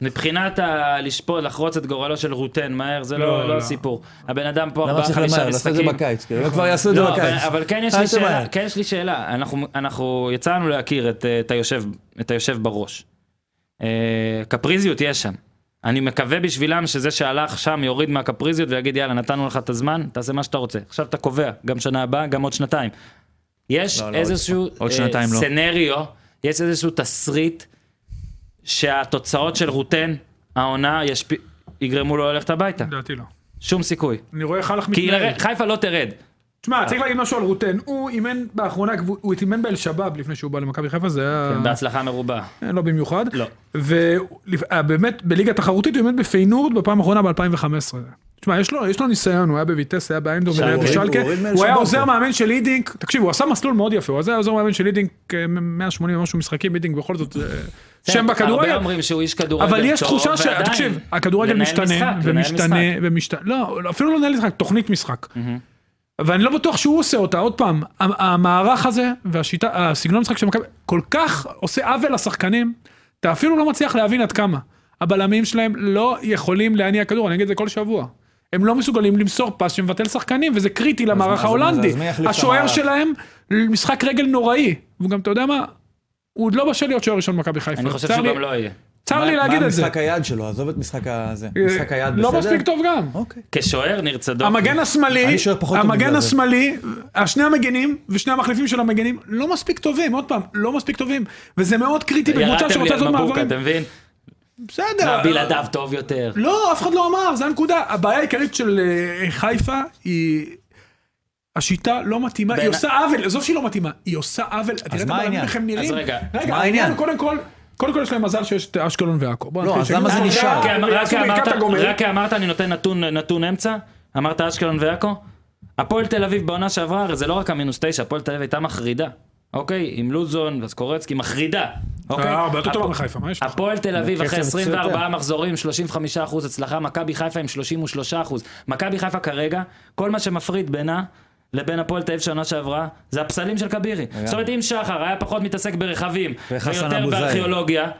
A: מבחינת ה- לשפוט, לחרוץ את גורלו של רוטן מהר, זה לא
B: לא,
A: לא
B: לא.
A: סיפור. הבן אדם פה
D: למה
A: ארבעה
D: צריך למהר?
A: חמישה
D: לעשות את זה
A: לא, משחקים.
D: בקיץ, כאילו, לא אה, כבר יעשו את זה
A: לא, אבל-
D: בקיץ.
A: אבל כן יש
D: אל
A: לי
D: תמהר.
A: שאלה, כן יש לי שאלה, אנחנו- אנחנו יצאנו להכיר את, אה, את היושב- את היושב בראש. אה, קפריזיות יש שם. אני מקווה בשבילם שזה שהלך שם יוריד מהקפריזיות ויגיד יאללה נתנו לך את הזמן תעשה מה שאתה רוצה עכשיו אתה קובע גם שנה הבאה גם עוד שנתיים. יש
D: לא, לא,
A: איזשהו אה,
D: עוד שנתיים לא.
A: סנריו יש איזשהו תסריט שהתוצאות של רוטן העונה ישפ... יגרמו לו ללכת הביתה
B: לדעתי לא.
A: שום סיכוי
B: אני רואה איך הלך
A: כי אה.
B: מתנהל.
A: חיפה לא תרד
B: תשמע, צריך להגיד משהו על רוטן. הוא אימן באחרונה, קבוצ- הוא אימן באל שבאב לפני שהוא בא למכבי חיפה,
A: כן,
B: זה
D: אה.
B: היה...
A: בהצלחה מרובה.
B: לא במיוחד.
A: לא.
B: ובאמת, בליגה תחרותית הוא אימן בפיינורד בפעם האחרונה ב-2015. תשמע, יש לו, יש לו ניסיון, הוא היה בביטס, היה באיינדור, היה
C: הוריד-
B: בשלקה,
C: הוא הוריד מאל
B: הוא היה
C: שבע
B: עוזר
C: פה.
B: מאמן של אידינק, תקשיב, הוא עשה מסלול מאוד יפה, הוא היה עוזר מאמן של אידינק, אה, 180 ומשהו משחקים, אידינק בכל זאת, אה, שם
A: הרבה
B: בכדורגל,
A: אומרים שהוא איש
D: לא
A: כדורגל
B: אבל יש
A: טוב,
B: תחושה ש...
A: ועדיין,
B: תקשיב, הכדורגל
A: לנהל
B: משתנה,
A: משחק, לנהל
B: ומשתנה,
A: משחק.
B: ומשתנה, לא, אפילו לא לנהל משחק, תוכנית משחק. ואני לא בטוח שהוא עושה אותה, עוד פעם, ה- המערך הזה והשיטה, הסגנון משחק של מכבי, כל כך עושה עוול לשחקנים, אתה אפילו לא מצליח להבין עד כמה. הבלמים שלהם לא יכולים להניע כדור, אני אגיד את זה כל שבוע. הם לא מסוגלים למסור פס שמבטל שחקנים, וזה קריטי למערך
D: אז מה-
B: ההולנדי.
D: אז מי יחליף את
B: השוער
D: המערך?
B: שלהם, משחק רגל נוראי. וגם, אתה יודע מה, הוא עוד לא בשל להיות שוער ראשון במכבי חיפה.
A: אני חושב
B: צר
A: שהוא
B: לי-
A: גם לא יהיה.
B: צר לי
D: מה-
B: להגיד את זה.
D: מה משחק היד שלו? עזוב את משחק הזה.
A: אה,
D: משחק היד בסדר?
B: לא מספיק טוב גם.
D: אוקיי.
A: כשוער ניר צדוק.
B: המגן השמאלי,
D: אני שואל פחות טוב
B: המגן
D: בגלל זה.
B: השמאלי, שני המגנים ושני המחליפים של המגנים לא מספיק טובים, עוד פעם, לא מספיק טובים. וזה מאוד קריטי בקבוצה
A: ירדתם לי
B: שרוצה
A: על
B: לעשות
A: מבוקה,
B: מעברים.
A: אתה מבין?
B: בסדר.
A: בלעדיו טוב יותר.
B: לא, אף אחד לא אמר, זה הנקודה. הבעיה העיקרית של אה, חיפה היא... השיטה לא מתאימה, היא
A: בעיני-
B: עושה עוול, עזוב שהיא לא מתאימה, היא עושה עוול. תראה את
D: מה
B: הבלמים
D: העניין?
B: איך הם נראים.
A: אז רגע,
B: רגע,
D: מה
B: העניין
D: העניין?
B: הוא קודם כל, קודם כל יש להם מזל שיש את אשקלון ועכו. בוא
D: לא,
B: נתחיל אוקיי,
D: אז
B: שהם
D: למה זה
B: יעשו
D: נשאר?
B: ברכת
A: רק כן, רק אמרת-
B: הגומל.
A: רק אמרת אני נותן נתון נתון אמצע, אמרת אשקלון ועכו. הפועל תל אביב בעונה שעברה, הרי זה לא רק המינוס תשע, הפועל תל אביב הייתה מחרידה. אוקיי? עם לוזון וסקורצקי, מחרידה. אוקיי?
B: אה, הרבה יותר טובה
A: הפ-
B: מחיפה, מה יש לך?
A: הפועל תל אביב אחרי
D: בקצב
A: 24
D: יותר.
A: מחזורים, 35 אחוז הצלחה, מכבי חיפה עם 33 אחוז. מכבי חיפה כרגע, כל מה שמפריד בינה לבין הפועל תל אביב שנה שעברה, זה הפסלים של כבירי. זאת אומרת, אם שחר היה פחות מתעסק ברכבים,
D: וחסן
A: ויותר
D: אבו זאי.
A: בארכיאולוגיה,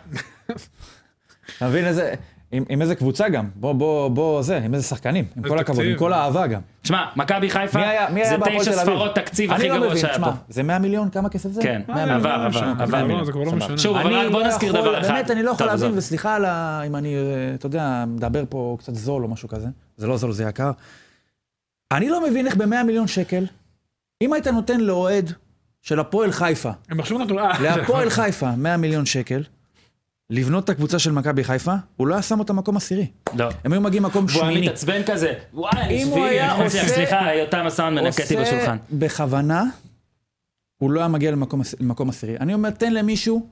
D: אתה מבין איזה... עם, עם איזה קבוצה גם, בוא, בוא, בוא, זה, עם איזה שחקנים, עם כל הכבוד,
B: תקציב.
D: עם כל האהבה גם.
A: שמע, מכבי חיפה,
D: מי היה, מי
A: זה
D: היה בהפועל
A: תשע
D: תל אביב?
A: ספרות תקציב הכי
D: אני לא
A: גרוע
D: מבין,
A: שהיה
D: תשמע,
A: פה.
D: זה 100 מיליון, כמה כסף זה?
A: כן,
B: זה,
A: עבר,
B: לא
A: עבר,
B: משנה,
A: עבר
B: זה
A: מיליון.
B: לא- זה כבר לא
A: סבבה.
B: משנה.
A: שוב,
D: אני
A: אבל רק בוא
D: לא
A: נזכיר
D: יכול-
A: דבר אחד.
D: באמת, אני לא יכול
A: טוב,
D: להבין,
A: עזוב.
D: וסליחה על ה... אם אני, אה, אתה יודע, מדבר פה קצת זול או משהו כזה, זה לא זול, זה יקר. אני לא מבין איך ב-100 מיליון שקל אם היית נותן לאוהד של הפועל חיפה,
B: הם עכשיו נתנו... אה,
D: להפועל חיפה 100 מיליון שקל, לבנות את הקבוצה של מכבי חיפה, הוא לא היה שם אותה מקום עשירי.
A: לא.
D: הם היו מגיעים מקום
A: והוא היה
D: שמיני.
A: מתעצבן כזה, וואי, אני
D: אם הוא היה
A: שביעי,
D: עושה-
A: סליחה, יותם הסאונד מנקטי בשולחן.
D: בכוונה, הוא לא היה מגיע למקום, עש- למקום עשירי. אני אומר, תן למישהו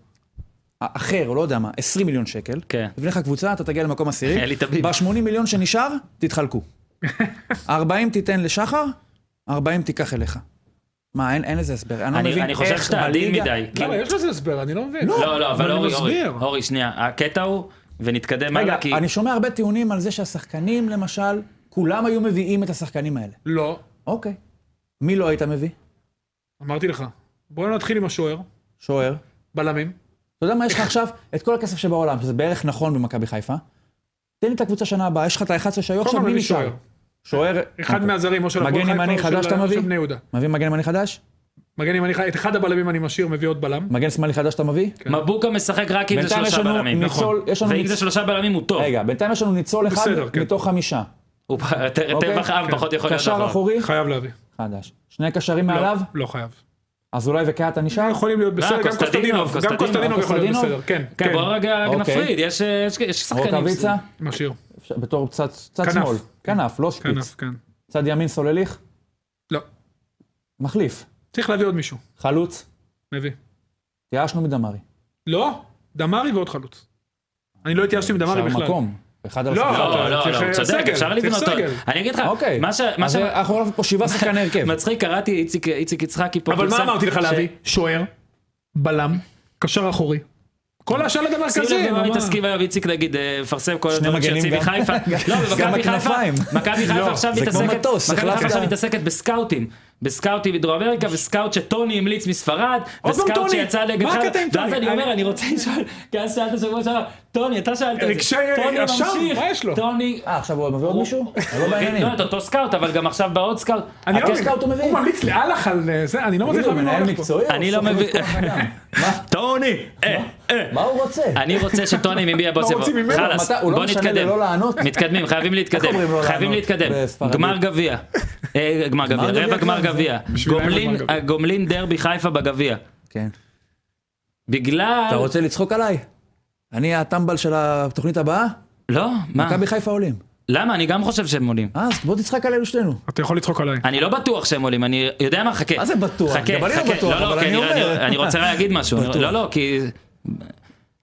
D: א- אחר, או לא יודע מה, 20 מיליון שקל,
A: כן.
D: תבנה לך קבוצה, אתה תגיע למקום עשירי.
A: אלי תביב.
D: ב-80 מיליון שנשאר, תתחלקו. 40 תיתן לשחר, 40 תיקח אליך. מה, אין, אין לזה הסבר. אני לא
A: אני-
D: מבין
A: אני חושב
D: איך
A: שאתה עדין
D: בליגה- לא,
A: מדי. כאילו-
B: למה, יש לזה הסבר, אני לא מבין.
A: לא, לא, אבל
B: אני
A: אורי, אורי,
B: מסביר.
A: אורי, שנייה, הקטע הוא, ונתקדם
D: רגע,
A: הלאה, לא, כי...
D: אני שומע הרבה טיעונים על זה שהשחקנים, למשל, כולם היו מביאים את השחקנים האלה.
B: לא,
D: אוקיי. מי לא היית מביא?
B: אמרתי לך. בואו נתחיל עם השוער,
D: שוער.
B: בלמים.
D: אתה יודע מה, יש לך עכשיו את כל הכסף שבעולם, שזה בערך נכון במכבי חיפה. תן לי את הקבוצה שנה הבאה, יש לך את ה-11 שהיו
B: כל
D: עכשיו,
B: פעם
D: מי
B: מביא
D: נשאר?
B: שוער.
D: שוער,
B: אחד
D: אוקיי.
B: מהזרים, או של הפועל
D: מגן
B: חיפה,
D: ימני
B: או של-
D: חדש אתה
B: או של
D: מביא?
B: בני יהודה.
D: מביא מגן ימני חדש?
B: מגן ימני, ח- את אחד הבלמים אני משאיר, מביא עוד בלם.
D: מגן שמאלי חדש אתה מביא?
A: מבוקה משחק רק אם זה
D: בינתיים יש
A: שלושה
D: לנו
A: בלמים,
D: ניצול-
A: נכון.
D: יש לנו
A: ואם
D: ניצ-
A: זה שלושה בלמים הוא טוב.
D: רגע, בינתיים יש לנו ניצול אחד
B: בסדר, כן.
D: מתוך חמישה.
A: הוא פ- ט-
D: אוקיי.
A: טבח עם
B: כן.
A: פחות יכול להיות
D: קשר
A: אחרון.
D: אחורי,
B: חייב להביא.
D: חדש. שני קשרים
B: לא, נכון.
D: מעליו,
B: לא חייב.
D: אזולאי וקאטה נשאר?
B: אה, יכולים להיות בסדר, גם
A: אה, קוסטדינוב,
B: קוסטדינוב, גם
A: קוסטדינוב
B: קוסטדינוב יכול להיות
D: קוסטדינוב?
B: בסדר, כן,
A: כן,
B: כן,
A: בוא רגע רק
D: אוקיי.
A: נפריד, יש- יש יש שחקנים.
D: רוקאביצה,
B: משאיר,
D: אפשר- בתור צד צד
B: כנף.
D: שמאל. כנף, לא
B: כנף,
D: שפיץ.
B: כן.
D: צד ימין סולליך,
B: לא,
D: מחליף.
B: צריך להביא עוד מישהו,
D: חלוץ,
B: נביא.
D: התייאשנו מדמרי.
B: לא, דמרי ועוד חלוץ. אני לא התייאשתי מדמרי
D: נשאר
B: בכלל.
D: מקום. אחד על
B: לא,
D: השחקן.
A: לא, לא,
B: צריך
A: לא, הוא צודק,
B: סגל,
A: אפשר
B: צריך
A: לבנות אותו.
B: סגל.
A: אני אגיד לך,
D: אוקיי.
A: מה ש... מה
D: אז
A: ש-
D: אנחנו נעבור פה שבעה שחקני הרכב.
A: מצחיק, קראתי, איציק- איציק יצחקי פה
B: אבל מה
A: פרסם
B: אמרתי לך
A: ש-
B: להביא? שוער, בלם, קשר אחורי. כל השלד
A: שים לב
B: המרכזי,
A: במה
B: נו, מה?
A: כאילו מתעסקים היום, איציק נגיד אה, מפרסם כל הדברים
D: מגנים
A: שיוצאים
D: גם.
A: מחיפה. לא,
D: גם
A: ומכבי חיפה,
D: הכנפיים.
A: מכבי
B: לא,
A: חיפה עכשיו
D: זה כמו
A: מתעסקת,
D: מטוס,
A: מכבי חיפה
D: החלפת.
A: עכשיו מתעסקת בסקאוטים. בסקאוטים מדרום אמריקה, וסקאוט שטוני המליץ מספרד,
B: פעם
A: וסקאוט
B: טוני.
A: שיצא
B: מה
A: לגחל,
B: הקטע עם
A: ואז
B: טוני?
A: אני אומר,
B: אני-
A: אני רוצה לשאול, כי אז שאלת שבוע שעבר, טוני, אתה שאלת את
B: רגשי
A: זה, טוני
B: ישר,
A: ממשיך,
B: מה יש לו?
A: טוני,
D: אה, עכשיו הוא מביא עוד מישהו? אני לא
A: הוא הביא-
D: בעניינים.
A: לא, את אותו סקאוט, אבל גם עכשיו בעוד סקאוט,
B: אני לא
D: הקשר
B: מבין,
D: אותו מבין.
B: הוא ממליץ לאלח על אה, זה, אני לא מצליח
D: תגידו,
B: להבין מה
D: כאילו, מנהל
B: הולך פה.
D: מקצועי?
A: אני
D: או
A: לא
D: סוכן
A: מבין-
D: כוח אדם? מה-
A: טוני, אה, אה.
D: מה הוא רוצה?
A: אני רוצה שטוני מביע בו
B: מה
A: צבע.
B: רוצים ממנו?
A: חלאס,
D: מתי- הוא לא
A: בוא
D: משנה ללא
A: נתקדם.
D: לענות?
A: מתקדמים, חייבים
D: אומרים
A: להתקדם.
D: לא
A: חייבים
D: לענות
A: להתקדם.
D: בספרדית?
A: גמר גביע. אה, גמר גביע,
D: גביע כן.
A: רבע
D: כבר
A: גמר
D: זה.
A: גביע.
B: בשבילם זה
A: גומלין-
B: גמר גביע.
A: גומלין דרבי חיפה בגביע.
D: כן. אתה
A: בגלל...
D: רוצה לצחוק עליי? אני הטמבל של התוכנית הבאה?
A: לא? מה?
D: מכבי חיפה עולים.
A: למה? אני גם חושב שהם עולים.
D: אה, אז בוא תצחק עלינו שנינו.
B: אתה יכול לצחוק עליי.
A: אני לא בטוח שהם עולים, אני יודע מה, חכה.
D: מה זה בטוח?
A: חכה,
D: גם אני לא
A: חכה.
D: בטוח,
A: לא,
D: אבל
A: כי
D: אני אומר.
A: אני רוצה להגיד משהו. אני-
D: בטוח.
A: לא, לא, כי...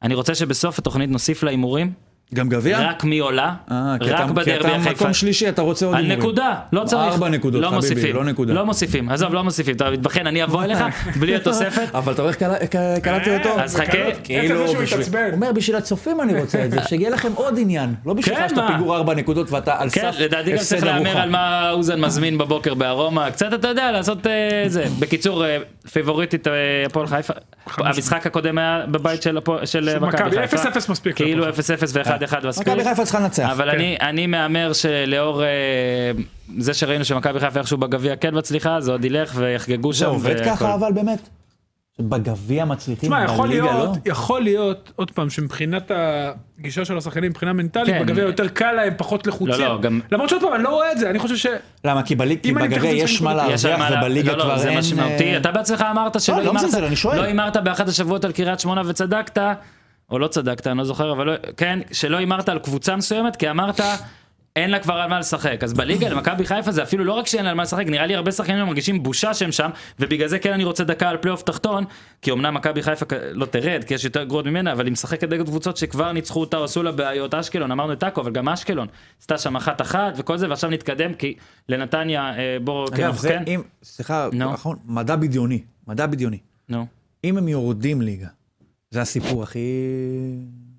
A: אני רוצה שבסוף התוכנית נוסיף להימורים,
D: גם גביע?
A: רק מי עולה,
D: אה, כי
A: רק
D: אתה- כי
A: בדרבי
D: אתה
A: החיפה.
D: מקום שלישי, אתה רוצה עוד
A: על
D: הימורים.
A: נקודה, לא צריך.
D: ארבע נקודות,
A: לא
D: חביבי,
A: מוסיפים,
D: לא נקודה.
A: לא מוסיפים, עזוב, לא מוסיפים, אתה מתבחן, אני אבוא אליך בלי התוספת.
D: אה, אבל אתה רואה איך קל- ק- קלטתי אותו?
A: אה,
D: אה,
A: אז חכה,
B: כאילו... עצם זה שהוא
D: בשביל-
B: התעצבן.
D: הוא אומר, בשביל הצופים אני רוצה את זה, שיהיה לכם עוד עניין. לא
A: כן,
D: בשבילך שאתה
A: מה?
D: פיגור ארבע נקודות ואתה על סף הפסד
A: כן,
D: ארוחה.
A: לדעתי גם צריך להמר על מה אוזן מזמין בבוקר בארומה, קצת אתה יודע, לעשות אה, זה. בקיצור, אה, פיבוריטית אה, הפועל חיפה, המשחק הקודם היה בבית של הפועל- של אה, מכבי
B: מכבי,
A: חיפה.
B: 0-0 מספיק
A: כאילו 0-0
B: להפועל
A: ו-1-1 מספיק.
D: אה. מכבי חיפה צריכה לנצח.
A: כן.
D: כן.
A: אבל אני, אני מהמר שלאור אה, זה שראינו שמכבי חיפה איכשהו בגביע כן מצליחה, זה עוד ילך ויחגגו שם.
D: זה עובד
A: והכל.
D: ככה, אבל באמת? שבגביע מצליחים,
B: תשמע, יכול
D: בליגה לא?
B: להיות, יכול להיות, עוד פעם, שמבחינת הגישה של השחקנים, מבחינה מנטלית,
A: כן.
B: בגביע יותר קל להם, פחות לחוצים.
A: לא, גם-
B: למרות שעוד פעם, אני לא רואה את זה, אני חושב ש...
D: למה? כי בליג- כי
B: אם אני
D: בגביע
B: מתייחס
D: יש מה
B: לזה-
A: יש על
D: להרוויח
A: מה לה-
D: ובליגה
A: לא, לא,
D: כבר אין...
A: זה משמעותי,
D: אה,
A: אתה בעצמך אמרת שלא
D: לא
A: הימרת,
D: מזלזל, אני שואל.
A: לא הימרת באחד השבועות על קריית שמונה וצדקת, או לא צדקת, אני לא זוכר, אבל לא- כן, שלא הימרת על קבוצה מסוימת, כי אמרת, אין לה כבר על מה לשחק. אז בליגה למכבי חיפה זה אפילו לא רק שאין לה על מה לשחק, נראה לי הרבה שחקנים לא מרגישים בושה שהם שם, ובגלל זה כן אני רוצה דקה על פלייאוף תחתון, כי אמנם מכבי חיפה כ- לא תרד, כי יש יותר גרועות ממנה, אבל היא משחקת נגד קבוצות שכבר ניצחו אותה, או עשו לה בעיות אשקלון, אמרנו את טאקו, אבל גם אשקלון, עשתה שם אחת אחת וכל זה, ועכשיו נתקדם, כי לנתניה, אה, בוא, כן,
D: אגב,
A: אנחנו
D: זה
A: כן,
D: אם... סליחה,
A: נו.
D: נכון, מדע בדיוני. מדע בדיוני.
A: נו.
D: אם הם יורדים ליגה, זה הסיפור הכי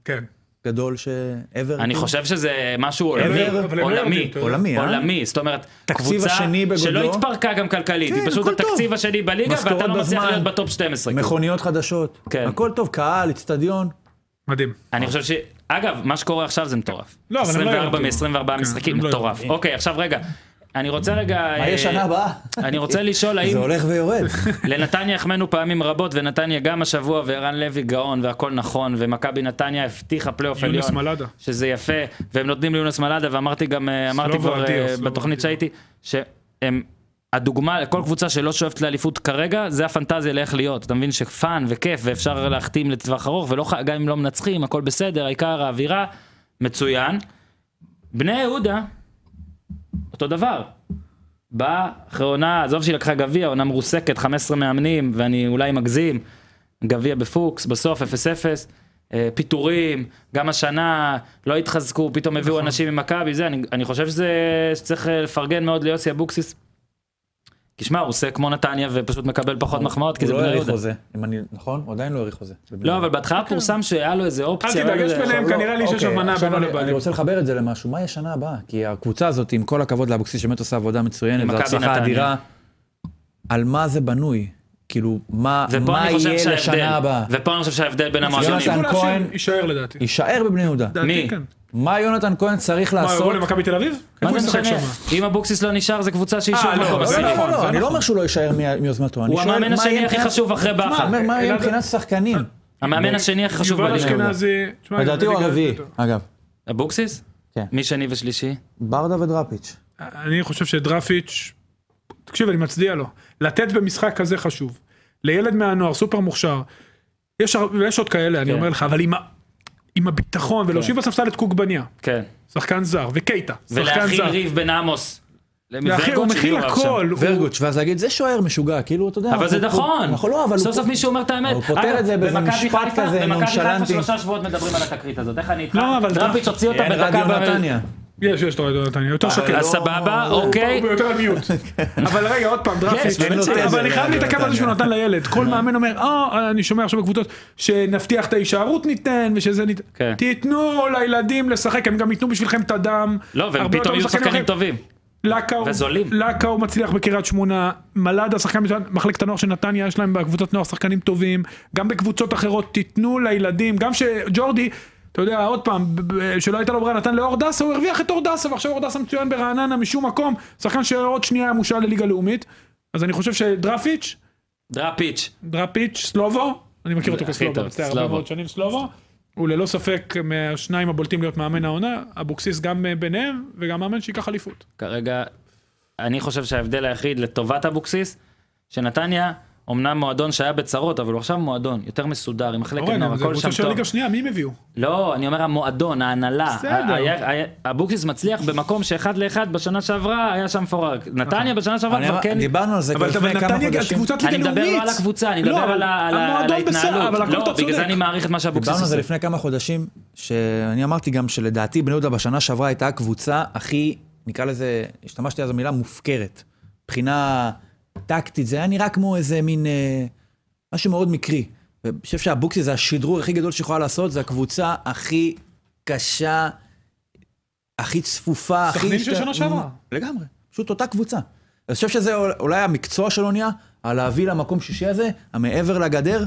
B: כן.
D: גדול ש-ever.
A: אני חושב שזה משהו עולמי,
D: אבל-
B: אבל הם לא
A: עולמי,
B: יורדים, אתה יודע.
D: עולמי, אה?
A: עולמי, זאת אומרת,
D: תקציב
A: קבוצה
D: השני בגודלו.
A: שלא התפרקה גם כלכלית, היא
D: כן,
A: פשוט
D: הכל טוב.
A: התקציב השני בליגה, ואתה
D: משכורות
A: לא מצליח
D: בזמן. נכון.
A: להיות בטופ כאילו. 12.
D: מכוניות חדשות.
A: כן.
D: הכל טוב, קהל, אצטדיון.
B: מדהים.
A: אני חושב ש... אגב, מה שקורה עכשיו זה מטורף.
B: לא, אבל הם לא
A: 24
B: יורדים.
A: מ-24
B: כן,
A: משחקים,
B: הם לא
A: מטורף.
B: יורדים.
A: אוקיי, עכשיו רגע, אני רוצה רגע... אה,
D: מה יהיה שנה הבאה?
A: אני רוצה לשאול
D: זה
A: האם
D: הולך ויורד.
A: לנתניה החמאנו פעמים רבות, ונתניה גם השבוע, וערן לוי גאון, והכל נכון, ומכבי נתניה הבטיחה פלייאוף עליון.
B: יונס מלאדה.
A: שזה יפה, והם נותנים ליונס מלאדה, ואמרתי גם, אה, אמרתי
B: סלובו
A: כבר
B: אדיר,
A: אה,
B: סלובו
A: בתוכנית
B: אדיר.
A: שהייתי, שהם הדוגמה לכל קבוצה שלא שואפת לאליפות כרגע, זה הפנטזיה לאיך להיות. אתה מבין שפאן וכיף ואפשר להחתים לטווח ארוך, ולא ח- גם אם לא מנצחים, הכל בסדר, העיקר האווירה, מצוין. בני יהודה, אותו דבר. באה אחרי עונה, עזוב שהיא לקחה גביע, עונה מרוסקת, 15 מאמנים, ואני אולי מגזים, גביע בפוקס, בסוף 0-0, אה, פיטורים, גם השנה לא התחזקו, פתאום הביאו אנשים ממכבי, זה, אני, אני חושב שזה, שצריך אה, לפרגן מאוד ליוסי אבוקסיס. כי שמע, הוא עושה כמו נתניה ופשוט מקבל פחות מחמאות, כי
D: הוא
A: זה
D: לא
A: בני
D: האריך
A: יהודה.
D: חוזה, אם אני, נכון? הוא עדיין לא האריך חוזה.
A: לא, אבל בהתחלה פורסם שהיה לו איזה
B: אל
A: אופציה.
B: תדאג,
A: לא
B: יש
A: יודע.
B: ביניהם כנראה לי שיש
D: אוקיי,
B: הבנה
D: עכשיו
B: בינו
D: אני- אני
B: לבעלים.
D: רוצה לחבר את זה למשהו, מה יהיה שנה הבאה? כי הקבוצה הזאת, עם כל הכבוד לאבוקסיס, שבאמת עושה עבודה מצוינת, זו
A: מכבי
D: הצלחה
A: נתניה.
D: אדירה, על מה זה בנוי? כאילו, מה
A: ופה
D: מה
A: אני חושב
D: יהיה
A: שההבדל,
D: לשנה הבאה?
A: ופה אני חושב שההבדל בין המועדונים.
D: יונתן
B: יונתן
D: כהן-
B: כהן יישאר לדעתי.
D: יישאר בבני יהודה.
B: לדעתי
A: מי?
B: כן.
D: מה יונתן כהן צריך
B: מה, הוא יבוא
D: לעשות?
B: למכבי תל אביב? איפה
A: מה
B: הוא
A: זה
B: ישחק
A: משנה?
B: שם?
A: אם אבוקסיס לא נשאר, זו קבוצה שהיא
B: אה,
A: שוב
B: לא,
A: מקום
B: זה
D: לא,
A: עשירי.
D: לא,
B: נכון, זה
D: לא, אני לא
B: נכון.
D: אומר שהוא לא יישאר מי- מיוזמתו. אני
A: הוא
D: שואל
A: המאמן
D: מה
A: השני
D: יהיה
A: הכי
D: מבחינת-
A: חשוב אחרי
D: מה,
A: בכר.
D: אומר, מה יהיה
B: אלעד-
D: מבחינת שחקנים?
B: אה,
A: המאמן השני הכי חשוב
B: יובל
A: בליגה.
B: אשכנזי... תשמע,
D: לדעתי הוא
B: בליגה
D: הרביעי,
B: יותר טוב.
D: אגב.
A: אבוקסיס?
D: כן.
A: מי שני ושלישי?
D: ברדה ודראפיץ'.
B: אני חושב שדרפיץ', תקשיב, אני מצדיע לו. לתת במשחק כזה חשוב. לילד מהנוער, סופר מוכשר. יש, הר- ויש עוד כאלה, אני
A: כן.
B: אומר לך, אבל עם, ה- עם הביטחון, ולהושיב בספסל את קוגבניה,
A: כן.
B: שחקן זר, וקייטה, שחקן
A: ולהכיל
B: זר.
A: ריב בין עמוס.
B: להכיל, הוא
A: לוורגוט
B: מכיל
A: שהגיעו עכשיו.
B: הכל. הוא-
D: ורגוץ', ואז להגיד, זה שוער משוגע, כאילו, אתה יודע...
A: אבל זה
D: הוא- הוא-
A: נכון.
D: נכון, לא, אבל
A: סוף
D: הוא-
A: סוף מישהו אומר את האמת.
D: הוא פותר
A: אגב,
D: את זה באיזה
A: במכבי
D: משפט
A: חיפה-
D: כזה
A: במכבי
D: נונשלנטי.
A: חיפה שלושה שבועות מדברים על התקרית הזאת, איך אני איתך?
B: לא, אבל
A: דראפיץ' הוציא אותה
D: אין רדיו
A: בדקה... ב-
D: נתניה.
B: יש, יש, אתה רואה, נתניה, יותר
A: אז
B: שקט.
A: לא, סבבה, אוקיי. כן.
B: הוא יותר על מיוט. אבל רגע, עוד פעם, דראפיץ'.
A: באמת אה,
D: שיש.
B: אבל אני חייב
D: נתניה.
B: להתעכב על זה שהוא נתן לילד. כל מאמן אומר, אה, אני שומע עכשיו בקבוצות, שנבטיח את ההישארות ניתן, ושזה ניתן.
A: כן.
B: תיתנו לילדים לשחק, הם גם ייתנו בשבילכם את הדם.
A: לא, והם
B: הרבה יותר
A: פתאום יהיו
B: משחקנים
A: שחקנים
B: אחרים.
A: טובים.
B: לקאו,
A: וזולים.
B: לקאו מצליח בקריית שמונה, מלאדה שחקן מצוין, מחלקת הנוער של נתניה, יש להם בקבוצות נוער שחקנים טובים, גם בקבוצות אחרות תיתנו לילדים, גם שג'ורדי, אתה יודע, עוד פעם, ב- ב- שלא הייתה לו ברירה, נתן לאור דסה, הוא הרוויח את אור דסה, ועכשיו אור דסה מצוין ברעננה משום מקום, שחקן שעוד שנייה היה מושל לליגה לאומית, אז אני חושב שדרפיץ',
A: דראפיץ'.
B: דראפיץ', סלובו, אני מכיר אותו
A: הכי
B: כסלובו,
A: טוב,
B: מצטער,
A: סלובו.
B: הרבה מאוד שנים סלובו, הוא ללא ספק מהשניים הבולטים להיות מאמן העונה, אבוקסיס גם אה, ביניהם, וגם מאמן שייקח אליפות.
A: כרגע, אני חושב שההבדל היחיד לטובת אבוקסיס, שנתניה, אמנם מועדון שהיה בצרות, אבל הוא עכשיו מועדון יותר מסודר, עם מחלקת
B: אורן,
A: נוער,
B: זה
A: הכל שם
B: קבוצה של
A: טוב.
B: ליגה שנייה, מי הם הביאו?
A: לא, אני אומר המועדון, ההנהלה.
B: בסדר.
A: ה- היה- היה- אבוקסיס מצליח במקום שאחד לאחד בשנה שעברה היה שם פורק.
B: נכון.
A: נתניה בשנה שעברה
D: אני
A: כבר
D: אמר-
A: כן...
D: דיברנו על זה כבר
B: אבל אבל
D: לפני כמה
B: נתניה
D: חודשים.
B: קבוצת ליגה
A: אני
B: לאומית.
A: מדבר לא על הקבוצה, אני
B: לא,
A: מדבר על ה- על ה- על
B: המועדון בסדר, אבל
A: ההתנהלות.
B: הכל
A: לא,
B: אתה
A: בגלל זה
B: צודק.
A: אני מעריך את מה שאבוקסיס
D: דיברנו על זה
A: עושה.
D: לפני כמה חודשים, שאני אמרתי גם שלדעתי בני יהודה בשנה שעברה הייתה הקבוצה הכי, נקרא לזה, השתמשתי אז במילה מופקרת. מבחינה טקטית, זה היה נראה כמו איזה מין, אה, משהו מאוד מקרי. ואני חושב שאבוקסיס זה השדרור הכי גדול שיכולה לעשות, זה הקבוצה הכי קשה, הכי צפופה, הכי...
B: סכנין של
D: השת-
B: שנה שעברה.
D: לגמרי, פשוט אותה קבוצה. אני חושב שזה אול- אולי המקצוע שלו נהיה, על להביא למקום שישי הזה, המעבר לגדר,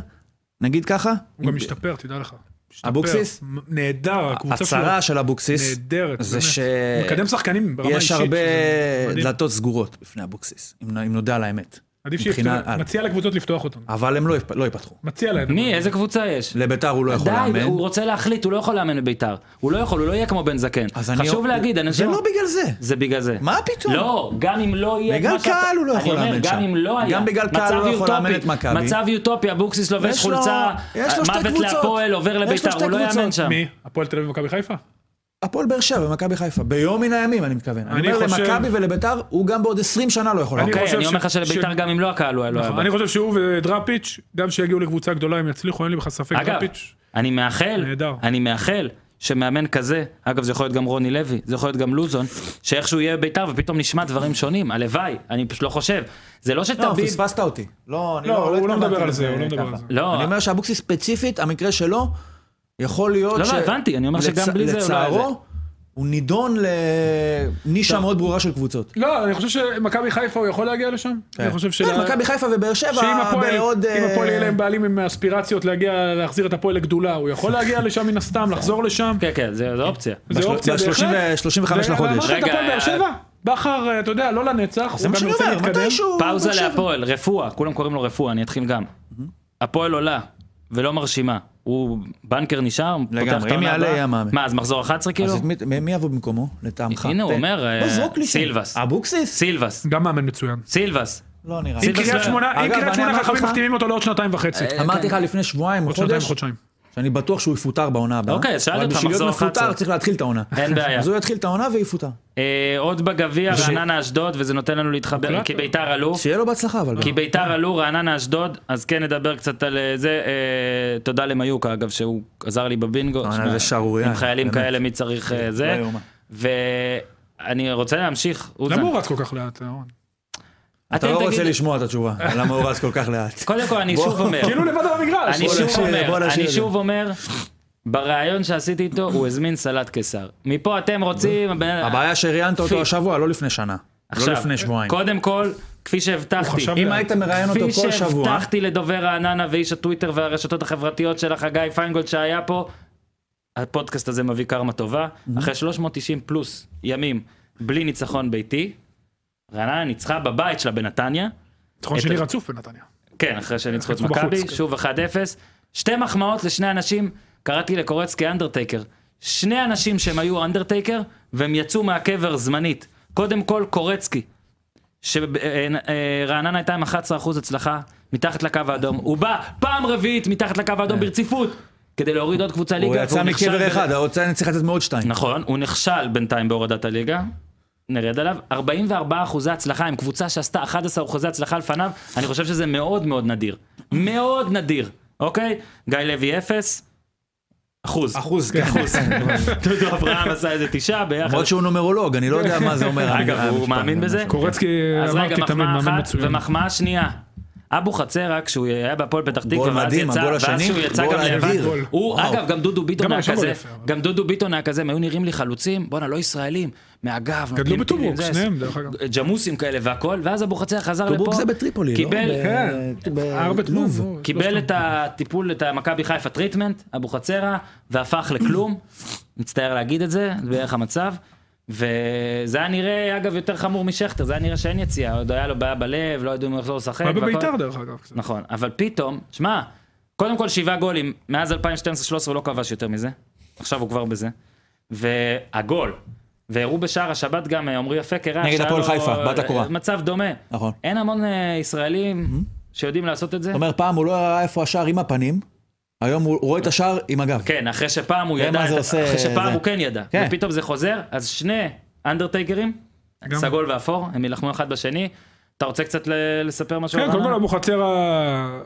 D: נגיד ככה.
B: הוא גם משתפר, תדע לך. משתפר.
D: אבוקסיס?
B: מ- נהדר, הקבוצה שלו
D: הצהרה של אבוקסיס,
B: נהדרת.
D: זה
B: באמת.
D: ש-
B: מקדם שחקנים ברמה אישית.
D: יש הרבה
B: שזה מדהים.
D: דלתות סגורות בפני אבוקסיס, אם אם נודע על האמת.
B: עדיף
D: מבחינה-
B: שיפתח,
D: על.
B: מציע לקבוצות לפתוח אותם.
D: אבל הם לא יפ- לא ייפתחו.
B: מציע להם.
A: מי? איזה קבוצה יש?
D: לביתר הוא לא יכול
A: די, הוא
D: לאמן.
A: רוצה להחליט, הוא לא יכול לאמן בביתר. הוא לא יכול, הוא לא יהיה כמו בן זקן.
D: אז אני-
A: חשוב להגיד,
D: זה
A: אנשים...
D: לא בגלל זה.
A: זה בגלל זה.
D: מה פתאום?
A: לא, גם אם לא יהיה... את
D: בגלל
A: מה שאתה-
D: קהל הוא לא
A: אני
D: יכול
A: אומר,
D: לאמן
A: גם
D: שם.
A: אם לא היה.
D: גם בגלל קהל
A: מצב
D: הוא לא יכול לאמן
A: אוטופי.
D: את מכבי.
A: מצב יוטופי, אבוקסיס לובש
D: יש לו-
A: חולצה,
D: יש לו שתי
A: מוות
D: קבוצות.
A: להפועל עובר
D: יש לו
A: לביתר,
D: שתי
A: הוא לא יאמן
D: קבוצות.
A: שם.
B: מי? הפועל תל אביב ומכבי חיפה?
D: הפועל באר שבע ומכבי חיפה, ביום מן הימים אני מתכוון. אני
B: אני
D: אומר
B: חושב-
D: למכבי ולביתר, הוא גם בעוד 20 שנה לא יכול
B: אני-
D: לאמן.
A: אוקיי,
B: חושב
A: אני אומר לך
B: ש-
A: שלביתר
B: ש- נכון,
A: גם אם לא הקהל הוא היה לא היה. בא.
B: אני חושב שהוא ודראפיץ', גם שיגיעו לקבוצה גדולה הם יצליחו, אין לי בכלל ספק.
A: אגב,
B: דראפיץ',
A: אני מאחל,
B: נהדר.
A: אני מאחל שמאמן כזה, אגב זה יכול להיות גם רוני לוי, זה יכול להיות גם לוזון, שאיכשהו יהיה בביתר ופתאום נשמע דברים שונים, הלוואי, אני פשוט לא חושב. זה לא
D: לא,
A: שתביב...
D: פספסת אותי. לא, אני
B: לא, הוא לא
D: התכוונתי
B: מדבר על
D: לזה
B: זה, הוא לא מדבר
D: ככה.
B: על זה.
A: לא,
D: אני אומר שאבוקסיס ספציפית, המקרה שלו, יכול להיות
A: לא, לא, הבנתי, אני אומר שגם בלי זה הוא לא היה זה.
D: לצערו, הוא נידון לנישה מאוד ברורה של קבוצות.
B: לא, אני חושב שמכבי חיפה הוא יכול להגיע לשם. אני חושב ש...
D: כן, מכבי חיפה ובאר שבע,
B: שאם הפועל,
D: בעוד...
B: אם
D: אה,
B: הפועל יהיה להם בעלים עם אספירציות להגיע, להחזיר את הפועל לגדולה, הוא יכול להגיע לשם מן הסתם, לחזור לשם,
A: כן, כן, זה זה אופציה.
B: זה
D: בשל-
B: אופציה
D: בשלושים ו-
B: בהחלט.
D: 35 לחודש.
B: ואמרת את
A: רגע, אה,
B: הפועל באר שבע? בכר, אתה יודע, לא לנצח,
D: זה
B: הוא
D: מה
B: גם
D: שאני
B: ירצה
D: אומר,
B: להתקדם.
D: מתישהו...
A: פאוזה
D: באר שבע.
A: להפועל, רפואה, כולם קוראים לו רפואה, אני אתחיל גם. הפועל עולה, ולא מרשימה. הוא בנקר נשאר,
C: לגמרי,
A: פותח את
C: אם
A: העונה
C: יעלה,
A: הבאה.
C: יהיה מאמן.
A: מה, אז מחזור 11 כאילו?
C: אז את מי- מי- מי יבוא במקומו, לטעמך?
A: הנה, הוא
C: תן.
A: אומר,
C: בוא,
A: אה,
C: זרוק לי שם.
A: סילבס.
C: אבוקסיס?
A: סילבס,
B: גם מאמן מצוין.
A: סילבס.
C: לא נראה
A: אם
C: לי.
B: אם
A: סילבס לא- כן.
B: קריית שמונה, אם
C: אגב,
B: קריית
C: אני
B: שמונה
C: אמרתי
B: חכמים
C: לך-
B: מחתימים אותו לעוד שנתיים וחצי.
A: אה,
D: אמרתי לך לפני שבועיים,
B: עוד שנתיים
D: חודש,
B: חודשיים.
D: שאני בטוח שהוא יפוטר בעונה הבאה.
A: אוקיי, אז שאלתי
D: אבל
A: אותך,
D: בשביל להיות
A: מחזור
D: מפוטר
A: 11.
D: צריך להתחיל את העונה.
A: אין בעיה.
D: אז הוא יתחיל את העונה ויפוטר.
A: אה, עוד בגביע, רעננה אשדוד, וזה נותן לנו להתחבר,
C: אוקיי.
B: הוחלט?
A: כי ביתר עלו.
D: שיהיה לו בהצלחה, אבל.
A: כי ביתר עלו, רעננה אשדוד, אז כן נדבר קצת על אה, זה. אה, תודה למיוקה, אגב, שהוא עזר לי בבינגו.
D: רעננה
A: שמע,
D: זה שערורייה,
A: עם חיילים
D: באמת.
A: כאלה, מי צריך אה,
C: לא
A: זה.
C: יאומן.
A: ואני רוצה להמשיך, אוזן.
B: למה הוא רץ כל כך לאט? אה, אהרון?
D: אתה לא
A: אתם
D: רוצה
A: תגידו-
D: לשמוע את התשובה, למה הוא רץ כל כך לאט.
A: קודם כל, אני שוב אומר.
B: כאילו לבד על המגרש.
A: אני
D: בוא
A: שוב
D: נשאיר, בוא
A: אומר,
D: נשאיר
A: אני
D: את זה.
A: שוב אומר, בריאיון שעשיתי איתו, הוא הזמין סלט קיסר. מפה אתם רוצים... הבן-
D: הבעיה שראיינת
A: פי-
D: אותו השבוע, לא לפני שנה. לא
A: עכשיו,
D: לפני שבועיים.
A: קודם כל, כפי שהבטחתי,
B: חשב-
D: אם היית מראיין אותו
A: כפי
D: כל שבוע,
A: שהבטחתי לדובר רעננה ואיש הטוויטר והרשתות החברתיות של החגי פיינגולד שהיה פה, הפודקאסט הזה מביא קרמה טובה.
D: Mhm.
A: אחרי 390 פלוס ימים בלי ניצחון ביתי, רעננה ניצחה בבית שלה בנתניה,
B: ניצחון שני רצוף בנתניה.
A: כן, אחרי שניצחו את
B: ניצחו בחוץ,
A: מכבי,
B: כן.
A: שוב 1-0. שתי מחמאות לשני אנשים, קראתי לקורצקי אנדרטייקר. שני אנשים שהם היו אנדרטייקר, והם יצאו מהקבר זמנית. קודם כל קורצקי, שרעננה הייתה עם 11% הצלחה, מתחת לקו האדום. הוא בא פעם רביעית מתחת לקו האדום ברציפות, כדי להוריד עוד קבוצה ליגה.
D: אה. הוא יצא
A: והוא נכשל
D: מקבר
A: ב-
D: אחד, האוצר צריך לתת מעוד שתיים.
A: נכון, הוא נכשל בינתיים בהורדת הליגה. נרד עליו, 44 אחוזי הצלחה עם קבוצה שעשתה 11 אחוזי הצלחה לפניו, אני חושב שזה מאוד מאוד נדיר. מאוד נדיר, אוקיי? גיא לוי אפס, אחוז.
D: אחוז, כן.
A: דודו אברהם עשה איזה תשעה ביחד.
D: למרות שהוא נומרולוג, אני לא יודע מה זה אומר.
A: אגב,
D: אני-
A: הוא
D: המשפט,
A: מאמין
D: אני-
A: בזה?
B: קורצקי,
A: אז רגע,
B: אה, אמרתי תמיד
A: מחמאה
B: מאמן
A: אחת
B: מצוין.
A: ומחמאה שנייה. אבו חצרה, כשהוא היה בהפועל פתח
D: גול
A: תקווה, ואז
D: מדהים,
A: יצא,
D: הגול
A: ואז
D: השני,
A: שהוא יצא
D: גול
A: גם לבד.
D: אדיר.
A: הוא,
D: וואו.
A: אגב, גם דודו ביטון
B: גם
A: היה
B: הראשון גול
A: כזה,
B: יפה, אבל.
A: גם דודו ביטון היה כזה, הם היו נראים לי חלוצים, בואנה, לא ישראלים, מהגב, נותנים טילים,
B: בטוברוק,
A: זה,
B: שניהם, דרך אגב.
A: ג'מוסים כאלה והכל, ואז אבו חצרה חזר לפה,
D: טוברוק זה בטריפולי, לא?
A: קיבל-
D: ב-
B: כן, לא
D: ב-
B: ארבע
D: לוב.
B: תמונות.
A: קיבל את הטיפול, את המכבי חיפה טריטמנט, אבו חצרה, והפך לכלום. מצטער להגיד את זה, זה בערך המצב. וזה היה נראה, אגב, יותר חמור משכטר, זה היה נראה שאין יציאה, עוד היה לו בעיה בלב, לא ידעו אם הוא יחזור לשחק.
B: מה
A: והכל.
B: בביתר דרך אגב. קצת.
A: נכון, אבל פתאום, שמע, קודם כל שבעה גולים, מאז 2012-2013 הוא לא כבש יותר מזה, עכשיו הוא כבר בזה. והגול, והראו בשער השבת גם, אה, עמרי יפה קרא,
D: נגד
A: שהיה
D: הפועל
A: לו,
D: חיפה, בת
A: אה,
D: הקורה.
A: מצב דומה.
D: נכון. Mm-hmm.
A: אין המון אה, ישראלים שיודעים לעשות את זה.
D: זאת אומרת, פעם הוא לא ראה איפה השער עם הפנים, היום הוא רואה את השער עם הגב.
A: כן, אחרי שפעם הוא
D: זה
A: ידע,
D: מה
A: את-
D: זה עושה,
A: אחרי שפעם
D: זה.
A: הוא כן ידע,
D: כן.
A: ופתאום זה חוזר, אז שני אנדרטייקרים,
B: גם-
A: סגול ואפור, הם יילחמו אחד בשני. אתה רוצה קצת ל- לספר משהו? על
B: כן, קודם כל
A: רעננה?
B: אבו חצרה אה,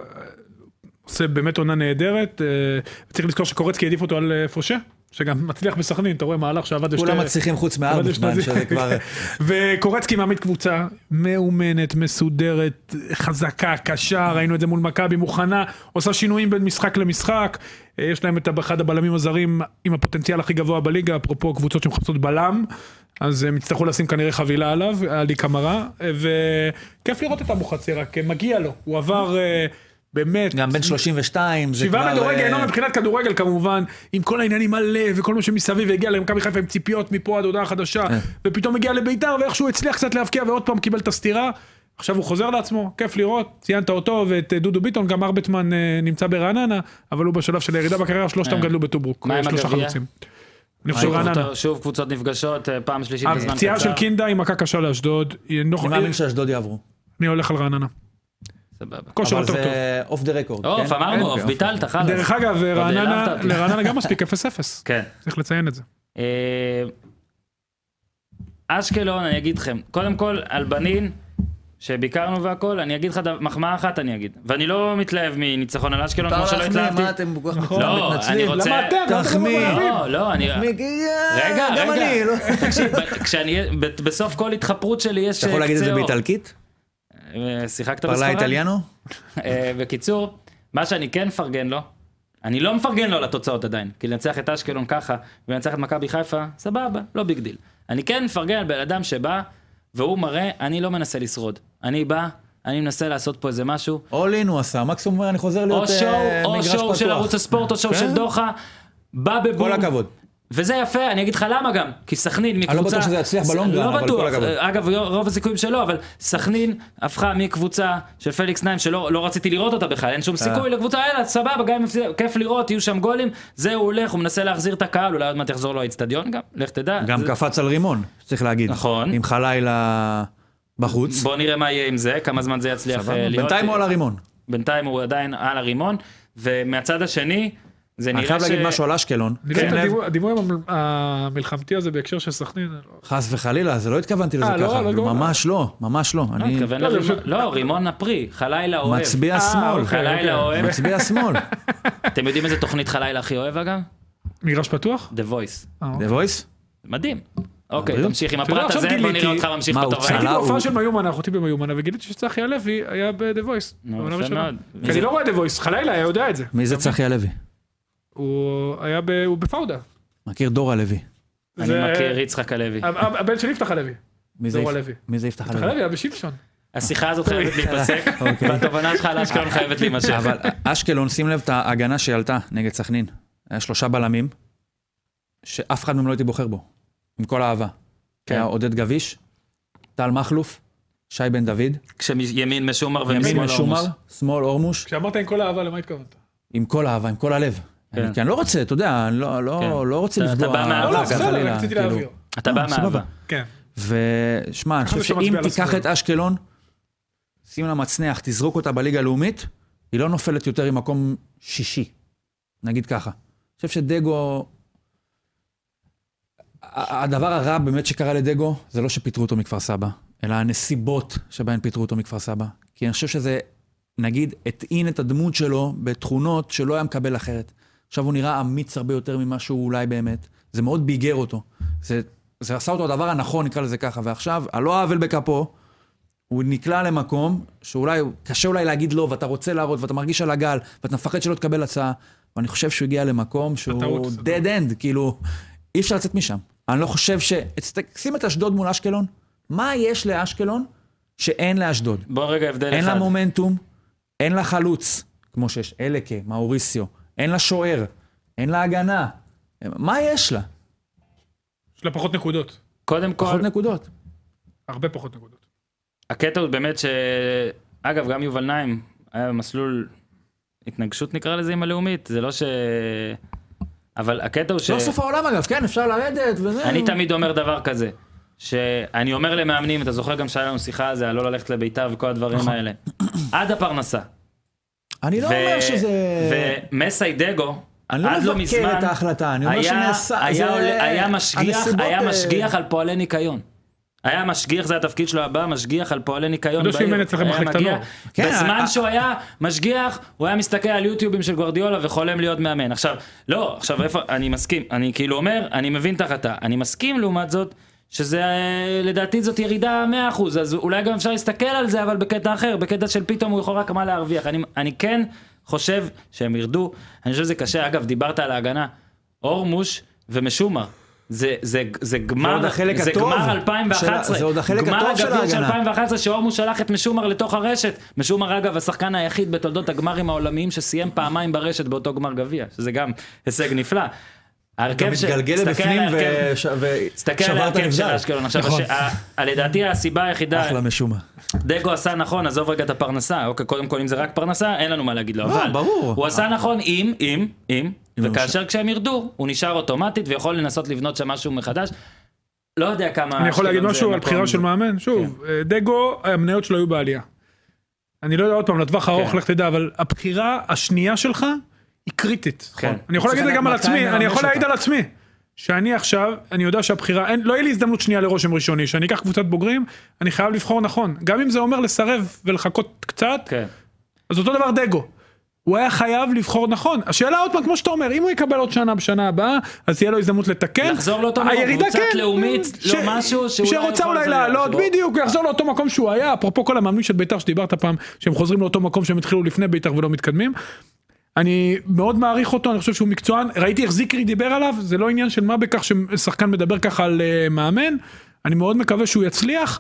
B: עושה באמת עונה נהדרת. אה, צריך לזכור שקורצקי העדיף אותו על אה, פושה, שגם מצליח בסכנין, אתה רואה מהלך שעבד לשתי...
D: כולם מצליחים חוץ
B: עבד
D: מארבע,
B: לשתי-
D: שזה כבר...
B: וקורצקי מעמיד קבוצה מאומנת, מסודרת, חזקה, קשה, ראינו את זה מול מכבי, מוכנה, עושה שינויים בין משחק למשחק. אה, יש להם את ה- אחד הבלמים הזרים עם הפוטנציאל הכי גבוה בליגה, אפרופו קבוצות שמחפשות בלם, אז הם יצטרכו לשים כנראה חבילה עליו, עלי קמרה, אה, וכיף לראות את אבו חצירה, כי מגיע לו, הוא עבר אה, באמת...
D: גם בן 32, זה כבר...
B: שבעה מדורי
D: אה,
B: גיהנום לא, מבחינת כדורגל כמובן, עם כל העניינים על לב וכל מה שמסביב, הגיע למכבי חיפה עם ציפיות מפה עד הודעה חדשה, ופתאום הגיע לביתר ואיכשהו הצליח קצת להבקיע ועוד פעם קיבל את הסטירה. עכשיו הוא חוזר לעצמו, כיף לראות, ציינת אותו ואת אה, דודו ביטון, גם ארבטמן אה, נמצא ברעננה, אבל הוא בשלב של הירידה בקריירה, שלושתם
A: אה.
B: גדלו בטוברוק,
A: מה עם
B: אה, שלושה
A: הגביע?
B: חלוצים. אני חושב
A: שוב
B: רעננה.
A: קבוצות- שוב קבוצות נפגשות, אה, פעם שלישית בזמן
B: הפציעה של
A: קצר.
B: קינדה היא מכה קשה לאשדוד, היא נוח-
D: אני מאמין שאשדוד יעברו.
B: אני הולך על רעננה,
A: סבבה.
B: כושר
D: אבל
B: יותר טוב.
D: זה אוף דה רקורד.
A: עוף, אמרנו עוף, ביטלת, חלאס.
B: אוקיי. דרך אגב, רעננה,
A: העלבת אותי.
B: לרעננה גם מספיק 0-0,
A: כן.
B: צריך לציין את זה.
A: אה, אשקלון, אני אגיד לכם, קודם כל, על בנין, שביקרנו והכל, אני אגיד לך דבר- מחמאה אחת אני אגיד. ואני לא מתלהב מניצחון על אשקלון, כמו שלא התלהבתי.
C: מה אתם כל כך
A: לא, אני
C: מתנצלים?
A: רוצה...
B: למה אתם? למה אתם לא
D: תחמיא.
B: מעורבים?
A: לא, לא, אני... רגע,
D: גם
A: רגע.
D: אני, לא.
A: תקשיב, ב- כשאני... ב- בסוף כל התחפרות שלי יש...
D: אתה יכול
A: אה,
D: להגיד את זה
A: קצה אור.
D: באיטלקית?
A: אה, שיחקת
D: פרלה
A: בספרד?
D: איטליאנו?
A: אה, בקיצור, מה שאני כן מפרגן לו, אני לא מפרגן לו על התוצאות עדיין, כי לנצח את אשקלון ככה, ולנצח את מכבי חיפה, סבבה, לא ביג דיל. אני כן מפרגן על בן אדם שבא, והוא מראה, אני לא מנסה לשרוד. אני בא, אני מנסה לעשות פה איזה משהו,
D: אול אין הוא עשה, מקסימום אומר, אני חוזר
A: או
D: להיות
A: שואו,
D: אה,
A: או
D: מגרש
A: שואו של ערוץ
D: פתוח.
A: הספורט, או שואו
D: כן.
A: של דוחה, בא בבום.
D: כל הכבוד.
A: וזה יפה, אני אגיד לך למה גם, כי סכנין מקבוצה...
D: לא בטוח שזה יצליח בלונגרן,
A: לא
D: אבל כל
A: בטוח.
D: הכבוד.
A: אגב, רוב הסיכויים שלא, אבל סכנין הפכה מקבוצה של פליקס נעים, שלא לא רציתי לראות אותה בכלל,
D: אה.
A: אין שום סיכוי לקבוצה, יאללה, סבבה, גם אם הפסיד- כיף לראות, יהיו שם גולים, זה הוא הולך, הוא מנסה להחזיר את הקהל, אולי עוד מעט יחזור לו האיצטדיון גם, לך תדע.
D: גם
A: זה-
D: קפץ על רימון, צריך להגיד.
A: נכון.
D: עם חלילה בחוץ.
A: בוא נראה מה יהיה עם זה, כמה זמן זה יצליח
D: סבבה.
A: אה, להיות.
D: בינתיים הוא על הרימון.
A: בינתיים הוא עדיין על הרימון, ומהצד השני, זה נראה
D: אני
A: ש...
D: חייב להגיד משהו על אשקלון.
A: כן,
D: כן.
B: אני לא
D: שים
B: יודע את
D: לב,
B: הדימוי- הדימוי המל- המלחמתי הזה בהקשר של סכנין.
D: חס וחלילה, זה לא התכוונתי לזה
B: אה, לא,
D: ככה.
B: לא התכוונת.
D: ממש לא, ממש לא.
A: לא,
D: אני
A: התכוון
B: לא, זה
A: לרימון-
B: פשוט-
A: לא, רימון הפרי, חלילה אוהב.
D: מצביע
B: אה,
D: שמאל.
B: אוקיי.
A: חלילה אוהב.
D: מצביע שמאל.
A: אתם יודעים איזה תוכנית חלילה הכי אוהב אגב?
B: מגרש פתוח?
A: The Voice.
B: אה,
D: The voice?
A: מדהים. אוקיי,
D: מדהים. לא
A: תמשיך עם
B: אתה יודע,
A: הפרט
B: עכשיו
A: הזה, בוא
B: גיליתי-
A: נראה אותך ממשיך
D: מה, הוא
A: בטובה.
D: צלם?
B: הייתי
D: עלה,
B: בהופעה
D: הוא-
B: כאילו, של מיומנה, אחותי במיומנה, וגיליתי שצחי הלוי היה ב-The Voice.
A: נו,
B: בעונה
A: יפה
B: הראשונה.
A: מאוד.
B: כי
A: זה-
B: אני לא רואה The Voice, חלילה היה יודע את זה.
D: מי זה צחי הלוי?
B: הוא היה ב- הוא בפאודה.
D: מכיר דור הלוי.
A: אני
B: זה-
A: מכיר יצחק הלוי.
B: הב- הב- הבן של יפתח הלוי.
D: מי זה
B: דור
D: יפ- אה,
B: הלוי.
D: מי זה יפתח
B: יפתח
D: הלוי?
B: הלוי היה בשמשון.
A: השיחה הזאת חייבת להיפסק, והתובנה שלך על אשקלון חייבת להימשך.
D: אוקיי. אבל אשקלון, שים לב את ההגנה שעלתה נגד סכנין. היה שלושה בלמים, שאף אחד מהם לא הייתי בוחר בו, עם כל האהבה.
A: כן.
D: היה עודד גביש, טל מכלוף, שי בן דוד,
A: כשימין משומר
D: ימין
A: ומשמאל לא
D: משומר,
A: הורמוס.
D: שמאל אורמוש,
B: כשאמרת עם כל אהבה, למה התכוונת?
D: עם כל האהבה, עם כל הלב.
A: כן.
D: אני- כי אני לא רוצה, אתה יודע, אני לא- לא
A: כן.
D: לא רוצה
A: אתה- אתה
D: לפגוע.
A: בא מהאהבה,
B: לא, לא,
A: אה,
B: בסדר,
D: חלילה,
B: רק רציתי
D: כאילו.
B: להבהיר.
A: אתה בא
D: אה,
A: מאהבה.
D: סבבה.
B: כן.
D: ושמע, אני חושב
B: חשבתי שאתה
D: שאם
B: מצביע
D: תיקח
B: לשמאל.
D: את אשקלון, שים לה מצנח, תזרוק אותה בליגה הלאומית, היא לא נופלת יותר עם מקום שישי, נגיד ככה. אני חושב שדגו... ה- הדבר הרע באמת שקרה לדגו, זה לא שפיטרו אותו מכפר סבא, אלא הנסיבות שבהן פיטרו אותו מכפר סבא. כי אני חושב שזה, נגיד, הטעין את הדמות שלו בתכונות שלא היה מקבל אחרת. עכשיו הוא נראה אמיץ הרבה יותר ממה שהוא אולי באמת. זה מאוד ביגר אותו. זה, זה עשה אותו הדבר הנכון, נקרא לזה ככה. ועכשיו, על לא העוול בכפו, הוא נקלע למקום שאולי, קשה אולי להגיד לא, ואתה רוצה להראות, ואתה מרגיש על הגל, ואתה מפחד שלא תקבל הצעה. ואני חושב שהוא הגיע למקום
B: בטעות,
D: שהוא
B: זה
D: dead end, כאילו, אי אפשר לצאת משם. אני לא חושב ש... תסת- שים את אשדוד מול אשקלון, מה יש לאשקלון שאין לאשדוד?
A: בוא רגע הבדל
D: אין לה
A: אחד.
D: מומנטום, אין לה חלוץ, כמו שיש אלקה, מאוריסיו, אין לה שוער, אין לה הגנה. מה יש לה?
B: יש לה פחות נקודות.
A: קודם כל,
D: פחות נקודות.
B: הרבה פחות נקודות.
A: הקטע הוא באמת ש... אגב, גם יובל נעים היה במסלול התנגשות נקרא לזה עם הלאומית, זה לא ש... אבל הקטע הוא ש...
D: לא סוף העולם אגב, כן, אפשר לרדת וזה.
A: אני תמיד אומר דבר כזה, שאני אומר למאמנים, אתה זוכר גם שהיה לנו שיחה על זה, על לא ללכת לביתר וכל הדברים האלה. עד הפרנסה.
D: אני נכון. לא
A: ו-
D: אומר שזה...
A: ומסי דגו,
D: אני לא
A: עד לא
D: מבקר
A: מזמן,
D: את ההחלטה, אני אומר
A: היה-
D: שנעשה...
A: היה
D: זה-
A: עול- היה משגיח,
D: הנסיבות,
A: היה
D: אה,
A: משגיח על פועלי ניקיון. היה משגיח, זה התפקיד שלו הבא, משגיח על פועלי ניקיון.
B: אתה
D: לא
B: יודע שהוא
A: בעיר.
B: אימן אצלכם
A: היה
B: במחלקת
A: מגיע-
B: הנוער.
D: כן,
A: בזמן
D: ה-
A: שהוא היה משגיח, הוא היה מסתכל על יוטיובים של גוורדיולה וחולם להיות מאמן. עכשיו, לא, עכשיו איפה, אני מסכים, אני כאילו אומר, אני מבין את ההחלטה. אני מסכים לעומת זאת, שזה, אה, לדעתי זאת ירידה 100%, אז אולי גם אפשר להסתכל על זה, אבל בקטע אחר, בקטע של פתאום הוא יכול רק מה להרוויח. אני, אני כן חושב שהם ירדו, אני חושב שזה קשה. אגב, דיברת על ההגנה, אורמוש ומשומר. זה, זה, זה גמר,
D: עוד החלק
A: זה
D: הטוב
A: גמר
D: של-
A: 2011,
D: זה עוד החלק
A: גמר
D: הטוב של
A: הגביע של
D: ההגנה.
A: 2011 שהורמוס שלח את משומר לתוך הרשת. משומר אגב השחקן היחיד בתולדות הגמרים העולמיים שסיים פעמיים ברשת באותו גמר גביע, שזה גם הישג נפלא.
D: גם
A: ההרכב ש-
D: מתגלגל
A: תסתכל כן. על
D: לבפנים
A: ההרכב-
D: וש-
A: תסתל על
D: ושבר את
A: ההרכב של
D: הנבדל.
A: אשקלון. עכשיו,
D: נכון.
A: הש- ה- לדעתי הסיבה היחידה,
D: אחלה משומע.
A: דגו עשה נכון, עזוב רגע את הפרנסה, אוקיי, קודם כל אם זה רק פרנסה, אין לנו מה להגיד לו,
D: לא,
A: אבל,
D: ברור. לא
A: הוא עשה נכון אם, אם, אם,
D: אם הוא
A: וכאשר כשהם ירדו, הוא נשאר אוטומטית ויכול לנסות לבנות שם משהו מחדש. לא יודע כמה...
B: אני יכול להגיד
A: אשקלון זה כן.
B: משהו על
A: מקום-
B: בחירה של מאמן? שוב, אה, דגו, המניות שלו היו בעלייה. אני לא יודע עוד פעם, לטווח הארוך,
A: כן.
B: לך תדע, אבל הבחירה השנייה שלך היא קריטית. נכון?
A: כן.
B: אני יכול
D: צריך
B: להגיד את זה גם על
D: לדעת מתי
B: עצמי, אני
D: לממש
B: יכול להעיד על
D: אותה.
B: עצמי. שאני עכשיו, אני יודע שהבחירה, אין, לא יהיה לי הזדמנות שנייה לרושם ראשוני, שאני אקח קבוצת בוגרים, אני חייב לבחור נכון. גם אם זה אומר לסרב ולחכות קצת,
A: כן.
B: אז אותו דבר דגו. הוא היה חייב לבחור נכון. השאלה עוד פעם, כמו שאתה אומר, אם הוא יקבל עוד שנה בשנה הבאה, אז תהיה לו הזדמנות לתקן.
A: לחזור לאותו מקום,
B: הירידה,
A: קבוצת
B: כן.
A: לאומית,
B: ש-
A: לא משהו שאולי
B: שרוצה
A: יכול
B: אולי
A: לעזור
B: לעלות,
A: שבו-
B: בדיוק, הוא יחזור לאותו מקום שהוא היה, אפרופו כל המאמנים של בית"ר שדיברת פעם, שהם חוזרים לאותו מקום שהם התחילו לפני בית"ר ולא מתקדמים. אני מאוד מעריך אותו, אני חושב שהוא מקצוען, ראיתי איך זיקרי דיבר עליו, זה לא עניין של מה בכך ששחקן מדבר ככה על אה, מאמן, אני מאוד מקווה שהוא יצליח.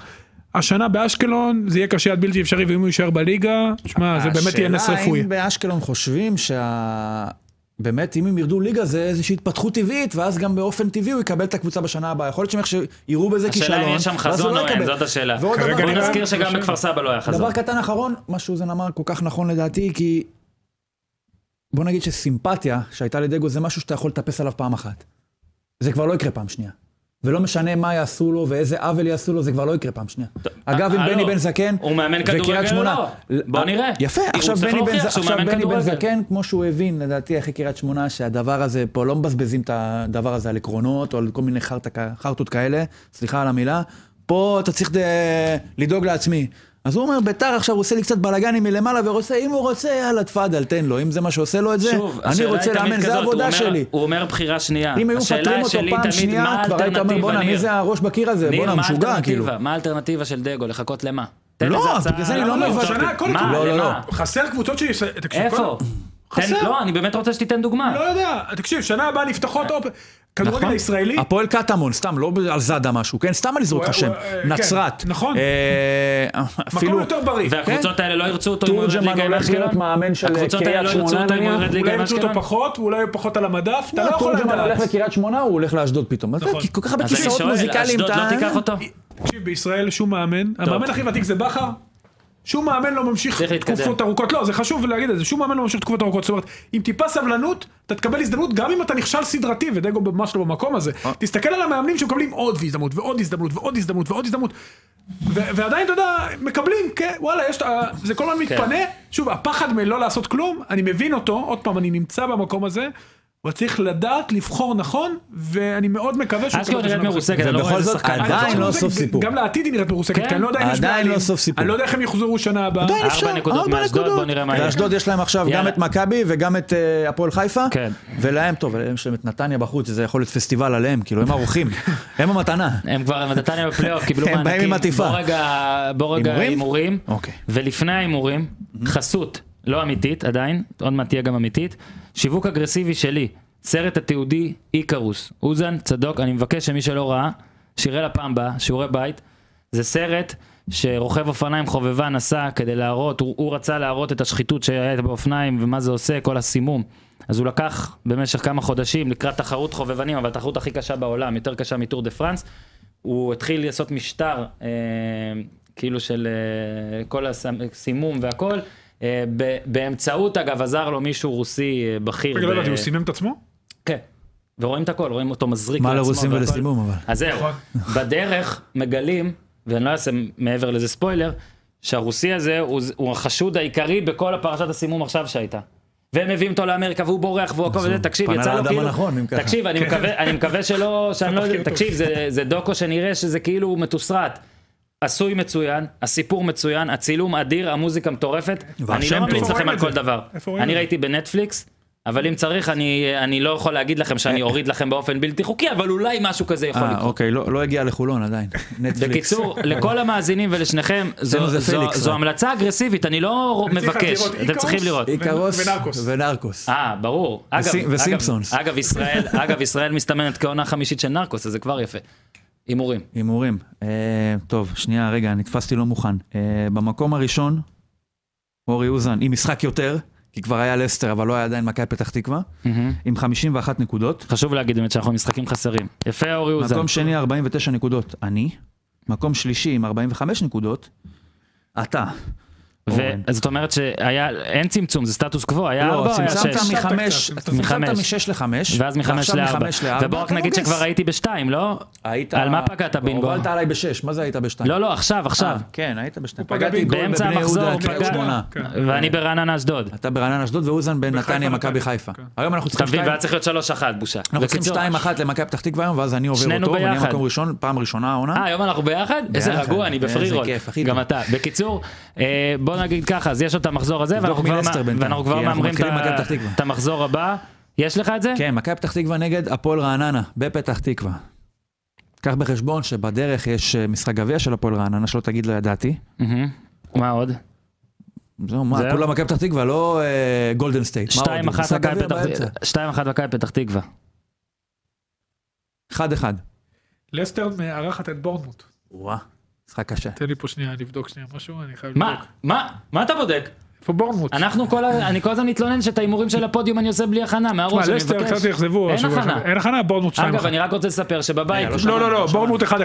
B: השנה באשקלון זה יהיה קשה עד בלתי אפשרי ואם הוא יישאר בליגה, שמע זה באמת יהיה נס רפואי.
D: השאלה אם באשקלון חושבים שה... באמת, אם הם ירדו ליגה, זה איזושהי התפתחות טבעית, ואז גם באופן טבעי הוא יקבל את הקבוצה בשנה הבאה. יכול להיות שהם איכשהו יראו בזה כישלון.
A: השאלה אם יש שם
D: ואז הוא
A: חזון
D: לא
A: או אין,
D: יקבל.
A: זאת השאלה.
D: ועוד
B: כרגע לא
D: דבר-
A: בוא
B: נראה-
A: נזכיר שגם בכפר סבא לא היה חזון.
D: דבר קטן אחרון, מה שאוזן אמר כל כך נכון לדעתי, כי בוא נגיד שסימפתיה שהייתה לדגו זה משהו שאתה יכול לטפס עליו פעם אחת. זה כבר לא יקרה פעם שנייה. ולא משנה מה יעשו לו ואיזה עוול יעשו לו, זה כבר לא יקרה פעם שנייה. אגב, אם
A: הלו,
D: בני בן זקן...
A: אה, לא. הוא מאמן
D: וקריית
A: כדורגל או
D: שמונה- אה,
A: לא? בוא נראה.
D: יפה,
A: הוא
D: עכשיו
A: צריך
D: בני בן
A: להוכיח שהוא
D: עכשיו
A: מאמן
D: בני בן
A: כדורגל.
D: זקן, כן, כמו שהוא הבין, לדעתי, אחרי קריית שמונה, שהדבר הזה, פה לא מבזבזים את הדבר הזה על עקרונות, או על כל מיני חרטה- חרטות כאלה, סליחה על המילה, פה אתה צריך אה, לדאוג לעצמי. אז הוא אומר, ביתר עכשיו עושה לי קצת בלאגנים מלמעלה, ורוצה, אם הוא רוצה, יאללה, תפאדל, תן לו, אם זה מה שעושה לו את זה,
A: שוב,
D: אני
A: השאלה
D: רוצה
A: היא תמיד
D: לאמן, זה
A: כזאת, הוא
D: העבודה
A: אומר-
D: שלי.
A: הוא אומר בחירה שנייה.
D: אם היו
A: השאלה
D: מפטרים אותו
A: שלי
D: פעם
A: תמיד,
D: שנייה,
A: מה
D: כבר היית אומר,
A: האלטרנטיבה,
D: בואנה, מי
A: ניר?"
D: זה הראש בקיר הזה?
A: ניר,
D: בואנה,
A: מה
D: משוגע, כאילו.
A: האלטרנטיבה? מה האלטרנטיבה של דגו? לחכות למה?
D: לא,
A: איזה הצעה-
D: בגלל זה אני לא
A: למה?
D: מבטל.
B: שנה, הכל
A: מה?
B: טוב.
D: לא, לא, לא.
A: למה?
B: חסר קבוצות שיש... אה, תקשיב,
A: איפה?
B: כל-
A: תן-
B: חסר.
A: לא, אני באמת רוצה שתיתן דוגמה.
B: לא יודע, תקשיב, שנה הבאה נפתחות אופ... כדורגל
D: נכון.
B: הישראלי,
D: הפועל קטמון, סתם, לא על זאדה משהו, כן? סתם אני זורק לך
B: הוא-
D: שם.
B: הוא- אה, כן,
D: נצרת.
B: נכון.
D: אה,
B: מקום
D: אפילו...
B: יותר בריא.
A: והקבוצות האלה לא ירצו אותו אם הוא יורד
D: תורג'מן
A: ליגה עם
D: כן. הולך להיות
A: אשקלון?
D: מאמן של אה,
A: הקבוצות האלה
D: קריית
A: לא ירצו
D: שמונה
A: אותו אם הוא
D: נניח.
A: יורד ליגה
B: אולי
A: עם
B: ימצאו אותו
A: אשקלון?
B: פחות, אולי הוא פחות על המדף, אתה לא
D: לא,
B: יכול
D: תורג'מן הולך
B: לדעת.
D: לקריית שמונה, הוא הולך לאשדוד פתאום. אז
B: נכון.
D: זה כל כך הרבה
A: אז אני
D: כיסאות
A: שואל,
D: מוזיקליים.
A: אשדוד לא
D: אתה-
A: תיקח אותו?
B: תקשיב, בישראל שום מאמן, המאמן הכי ותיק זה בכר. שום מאמן לא ממשיך
A: צריך להתקדם.
B: תקופות ארוכות, לא, זה חשוב להגיד את זה, שום מאמן לא ממשיך תקופות ארוכות, זאת אומרת, עם טיפה סבלנות, אתה תקבל הזדמנות גם אם אתה נכשל סדרתי, ודגו ממש לא במקום הזה. תסתכל על המאמנים שמקבלים עוד הזדמנות, ועוד הזדמנות, ועוד הזדמנות, ועוד הזדמנות, ו- ועדיין, אתה יודע, מקבלים, כן, וואלה, יש, אה, זה כל
A: כן.
B: הזמן מתפנה, שוב, הפחד מלא לעשות כלום, אני מבין אותו, עוד פעם, אני נמצא במקום הזה, אבל צריך לדעת לבחור נכון, ואני מאוד מקווה שהוא
A: אשקלון נראית
B: יקבל את השנה הבאה.
A: מרוסקת, אני לא רואה
D: ובכל
A: איזה
D: זאת,
A: שחקן.
D: עדיין
B: אני חושב
D: לא
B: שזה-
D: סוף סיפור.
B: גם לעתיד היא נראית מרוסקת,
A: כן.
B: כי אני לא יודע אם יש
D: עדיין לא
B: בעלים.
D: סוף סיפור.
B: אני לא יודע איך הם יחזרו שנה הבאה.
D: עדיין
A: ארבע
D: אפשר,
A: נקודות
D: ארבע
A: מאשדוד,
D: נקודות.
A: בוא נראה מה יהיה.
D: לאשדוד יש להם עכשיו גם
A: יאללה.
D: את מכבי וגם את אה, הפועל חיפה,
A: כן.
D: ולהם, טוב, יש להם את נתניה בחוץ, זה יכול להיות פסטיבל עליהם, כאילו, הם ערוכים, הם המתנה.
A: הם כבר, הם נתניה בפלייאוף, קיבלו
D: הם
A: מענקים.
D: באים עם עטיפה.
A: בוא רגע, בוא רגע
D: הימורים?
A: הימורים.
D: אוקיי.
A: ולפני ההימורים, חסות, לא אמיתית עדיין, עוד מעט תהיה גם אמיתית. שיווק אגרסיבי שלי, סרט התיעודי איקרוס. אוזן, צדוק, אני מבקש שמי שלא ראה, שיראה לפעם הבאה, שיעורי בית. זה סרט שרוכב אופניים חובבן עשה כדי להראות, הוא, הוא רצה להראות את השחיתות שהייתה באופניים ומה זה עושה, כל הסימום. אז הוא לקח במשך כמה חודשים לקראת תחרות חובבנים, אבל התחרות הכי קשה בעולם, יותר קשה מטור דה פרנס. הוא התחיל לעשות משטר אה, כאילו של אה, כל הסימום והכל. אה, ב- באמצעות אגב עזר לו מישהו רוסי אה, בכיר.
B: רגע,
A: ב-
B: לא ידעתי, הוא סימם את עצמו?
A: כן. ורואים את הכל, רואים אותו מזריק
D: מה
A: לעצמו
D: לרוסים
A: והכל.
D: ולסימום, אבל.
A: אז זהו,
B: נכון.
A: בדרך מגלים, ואני לא אעשה מעבר לזה ספוילר, שהרוסי הזה הוא, הוא החשוד העיקרי בכל הפרשת הסימום עכשיו שהייתה. והם מביאים אותו לאמריקה והוא בורח והוא הכל
D: הוא
A: וזה, תקשיב,
D: פנה
A: יצא לו
D: לאדם
A: כאילו,
D: הנכון, אם ככה.
A: תקשיב,
B: כן.
A: אני מקווה, אני מקווה שלא, שאני לא,
B: תחקיר טוב.
A: תקשיב, זה, זה דוקו שנראה שזה כאילו מתוסרט. עשוי מצוין, הסיפור מצוין, הצילום אדיר, המוזיקה מטורפת, אני
D: והשם
A: לא ממליץ
B: טוב.
A: לכם על
B: איפה
A: כל
B: רואים את
A: דבר.
B: זה? איפה רואים
A: אני
B: את זה?
A: ראיתי בנטפליקס, אבל אם צריך, אני, אני לא יכול להגיד לכם
B: אה.
A: שאני אוריד לכם באופן בלתי חוקי, אבל אולי משהו כזה יכול
D: אה,
A: לקרות.
D: אוקיי, לא לא הגיע לחולון עדיין. נטפליקס.
A: בקיצור, לכל המאזינים ולשניכם, זו,
D: אצלנו זה
A: זו, זו,
D: פליקס, אה.
A: זו
D: רק.
A: המלצה אגרסיבית, אני לא
B: אני צריך
A: מבקש,
B: לראות
A: אתם
B: איקרוס?
A: צריכים לראות.
D: איקרוס
B: ונרקוס.
D: ונרקוס.
A: אה, ברור. אגב,
D: וסי-
A: אגב-
D: וסימפסונס.
A: אגב, ישראל, אגב, ישראל מסתמנת כעונה חמישית של נרקוס, אז זה כבר יפה. הימורים.
D: הימורים. אה, טוב, שנייה, רגע, נתפסתי לא מוכן. אה, במקום הראשון, אורי אוזן, עם משחק יותר, כי כבר היה לסטר, אבל לא היה עדיין מכבי פתח תקווה, עם 51 נקודות.
A: חשוב להגיד באמת שאנחנו משחקים חסרים. יפה אורי אוזן.
D: מקום שני, 49 נקודות, אני. מקום שלישי, עם 45 נקודות, אתה. אורן.
A: וזאת אומרת שהיה, אין צמצום, זה סטטוס קוו, היה
D: לא,
A: ארבע או היה
D: צמצמת
A: שש?
D: מחמש,
B: קצת,
D: צמצמת
A: מחמש.
D: משש לחמש,
A: ואז מחמש
D: ועכשיו
A: לארבע.
D: מחמש לארבע.
A: ובוא רק
D: אתה אה.
A: נגיד
D: נוגס.
A: שכבר הייתי בשתיים, לא?
D: היית...
A: על מה פגעת, בינגו?
D: הובלת עליי בשש, מה זה היית בשתיים?
A: לא, לא, עכשיו,
D: אה,
A: עכשיו.
D: כן, היית בשתיים.
B: הוא פגע
D: פגעתי
B: בינגו
D: גול
A: באמצע
D: בבני
A: המחזור,
D: יהודה,
A: הוא
D: קריית
A: פגע.
D: שמונה.
B: כן.
A: ואני ברעננה אשדוד.
D: אתה ברענן אשדוד ואוזן בנתניה,
B: בחיפה,
D: מכבי
B: מכבי.
D: חיפה.
B: כן.
D: היום אנחנו צריכים
A: אתה מבין,
D: שתיים,
A: והיה צריך להיות 3-1, בושה.
D: אנחנו צריכים
A: בקיצור,
D: שתיים אחת למכבי פתח תקווה היום, ואז אני עובר
A: שנינו
D: אותו, ואני
A: ביחד.
D: מקום ראשון, פעם ראשונה
A: אה,
D: העונה.
A: היום אנחנו ביחד? איזה רגוע, אני
D: איזה
A: בפרי רול.
D: כיף, הכי
A: גם
D: טוב.
A: אתה. בקיצור, אה, בוא נגיד ככה, אז יש עוד את המחזור הזה,
D: תבדוק
A: ואנחנו
D: מי
A: כבר
D: לסטר
A: מה-
D: בינתיים,
A: ואנחנו כבר
D: כי אנחנו
A: מהמרים את
D: מתחילים
A: ה-
D: מכבי פתח תקווה.
A: את המחזור הבא. יש לך את זה?
D: כן, מכבי פתח תקווה נגד הפועל רעננה, בפתח תקווה. קח בחשבון שבדרך יש אה, משחק גביע של הפועל רעננה, שלא תגיד לא ידעתי.
A: מהמם. מה עוד?
D: זהו, מה,
A: זהו.
D: כולם מכבי פתח תקווה, לא אה, גולדן סטייט. מה עוד?
A: 2-1
D: משחק
A: מכבי
D: גביע
A: פתח-
D: באמצע.
A: 2-1 מכבי פתח תקווה.
D: אחד אחד.
B: לסטר מארחת את בורנמוט.
D: וואה, משחק קשה.
B: תן לי פה שנייה לבדוק שנייה משהו, אני חייב
A: מה?
B: לבדוק.
A: מה? מה אתה בודק?
B: איפה בורנמוט?
A: אנחנו כל ה... אני כל הזמן מתלונן שאת ההימורים של הפודיום אני עושה בלי הכנה,
B: תשמע,
A: מהראש, אני
B: לסטר
A: מבקש.
B: קצת יאכזבו.
A: אין
B: השבוע.
A: הכנה.
B: אין הכנה, בורנמוט 2-1.
A: אגב, אני רק רוצה לספר שבבית,
B: לא, לא, לא, בורנמוט 1-1.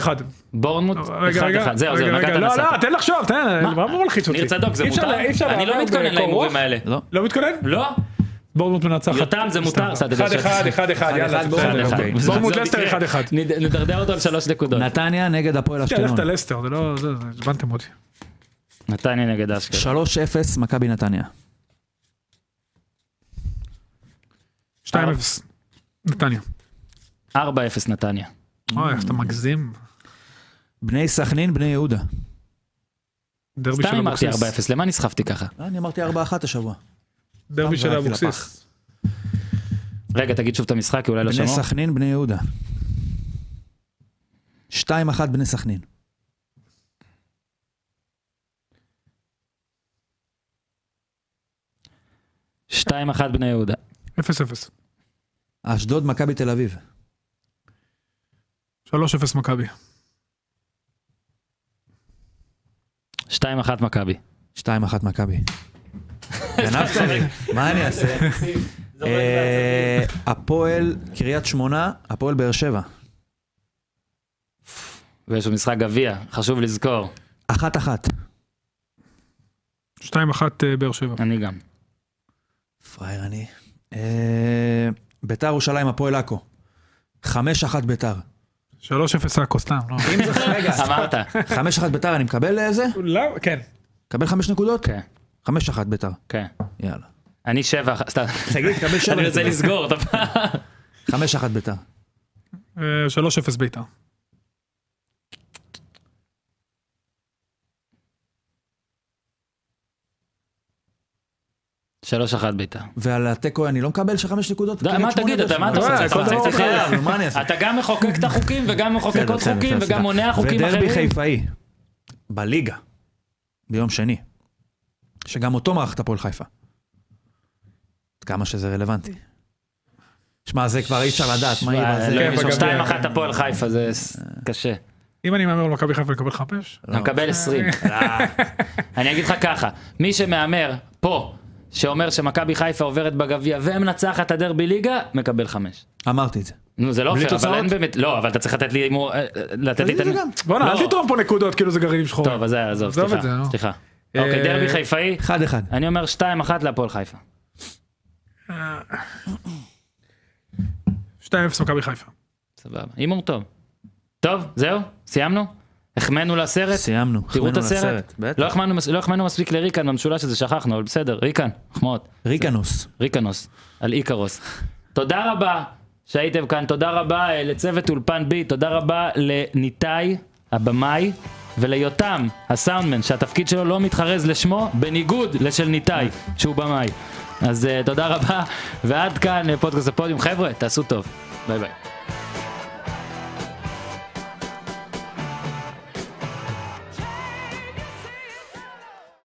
A: בורנמוט,
B: רגע,
A: אחד
B: רגע.
A: אחד, זהו, זהו,
B: רגע,
A: נגעת
B: רגע. לא,
A: נסעת.
B: לא, תן לחשוב, תן, מה אמור להלחיץ אותי?
A: ניר צדוק, זה
B: אי אפשר
A: מותר?
B: לה- אי אפשר
A: אני לא
B: להמר
A: מתכונן
B: בקור רוח.
A: להימורים האלה.
D: לא.
B: לא מתכונן?
A: לא?
B: בורנמוט מנצחת.
A: יותם, זה מותר,
B: סתם.
A: קצת,
B: אחד,
A: לדשא.
B: אחד, אחד, אחד, יאללה,
D: אחד,
B: זה בסדר,
D: אחד, אחד.
B: אוקיי.
D: וזה-
B: בורנמוט
A: זה לא
B: לסטר
A: מקרה.
B: 1-1.
A: נד- נדרדר אותו על שלוש נקודות.
D: נתניה נגד הפועל
B: כן,
D: אשקלון.
B: ללכת לסטר, זה לא, זה, זה- הבנתם אותי.
A: נתניה נגד אשקלון.
D: 3-0 מכבי נתניה.
B: 2-0. נתניה.
A: 4-0 נתניה.
D: לא
B: אוי, איך אתה מגזים.
D: בני סכנין, בני יהודה.
B: דרבי
A: סתם
D: לא
B: של
A: אמרתי 4-0,
B: אבוקסיס.
A: למה נסחפתי ככה?
C: אה, אני אמרתי 4-1 השבוע.
B: דרבי של
D: זרקתי
B: אבוקסיס.
A: רגע, תגיד שוב את המשחק, כי אולי לא
D: בני
A: שמעו.
D: סכנין, בני יהודה. 2-1 בני סכנין.
A: שתיים אחת בני יהודה.
B: 0-0.
D: אשדוד, מכבי תל אביב.
B: 3-0 מכבי.
A: שתיים אחת מכבי.
D: 2-1 מכבי. גנבת לי, מה אני אעשה? אה, הפועל קריית שמונה, הפועל באר שבע.
A: ויש לו משחק גביע, חשוב לזכור.
D: אחת אחת.
B: 2-1 אה, באר שבע.
A: אני גם.
D: פראייר אני. אה, ביתר ירושלים, הפועל עכו. חמש אחת ביתר.
B: 3-0 עכו, סתם. לא.
D: רגע,
A: אמרת.
D: חמש אחת ביתר, אני מקבל אה, זה?
B: למה? כן.
D: מקבל חמש נקודות?
A: כן,
D: חמש אחת ביתר.
A: כן.
D: יאללה.
A: אני שבע, אחת- סתם.
D: שגיא, תקבל שבע
A: אני רוצה
D: נקודות.
A: לסגור את הפעם.
D: חמש אחת ביתר.
B: אה, 3-0 ביתר.
A: שלוש אחת ביתר.
D: ועל התיקו אני לא מקבל של חמש נקודות?
A: די, מה
D: קריית שמונה
A: תגיד,
D: באר
A: אתה- מה
D: שבע.
A: אתה
B: עושה?
D: אה, כל
B: אתה-
D: דבר
B: אתה
A: חייב.
D: חייב, מה אני אעשה?
A: אתה גם מחוקק את החוקים וגם מחוקק
D: בסדר,
A: עוד
D: בסדר,
A: חוקים
D: בסדר,
A: וגם
D: סליחה.
A: מונע חוקים
D: ודרבי
A: אחרים.
D: חיפאי, בליגה, ביום שני, שגם אותו מערכת הפועל חיפה. עד כמה שזה רלוונטי. שמע, זה כבר אי אפשר לדעת מה יהיה, אבל
A: לא,
D: זה...
B: כן, בגביע.
A: שתיים אחת הפועל חיפה זה ס- קשה.
B: אם אני מהמר במכבי חיפה לקבל חמש?
D: לא,
A: אתה מקבל 20. אני אגיד לך ככה, מי שמהמר פה, שאומר שמכבי חיפה עוברת בגביע ומנצחת את הדרבי ליגה, מקבל חמש.
D: אמרתי את זה.
A: נו זה לא
D: בלי
A: פייר, אבל
D: תוצאות?
A: אין באמת, לא, אבל אתה צריך לתת לי הימור, אה, לתת לי
D: תגיד
A: את
D: את זה
A: הנ-
D: גם.
B: בואנה,
A: לא.
B: אל תתרום פה נקודות כאילו זה גרעינים שחורים.
A: טוב, אז זה, עזוב,
B: עזוב
A: סליחה,
B: את זה, נו.
A: סליחה.
B: אה,
A: אוקיי, דרבי חיפאי,
D: אחד אחד.
A: אני אומר 2-1 להפועל חיפה.
B: 2-0 מכבי חיפה.
A: סבבה, הימור טוב. טוב, זהו, סיימנו? החמאנו לסרט?
D: סיימנו.
A: תראו את
D: החמאנו
A: הסרט.
D: לסרט, בטח.
A: לא החמאנו מס- לא החמאנו מספיק לריקן במשולש הזה, שכחנו, אבל בסדר, ריקן, מחמאות.
D: ריקנוס.
A: ריקנוס, על איקרוס. תודה רבה שהייתם כאן, תודה רבה אה, לצוות אולפן בי, תודה רבה לניתאי הבמאי וליותם הסאונדמן, שהתפקיד שלו לא מתחרז לשמו, בניגוד לשל ניתאי, שהוא במאי. אז אה, תודה רבה, ועד כאן אה, פודקאסט הפודיום. חבר'ה, תעשו טוב. ביי ביי.